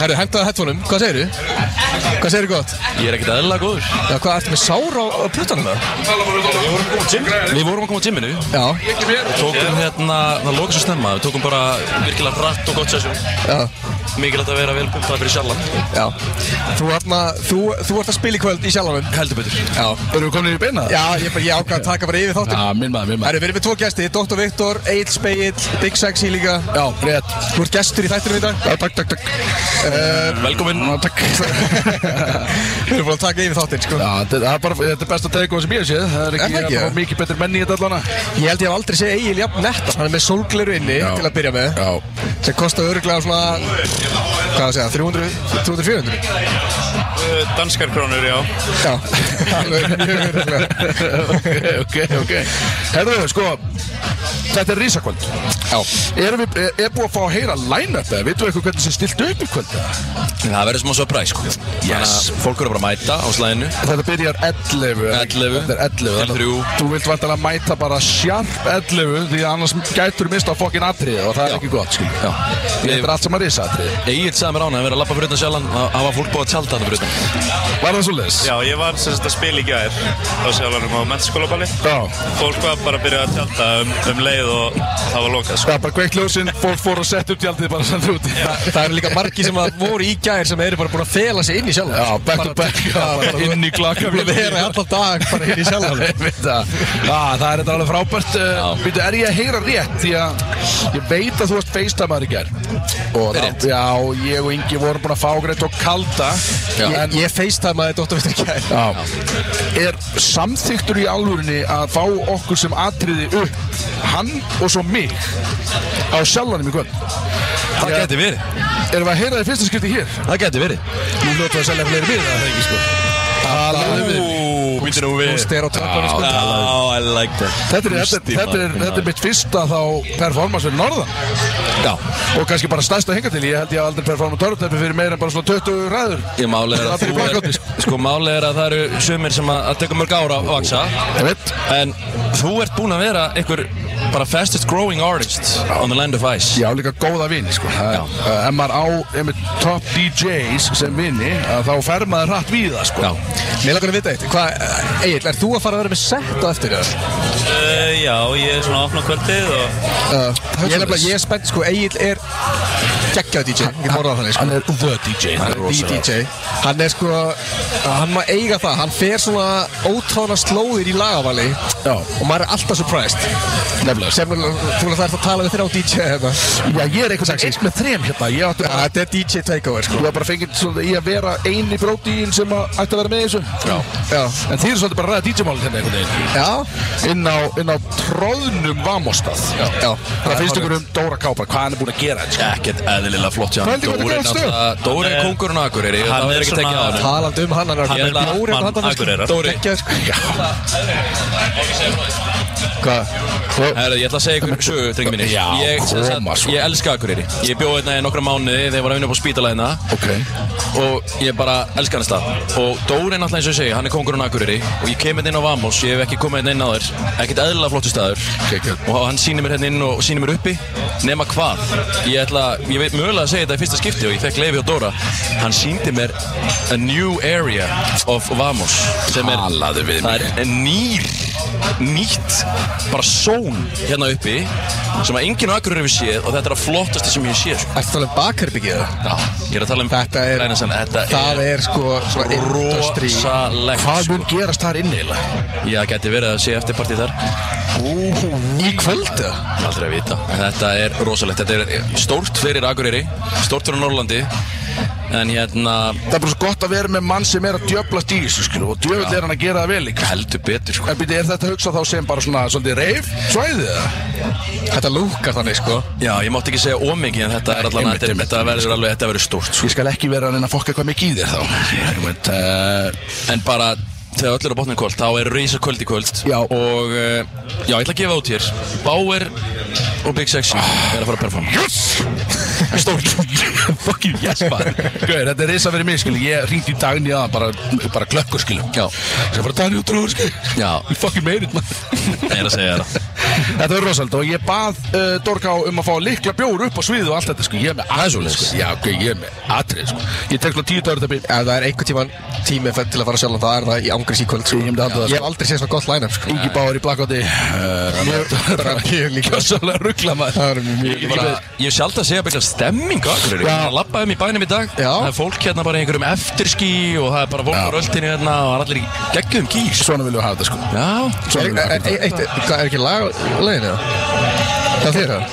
Herru, hendaðu headphoneum, hvað segirðu? Hvað segirðu gott? Ég er ekkert aðeinslega góður Já, hvað ertu með sár á, á puttanum það? Við vorum að koma á tíminu Já Við tókum hérna, það lóka svo snemma Við tókum bara virkilega rætt og gott sessjón Já Mikilvægt að vera vel pumpað fyrir sjallan Já Þú ert, maður, þú, þú ert að spila í kvöld í sjálfanum Heldur betur Já Erum við komin í beina? Já, ég, bara- ég ákvað að taka bara yfir þáttum Já, minn maður, minn Herru, við erum með tvo gæsti, Dr. Viktor, Egil Speill, Big Sexy líka Já, rétt Þú ert gæstur í þættinum í dag Já, takk, takk, takk Velkomin Takk Við erum búin að taka yfir þáttinn, sko Já, þetta það er bara, þetta er besta teikóð sem ég hef séð Það er Er það ekki, ekki? það er mikið betur menn í þetta allana Ég held ég hef aldrei séð Egil jafn netta Hann er með sólgleru inni til að byrja með Já Sem kostar öruglega svona Hvað að segja, 300, 300 400 Eh, Danskar krónur, já Já Ok, ok Herðu, sko Þetta er risakvöld Já Erum við, er, er búið að fá að heyra line-up eða? Vitum við eitthvað hvernig sem stilt upp í kvöld? Það verður smá surprise sko yes. Þannig að fólk eru bara að mæta á slæðinu Þetta byrjar 11 11 Þetta er 11 Til þrjú. Þú vilt vantilega mæta bara sjarp 11 Því að annars gætur mista á fokkin atrið Og það er ekki gott, skil Já Þetta er allt sem að risa atrið Egil sagði mér ána að vera að lappa fyrir utan sjallan að hafa fólk búið að tjálta þetta fyrir utan Var það svo leiðis? Já, ég var sem sagt að spila í gær á sjálfanum á mentaskólaballi Fólk var bara að byrja að tjálta um, um leið og það var lokað sko. Það er bara kveikt ljósinn, fólk fór að setja upp tjaldið bara sem þú út Það eru líka margi sem að voru í gær sem eru bara búin að fela sig inn í sjálf Já, back to back, já, bara inn í glakka Búin að vera í allan dag bara inn í sjálf Ég veit það. Já, það er þetta alveg frábært Býtu, er ég að heyra rétt? Því að ég veit að þú varst feistamæður í gær Og það, já, ég og Ingi vorum búin að fá greitt og kalda Ég, En ég facetimaði Dr. Viktor í gær Já. er samþyktur í alvörinni að fá okkur sem atriði upp Hann og svo mig Á sjálfanum í kvöld Það gæti verið Erum við að heyra þið fyrsta skipti hér? Það gæti verið Nú hljóttu að selja fleiri miða, það ekki sko Talaðu við Ú, býttu nú við Hún styr á trappanum, sko. Já, I like that Þetta er, þetta, er, þetta, er, þetta er mitt fyrsta þá performance fyrir Norðan Já Og kannski bara stærsta hinga til Ég held ég að aldrei performa törutæpi fyrir meira en bara svona 20 ræður Ég máli er að Allir í þú er, sko máli er að það eru sumir sem að, að teka mörg ára að vaksa En þú ert búinn að vera einhver bara fastest growing artist on the land of ice Já, líka góða vini sko Já uh, En maður á einmitt top DJs sem vini að Þá fer maður hratt við það sko Já Mér langar að vita eitt Hvað, Egil, er þú að fara að vera með set á eftir það? uh, Já, ég er svona að opna kvöldið og Ég er nefnilega, ég er spennt, sko, Egil er geggjað DJ, ég get morðað þannig, sko Hann er the DJ Hann er the DJ Hann er sko, hann má eiga það, hann fer svona ótráðna slóðir í lagavali Já Og maður er alltaf surprised Nefnilega Sem, þú veist, það er að tala við þér á DJ hérna Já, ég er eitthvað einn með þrem hérna Ég áttu bara Þetta er DJ takeover sko Þú var bara fengið svona í að vera eini brótíin sem að ætti að vera með í þessu Já, Já. En þið eru svolítið bara að ræða DJ-málin hérna einhvern veginn Já Inn á, inn á tróðnum Vamostað Já, Já. Já, Það finnst hárrétt. ykkur um Dóra Kápa, hvað hann er búinn að gera þetta sko. Ekkert eðlilega flott hjá hann. Pældi Dóri hvað þetta er gott stöð. náttúrulega- Dóri er Eh, Hann er- kóngurinn á Akureyri Hann Það er verður ekki svona- tekið á hann Talandi um hann, hann er að Hann er bjóri mann hann Akureyrar. Dóri Geggjað, sko. Hvað? Herðu, ég ætla að segja ykkur sögu, drengi mínir Já, ég, sem sagt, koma sko. svo. Ég elska Akureyri Ég bjóð hérna í nokkra mánuði þegar ég var að vinna upp á hérna. spítalæðina Ok Og ég bara elska hann stað Og Dóri er náttúrulega eins og ég segi, hann er kongurinn á Akureyri Og ég kem hérna inn á Vamos, ég hef ekki komið hérna inn á þér Ekkert eðlilega flottu staður Og hann sýnir mér hérna inn og sýnir mér uppi Nema hvað Ég ætla, ég veit mögulega að segja þetta í fyrsta skipti Og ég fekk leiði á Dóra Hann sýndi mér a new area of Vamos Sem er, það er nýr nýtt bara són hérna uppi sem að enginn á Akureyri hefur séð og þetta er að flottasta sem ég hef séð sko. Ertu að tala um bakherbyggið? Já, ég er að tala um Þetta er, Rænarsen, þetta það er sko svona industry. rosalegt Hvað mun gerast þar inni eiginlega? Já, gæti verið að sé eftirpartið þar Í kvöldu? Aldrei að vita En Þetta er rosalegt, þetta er stórt fyrir Akureyri stórt fyrir Norrlandi En hérna Það er bara svo gott að vera með mann sem er að djöblast í þessu skilur og djöfull Já. er hann að gera það vel líka Heldur betur sko En býti, er þetta að hugsa þá sem bara svona svolítið reif svæðið eða? Þetta lúkar þannig sko Já, ég mátti ekki segja ómikið en þetta er allan Einmitt, Þetta, einmitt, þetta einmitt, verður sko. alveg, þetta verður stórt Ég skal ekki vera að reyna að fokka hvað mikið í þér þá Einmitt, eh, uh, En bara þegar öll eru á botnum kvöld þá er reysa kvöld í kvöld já. og uh, já, ég ætla að gefa út hér Bauer og Big Sexy Ah. er að fara að performa Yes! Stórt Fuck you, yes man Gauður, þetta er reysa fyrir mig skilur Ég ringdi í daginn í aðan bara, bara klökkur skilur Já Ég bara daginn út rúður skilur Já Ég fucking meir þetta Ég er að segja það Þetta verður rosalega og ég bað uh, Dorká um að fá likla bjór upp á sviðu og allt þetta sko Ég er með atrið sko Já, ok, ég er með atrið sko Ég tek svona tíu dagur þetta byrja Ef það er einhvern tíman tími fer- til að fara sjálf um það er það í ángriðs í kvöld sko. Ég halda það, sko. hef aldrei séð svona gott line-up sko. Ingi Báður í Blackouti Kjössalega ruggla maður Það er Ég, bara, ég sjálf að segja byggja stemming á Akureyri Já. Ég er að labba um í bænum í dag Já. Það er fólk hérna bara í einhverjum eftirski og það er bara fólk á röldinu hérna og það er allir í geggjum gís Svona viljum við hafa þetta sko Já Er, er, er, eitt, hvað, er ekki lag á leiðinu? Það er þér það?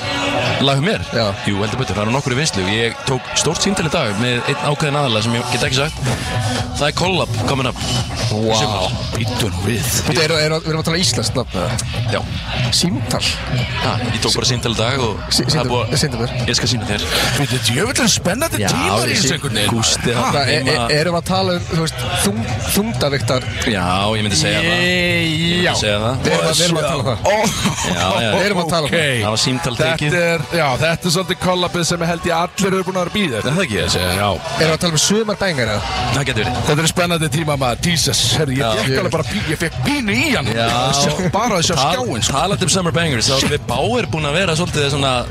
Lagum mér? Já Jú, heldur betur, það eru nokkur í vinslu Ég tók stórt síntal í dag með einn ákveðin aðalega sem ég get ekki sagt Það er Collab coming up Wow Býttu nú við Við erum er, er, að tala íslenskt nafn Já Símtal Ha, ég tók bara síntal í dag og Sí- það er sýndu- búið- sýndu mér. Ég skal sína þér Þetta er djöfullan spennandi Já, tímar í ég þessu sé- einhvern veginn Gústi, Ha? Hérna- þarna e, e, heima- Erum að tala um þú veist, þung, þungdaviktar Já, ég myndi segja það Ég myndi segja það Við erum að- við erum að tala um það Já, já Við erum að tala um það. Ok. Það var símtal tekið Þetta er, já, þetta er svolítið kollabið sem ég held ég allir eru búin að vera býða Er það ekki ég að segja? Já Erum að tala um sumar bengar eða? Það getur verið Þetta er spennandi tíma maður, Jesus, herri, ég Já. fekk alveg bara pínu, ég fekk pínu í hann Já. Sjá- Bara að sjá Tal- skjáin, sko Talandi um Summer Bangers, þá erum við báir búin að vera svolítið svona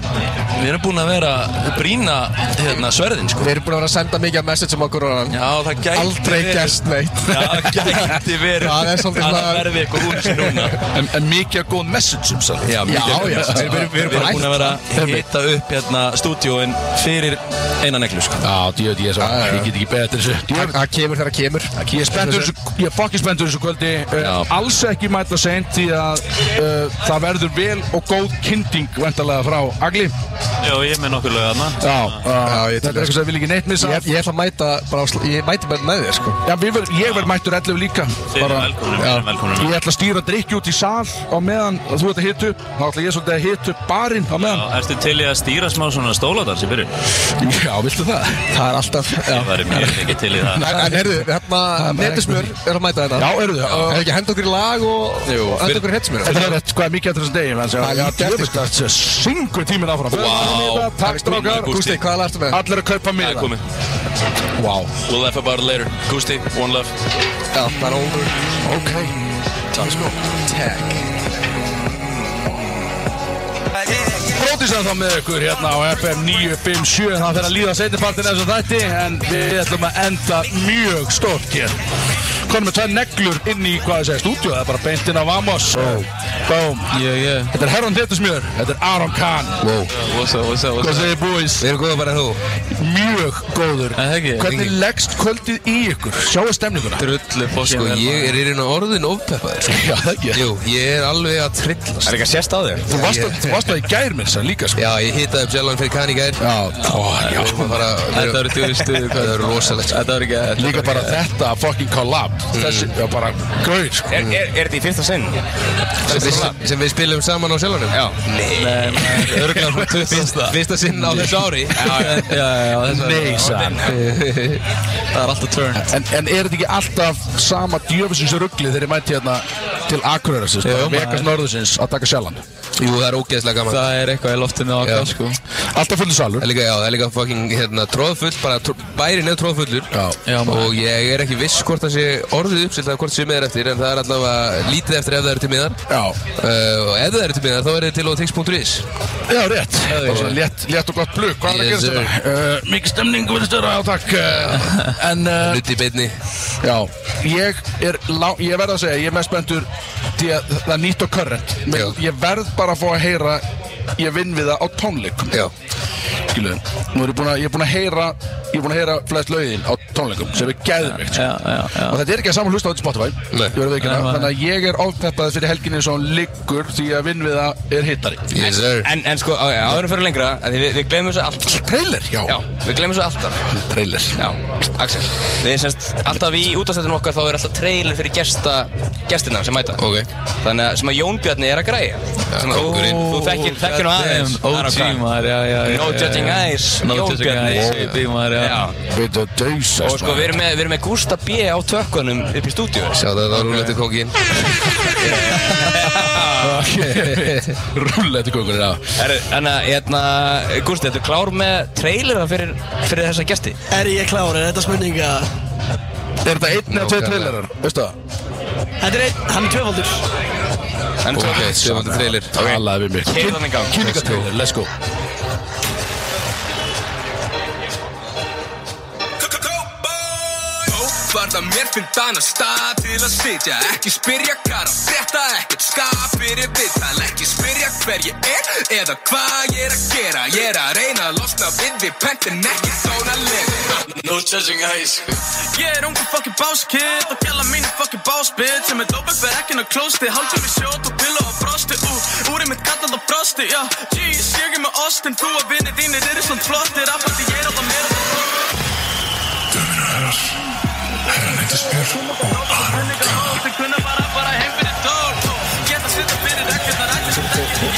Við erum búin að vera brína hérna, sverðin, sko Við erum búin að vera að senda mikið message um okkur og hann Já, það gæti Aldrei verið- gerst neitt Já, það gæti verið Já, það er svolítið að svona- það verði eitthvað úr þessu núna En, en mikið að góð message um sann Já, mikið- Já, já. Við erum- við erum búin að vera að hita upp hérna stúdíóin fyrir eina neglu, sko Já, djöð, ég, svo, ég get ekki betur þessu Það Djöfull, það kemur þegar það kemur Ég er spenntur þessu, ég er fokkið spenntur þessu kvöldi uh, Alls ekki mæta seint því að uh, það verður vel og góð kynning vendalega frá Agli Já, ég er með nokkur lög aðna Já, uh, þetta er eitthvað sem ég vil ekki neitt missa Ég, ég ætla að mæta bara á sl- Ég mæti bara með þér sko Já, við ver, ég verð mættur 11 líka Þið erum velkomin, við erum velkomin Ég ætla að stýra drikki út í sal á meðan að þú ert að hita upp Þá ætla ég svolítið að hita upp barinn á meðan Já, Ertu til í að stýra smá svona stóladans í byrjun? Já, viltu það? sko. Það er alltaf Já Það væri mjög mikið til í það En, en heyrðu, hérna, netismur er að mæta þetta Já, heyrðu, já. Er ekki að henda okkur í lag og Jú, henda fyrir- okkur í hetsmur Þetta er rétt, sko. hvað er mikið eftir þessum degi, menn sem Það er mikið eftir, sko. eftir Syngu tíminn áfram Vá. Takk strákar Gústi, hvað lærstu með? Allir að kaupa Það er miða komið Wow We'll laugh about it later Gusti, one love Já, það er ógur Ok Takk sko Brótisar þá með ykkur hérna á FM 957 Það fyrir að líða setjapartin eins og þætti En við ætlum að enda mjög stort hér Konum með tvær neglur inn í hvað ég segi stúdíu Það er bara beint inn á Vamos Boom Yeah, yeah Þetta er Herran Tettusmjör Þetta er Aron Khan Wow What's up, what's up, what's Hvað up segir boys? Við erum góða bara þú Mjög góður En það ekki, Hvernig ekki. leggst kvöldið í ykkur? Sjáu stemninguna Drullu fólk Sko, ég er í raun og orðin ofpeppaður sko. Já, það ekki Jú, ég er alveg að trillast Er eitthvað sérst á þér? Þú varst að- þú varst að í gær minn sann líka sko Já, ég hitaði upp sjálfan fyrir kanni gær Já, ó, já Þetta eru djúðistu Þetta eru rosalegt sko. Þetta eru ekki Líka bara þetta fucking collab Þessi, já bara Gauð, sko Er, er, er þetta í fyrsta sinn? sem, við- sem við spilum saman á sjálfanum Já Nei Örgulega fyrsta Fyrsta sinn á þessu ári Já, já, já Nei, sann Það er alltaf turn En, en er þetta ekki alltaf sama djöfisins ruggli þegar ég mæti hérna til Akureyrarsins, bara Jú, maður. Vegas Norðursins að taka sjallan? Jú, það er ógeðslega gaman Það er eitthvað í loftinu á okkar sko Alltaf fullur salur Það er líka, já, það er líka fucking hérna, tróðfull, bara tr bærin er tróðfullur Já. já Og ég er ekki viss hvort það sé orðið uppsildað hvort sé meðar eftir En það er allavega lítið eftir ef það eru til miðar Já, uh, Og ef það eru til miðar þá er það til ótix.is já rétt Bara svona létt, létt og gott blug, hvað er að Yes, gerast sir. þetta? Uh, mikið stemning, við störa á takk uh, En, uh, Nutt í beinni já, ég er lá, ég verð að segja, ég er mest spenntur því að það er nýtt og current Men Já. Ég verð bara að fá að heyra ég vinn við það á tónleikum Já skiluðu Nú er ég búin að, ég er búin að heyra Ég er búin að heyra flest lögin á tónleikum sem er geðveikt ja, ja, ja. og þetta er ekki að saman hlusta á þetta Spotify Nei. ég verið veikina, Nei, nei. þannig að ég er ofpeppaði fyrir helginni eins og hann liggur því að vinnviða er hittari Yes, en, en sko, á- já, áður en fyrir lengra að því við, við glemum þessu alltaf Trailer, já Já, við glemum þessu alltaf Trailer Já, Axel Við semst, alltaf í útastættunum okkar þá er alltaf trailer fyrir gesta, gestina sem mæta Ok Þannig að sem að Jón Bjarni er að græja Sem að þú, þú þekkir, þekkir nú aðeins OG maður, já, já, já No judging já, já. eyes No Jón judging Bjarni. eyes JB maður, já Við það dösa Og sko, við erum með, við erum með Gústa B. á tökkunum upp í stúdíu Sjá það, það var rúletti kókin Rúlletti kókin, já Þannig að, hérna, Gústi, ertu klár með trailera fyrir, fyrir þessa gesti? Er ég klár? Er þetta spurninga? Er þetta einn eða tveir trailerar? Veistu það? Þetta er einn, hann er tvöfaldur Hann er tvöfaldur. tvöfaldur trailer Talaði við mig Keyrðu hann í gang. Kynningatrailer, let's go Varða mér finn annað stað til að sitja Ekki spyrja hvað að frétta Ekkert skap fyrir viðtal Ekki spyrja hver ég er Eða hvað ég er að gera Ég er að reyna að losna við við pentin Ekki þóna lef No judging eyes Ég er ungu fucking boss kid Og gæla mínu fucking boss bitch Sem er dópið fyrir ekki ná klósti Haldum í sjót og pilla og brosti ú, Úrið mitt gatað og brosti já. Jeez, ég er með Austin Þú og vinni þínir eru svona flottir Rappandi ég er alltaf meira Dömina herrar, herran heitist Björn og Aron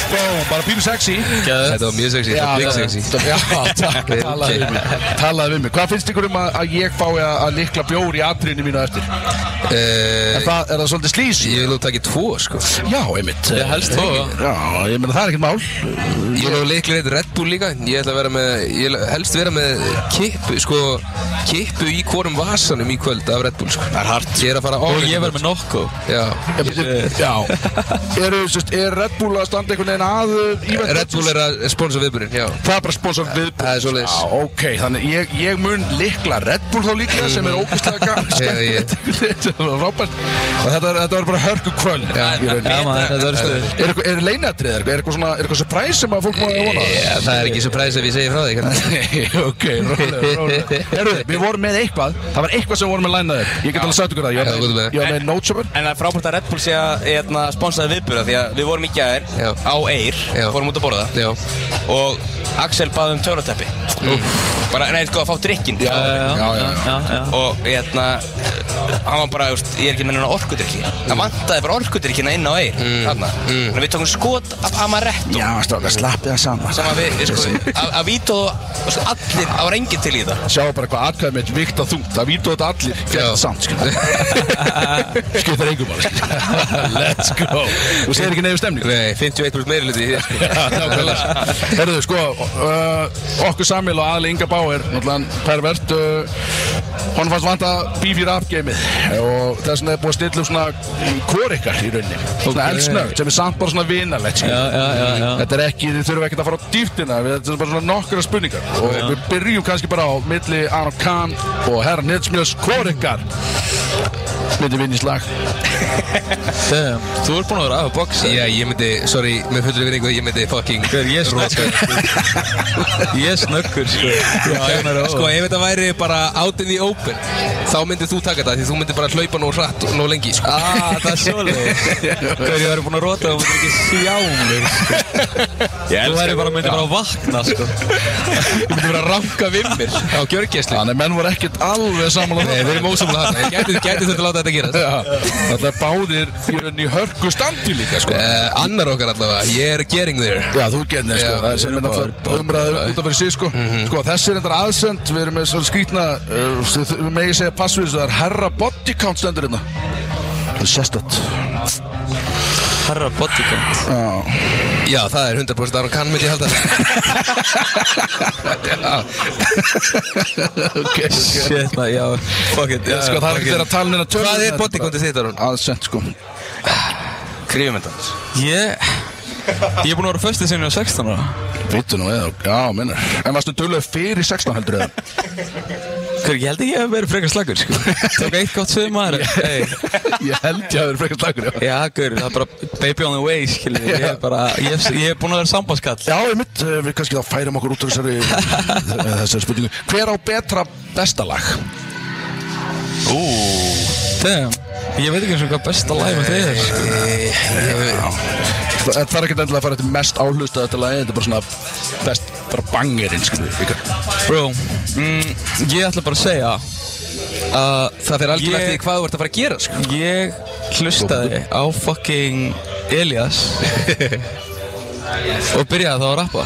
Bóm, bara pínu sexy Þetta var mjög sexy, Já, þetta var big já, sexy. þetta- um. Já, takk, Vel talaði við mig Talaði við mig Hvað finnst ykkur um að, að ég fái að, að likla bjór í atriðinu mínu á eftir? Eh, er, það, er það svolítið slís? Ég vil nú taka tvo sko Já, einmitt Ég helst Eh, tvo. Já, ég meina það er ekkert mál Ég vil nú leiklega eitt Red Bull líka Ég ætla að vera með, ég vil helst vera með kippu, sko Kippu í hvorum vasanum í kvöld af Red Bull sko Það er hart Ég er að fara Og all in ég í verð kvöld. með nokko Já Já Eru, sérst, er Red Bull að standa einhvern veginn að uh, í Red Bull er að sponsa viðburinn, já Það er bara sponsor viðbúr Það er svoleiðis Já, ok, þannig ég, ég mun likla Red Bull þá líklega sem er ógustlega gaman sko. skemmtilegt Robert og þetta, var- þetta var bara hörku kvöld Já, já, maður, þetta var stuð. Er eitthvað- er leinatrið, er eitthvað svona, er eitthvað surprise sem að fólk má að vona Já, það er ekki surprise ef ég segi frá því hérna. Nei, ok, rólegur, rólegur. Herru, við vorum með eitthvað Það var eitthvað sem við vorum með lænaðir Ég get alveg sagt ykkur það, ég var með, ég var með Noteshopper En það er frábært að Red Bull sé að hérna, sponsaði viðbúra því að við vorum í gæðir á Eir, fórum út að borða Já. og Axel baði um törnateppi bara, nei, sko, að fá drikkin já, já, já, já, já. og hérna hann var bara, just, ég er ekki með hennar orkudrykki það vantaði bara orkudrykkina inn á Eir Mm, þarna, þannig að við tókum skot af Amaretto Já, strákar, slappið það saman sem að við, við sko, að, að vítu allir, það var enginn til í það Sjá bara hvað atkvæðið mitt vikt að þungt Það vítu þetta allir Fjart samt sko. Skiptar engum ári Let's go Þú segir ekki nefnir stemning Nei, 51% meiri hluti í þér sko Herðu, sko, uh, okkur Samil og aðli Inga Bauer, náttúrulega pervert, uh, hann fannst vant að bífýra afgeimið og þess vegna er búið að stilla upp svona kórikar í rauninni, svona Ok. elsnögt sem er samt bara svona vinalegt, sko. Já, já, já, já. Þetta er ekki, þið þurfum ekkert að fara á dýftina, við- þetta er bara svona nokkra spurningar og Já. við byrjum kannski bara á milli Aron Kahn og herra Nitsmjöls kórikar. Myndi vinni slag. Damn, þú ert búin að vera aðeins bóksa Já, ég myndi, sorry, með fullri vinningu, ég myndi fucking Hver, ég sko. snökkur Ég snökkur, sko Sko, ef þetta væri bara out in the open Þá myndir þú taka þetta, því þú myndir bara hlaupa nú hratt og nú lengi, sko Ah, það er svoleiðis. Hver, ég væri búinn að rota, þú myndir ekki sjá mig, sko. Þú væri bara myndið bara að vakna, sko. Þú myndir vera að ranka við mér á gjörgjæsli Þannig, menn voru ekkert alveg samanlega Nei, við erum ósamlega þarna, ég gæti, gæti þetta að láta þetta gera Það er báðir í rauninni í hörku standi líka sko. Eh, Annar okkar allavega, ég er getting there Já, þú getting there, sko. Það er sem er náttúrulega umræður út af fyrir sig sko. sko þessi er þetta aðsend Við erum með svona skrýtna uh, þið- Við megið segja passvið Það er herra body count stendur hérna Það er sérstætt Herra bodyguard Já Já, það er 100% Aron Kahn, myndi ég halda okay, Shit, maður, já, fuck it já, Sko það er fuck ekki it. þeirra talin að tölum Hvað er bodyguardið þitt, Aron? Aðsend sko Krifum þetta Ég, ég er búinn að vera föstið sinni á 16 ára Vittu nú eða, já, minnur En varstu dölöð fyrir 16 heldur eða? Hver, ég held ekki að það verið frekar slagur sko. Tók eitt gott sögum maður hey. Ég held ég að það verið frekar slagur Já, hver, það er bara baby on the way skilur. við. Ég er bara, ég hef, ég hef búin að vera sambandskall Já, ég mitt, eh, við kannski þá færum okkur út úr þessari, þessari spurningu Hver á betra besta lag? Ú Damn Ég veit ekki eins og hvað besta lag með þeir Það það þarf ekki endilega að fara eftir mest áhlust að þetta lagi, þetta er bara svona best, bara bangerinn, sko Bro, mm, ég ætla bara að segja að það fyrir algjörlega eftir því hvað þú ert að fara að gera sko. Ég hlustaði á fucking Elias og byrjaði þá að rappa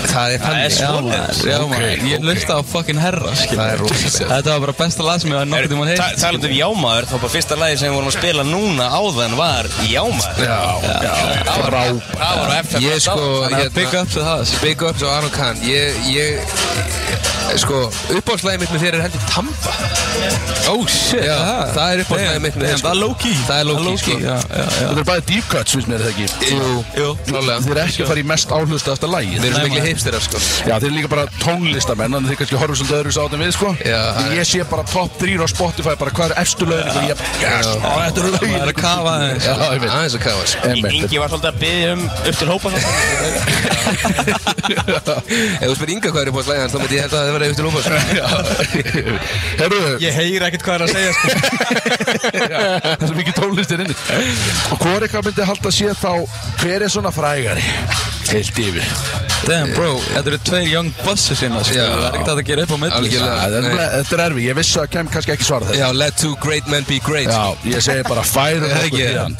Það er þannig. Já svoleiðis. maður, já Ok, maður Ég hlustaði á fucking herra skilur. Það er rosalegt. Þetta var bara besta lag sem ég var nokkuð tíma að heyrst Talandu um Jámaður, þá bara fyrsta lagi sem við vorum að spila núna áðan var Jámaður Já, já, frábært Það var FM Ég sko, hérna, Big up to það Big up to Aron Khan Ég, ég, sko, uppáhaldslæðið mitt með þér er heldur Tamba Oh shit Já, það er uppáhaldslæðið Damn. mitt með þér sko. Damn, það er low-key. Það er Það low-key, er sko low-key, já, já, já. Þetta er bara deep cuts, finnst mér þetta ekki Jú, klálega. Þið er ekki að fara í mest áhlust að þetta lagi Þeir eru miklu hipsterar, sko Já, þeir eru líka bara tónlistamenn, en þeir kannski horfum svolítið öðru sá þetta við, sko Já, Ég sé bara top 3 á Spotify, bara hvað er efstu lögin og ég, yes, á, þetta eru lögin Það er að kafa aðeins Já, ég veit Aðeins að kafa, sko Ingi var svolítið að byggja um upp til hópa Ef þú spyrir Inga hvað er uppáhaldslæðið hans, þá myndi ég held að það verði upp til Lúmas Herru Ég heyri ekkert hvað er að segja sko. Það er svo mikið tónlistir inni Og hvað er eitthvað myndi halda að sé þá Hver er svona frægari? Heilt yfir Damn bro, þetta eru tveir young bosses hérna sko. Það er ekkert hægt að gera upp á milli Algjörlega, þetta er nefnilega- þetta er erfi, ég vissi að kem kannski ekki svara þetta Já, let two great men be great Já, ég segi bara færum okkur okkur í hann.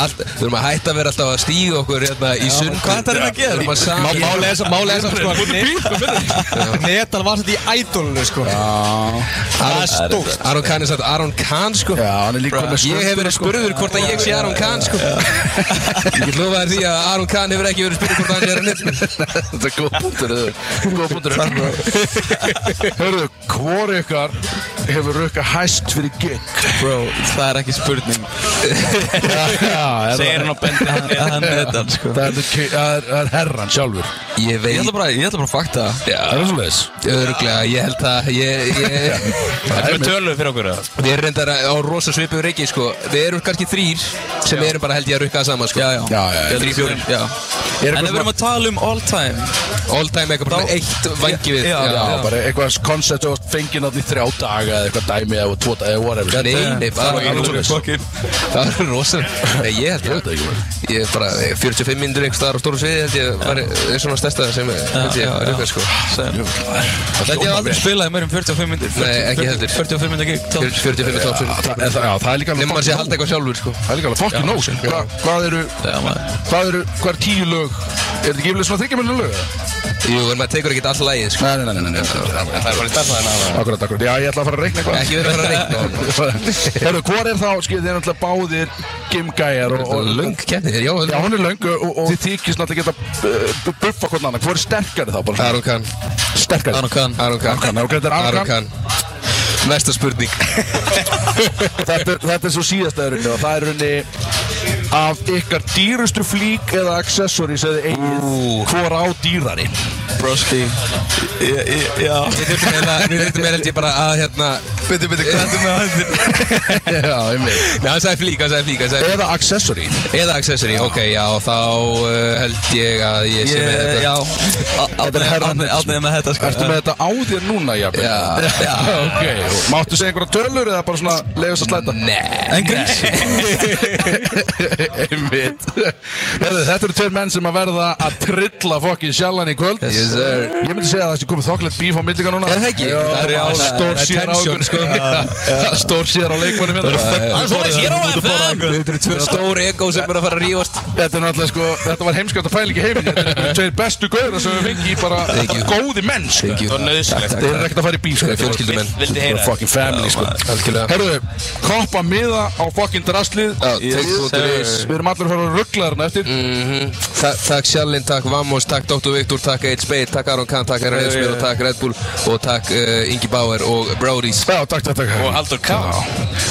Allt, Við erum að hætta að vera alltaf að stíga okkur hérna í sund Hvað ætlarðu að gera? Má, má lesa, má lesa sko Netal var þetta í ædolinu sko Það er stórt Aron Kahn er satt Aron Kahn sko Já, hann er líka með Ég hef verið spurður hvort að ég sé Aron Kahn sko Ég get lofa þér því að Aron Kahn hefur ekki verið spurður hvort að hann sé Aron Kahn Þetta er góð punktur Góð punktur Hörru, hvor ykkar hefur rukka hæst fyrir gig? Bro, það er ekki spurning Segir hann á bendi hann Hann er þetta sko Það er- það er- það er herran sjálfur Ég veit Ég ætla bara, ég ætla bara að fakta það Það er svolítið Öruglega, ég held að ég, ég, Þetta er tölu fyrir okkur eða? Við erum reyndar á rosa svipu reiki sko Við erum kannski þrýr sem erum bara held ég að rukka það saman sko Já, já, já Þrýr, fjórir Já Er En ef við erum að tala um all time All time eitthvað bara eitt vangi við Já, bara eitthvað koncept og fengið nátt í þrjá daga eða eitthvað dæmi eða tvo daga eða whatever Já, nei, nei, bara- Það er alveg svoleiðis. Það er rosa Nei, ég held ég Ég er bara eh, 45 minnur einhvers staðar á stóru sviði held ég var eh, svona stærsta sem eh, held ég já, já. rukka sko Þetta ég hef aldrei spilað í meirum 45 myndir Nei, ekki heldur 45 myndir gig top. 45 top Já, það- en það- já, það er líka alveg Nefnum maður sé að halda eitthvað sjálfur sko Það er líka alveg fokkin nóg sko. Hva, Hvað eru Hvað eru Hvað er tíu lög Er þetta ekki yfirlega svona þryggjamölinu lög? Jú, en maður tekur ekkert all lagið sko Nei, nei, nei, nei, nei. Það er bara starfaðan Akkurat, akkurat Já, ég ætla að fara að reikna eitthvað Ekki verið að fara að reikna. Herru, hvað er þá Skil þið er náttúrulega báðir Gimgæjar og, og Löng kemni þér, já Já, hún er löng og, og þið þykist náttúrulega geta uh, bu- buffa hvort annan Hvor er sterkari þá? bara? Aron Kahn Sterkari Aron Kahn Aron Kahn Aron Kahn, ok, þetta er Aron Kahn. Næsta spurning þetta, er- þetta er svo síðasta öðrunni og það er öðrunni af ykkar dýrustu flík eða accessories eða eigið hvor á dýrari Broski Já Við þurfum eiginlega- við þurfum eiginlega held ég bara að hérna Bitti, bitti, hvað er með hann? Já, ég með Nei, hann sagði flík, hann sagði flík hann sagði Eða accessory Eða accessory, ok, já, þá uh, held ég að ég sé með Ég- þetta Já Aldrei með þetta sko Ertu með þetta á þér núna, jafnir? Já, já Ok, máttu segja einhverja tölur eða bara svona leiðast að slæta? Nei En grís Einmitt Herðu, Þetta eru tveir menn sem að verða að trilla fokkin sjallan í kvöld Yes, sir. Ég myndi segja að það sé komið þokklegt bíf á millika núna Er það ekki? Já, Það er já, stór það er sér á tension, okkur sko. Já, Stór sér á hérna. leikmanni minn Það er svoleiðis hér á FM. Þetta eru tvö Stór ego sem er að fara að rífast Þetta er náttúrulega sko, þetta var heimskvæmt að fæla ekki heiminn Þetta eru tveir bestu gauðra sem við fengi bara góði menn sko. Thank you. Það er nöðsynlegt Takk, takk, Þeir eru takk. ekkert að fara í bíl sko Það er fjölskyldumenn. Vildi heyra Fucking family sko Algjörlega Herðu, koppa miða á fucking draslið Já, take Mm. two, svoleiðis. Við erum allir að fara að ruggla þarna eftir Ta Takk Sjallinn, takk Vamos, takk Dr. Viktor, takk Eitt Spade, takk Aron Kahn, takk Erna Eilsmjör og takk Red Bull og takk uh, Ingi Bauer og Brodies Eh, Já, takk, takk, takk Og Haldur K Já,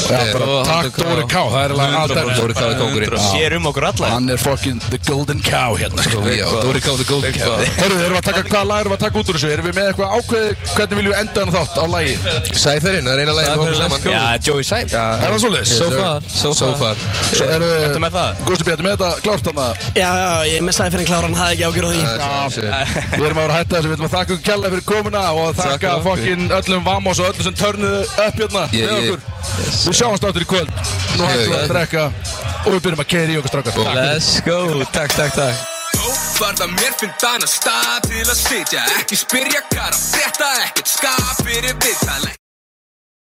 bara takk Dóri K, það er alveg alltaf- Dóri K er kókurinn Sér um okkur alla Hann er fucking the golden cow hérna sko. Já, Dóri K the Golden Cow Herru, erum við að taka, hvaða lag erum við að taka út úr þessu? Erum við með eitthvað ákveðið, hvernig viljum við enda hann þátt á lagi? Sæferinn, það er eina lagið við hókum saman Joey Sæf Er það svoleiðis? Yes, So sir. far, so So far. far. Svo erum við Ertu með það? Gusti Bjarni, með þetta klárt hann að Já, já, ég með sæðferðin kláran, það er ekki ágjur á því Við erum að vera að hætta þessu, við ætlum að þakka um kjalla fyrir komuna og þakka Þakka okkur. fokkin öllum Vamos og öllum sem törnuðu upp hérna Ég- með ég- okkur Við sjáumst áttur í kvöld, nú hættum við að drekka og við byrjum að keira í okkur strákar Let's go, takk, takk, takk Varða mér finn annan stað til að sitja Ekki spyrja hvað er að frétta Ekkert skapir er viðtal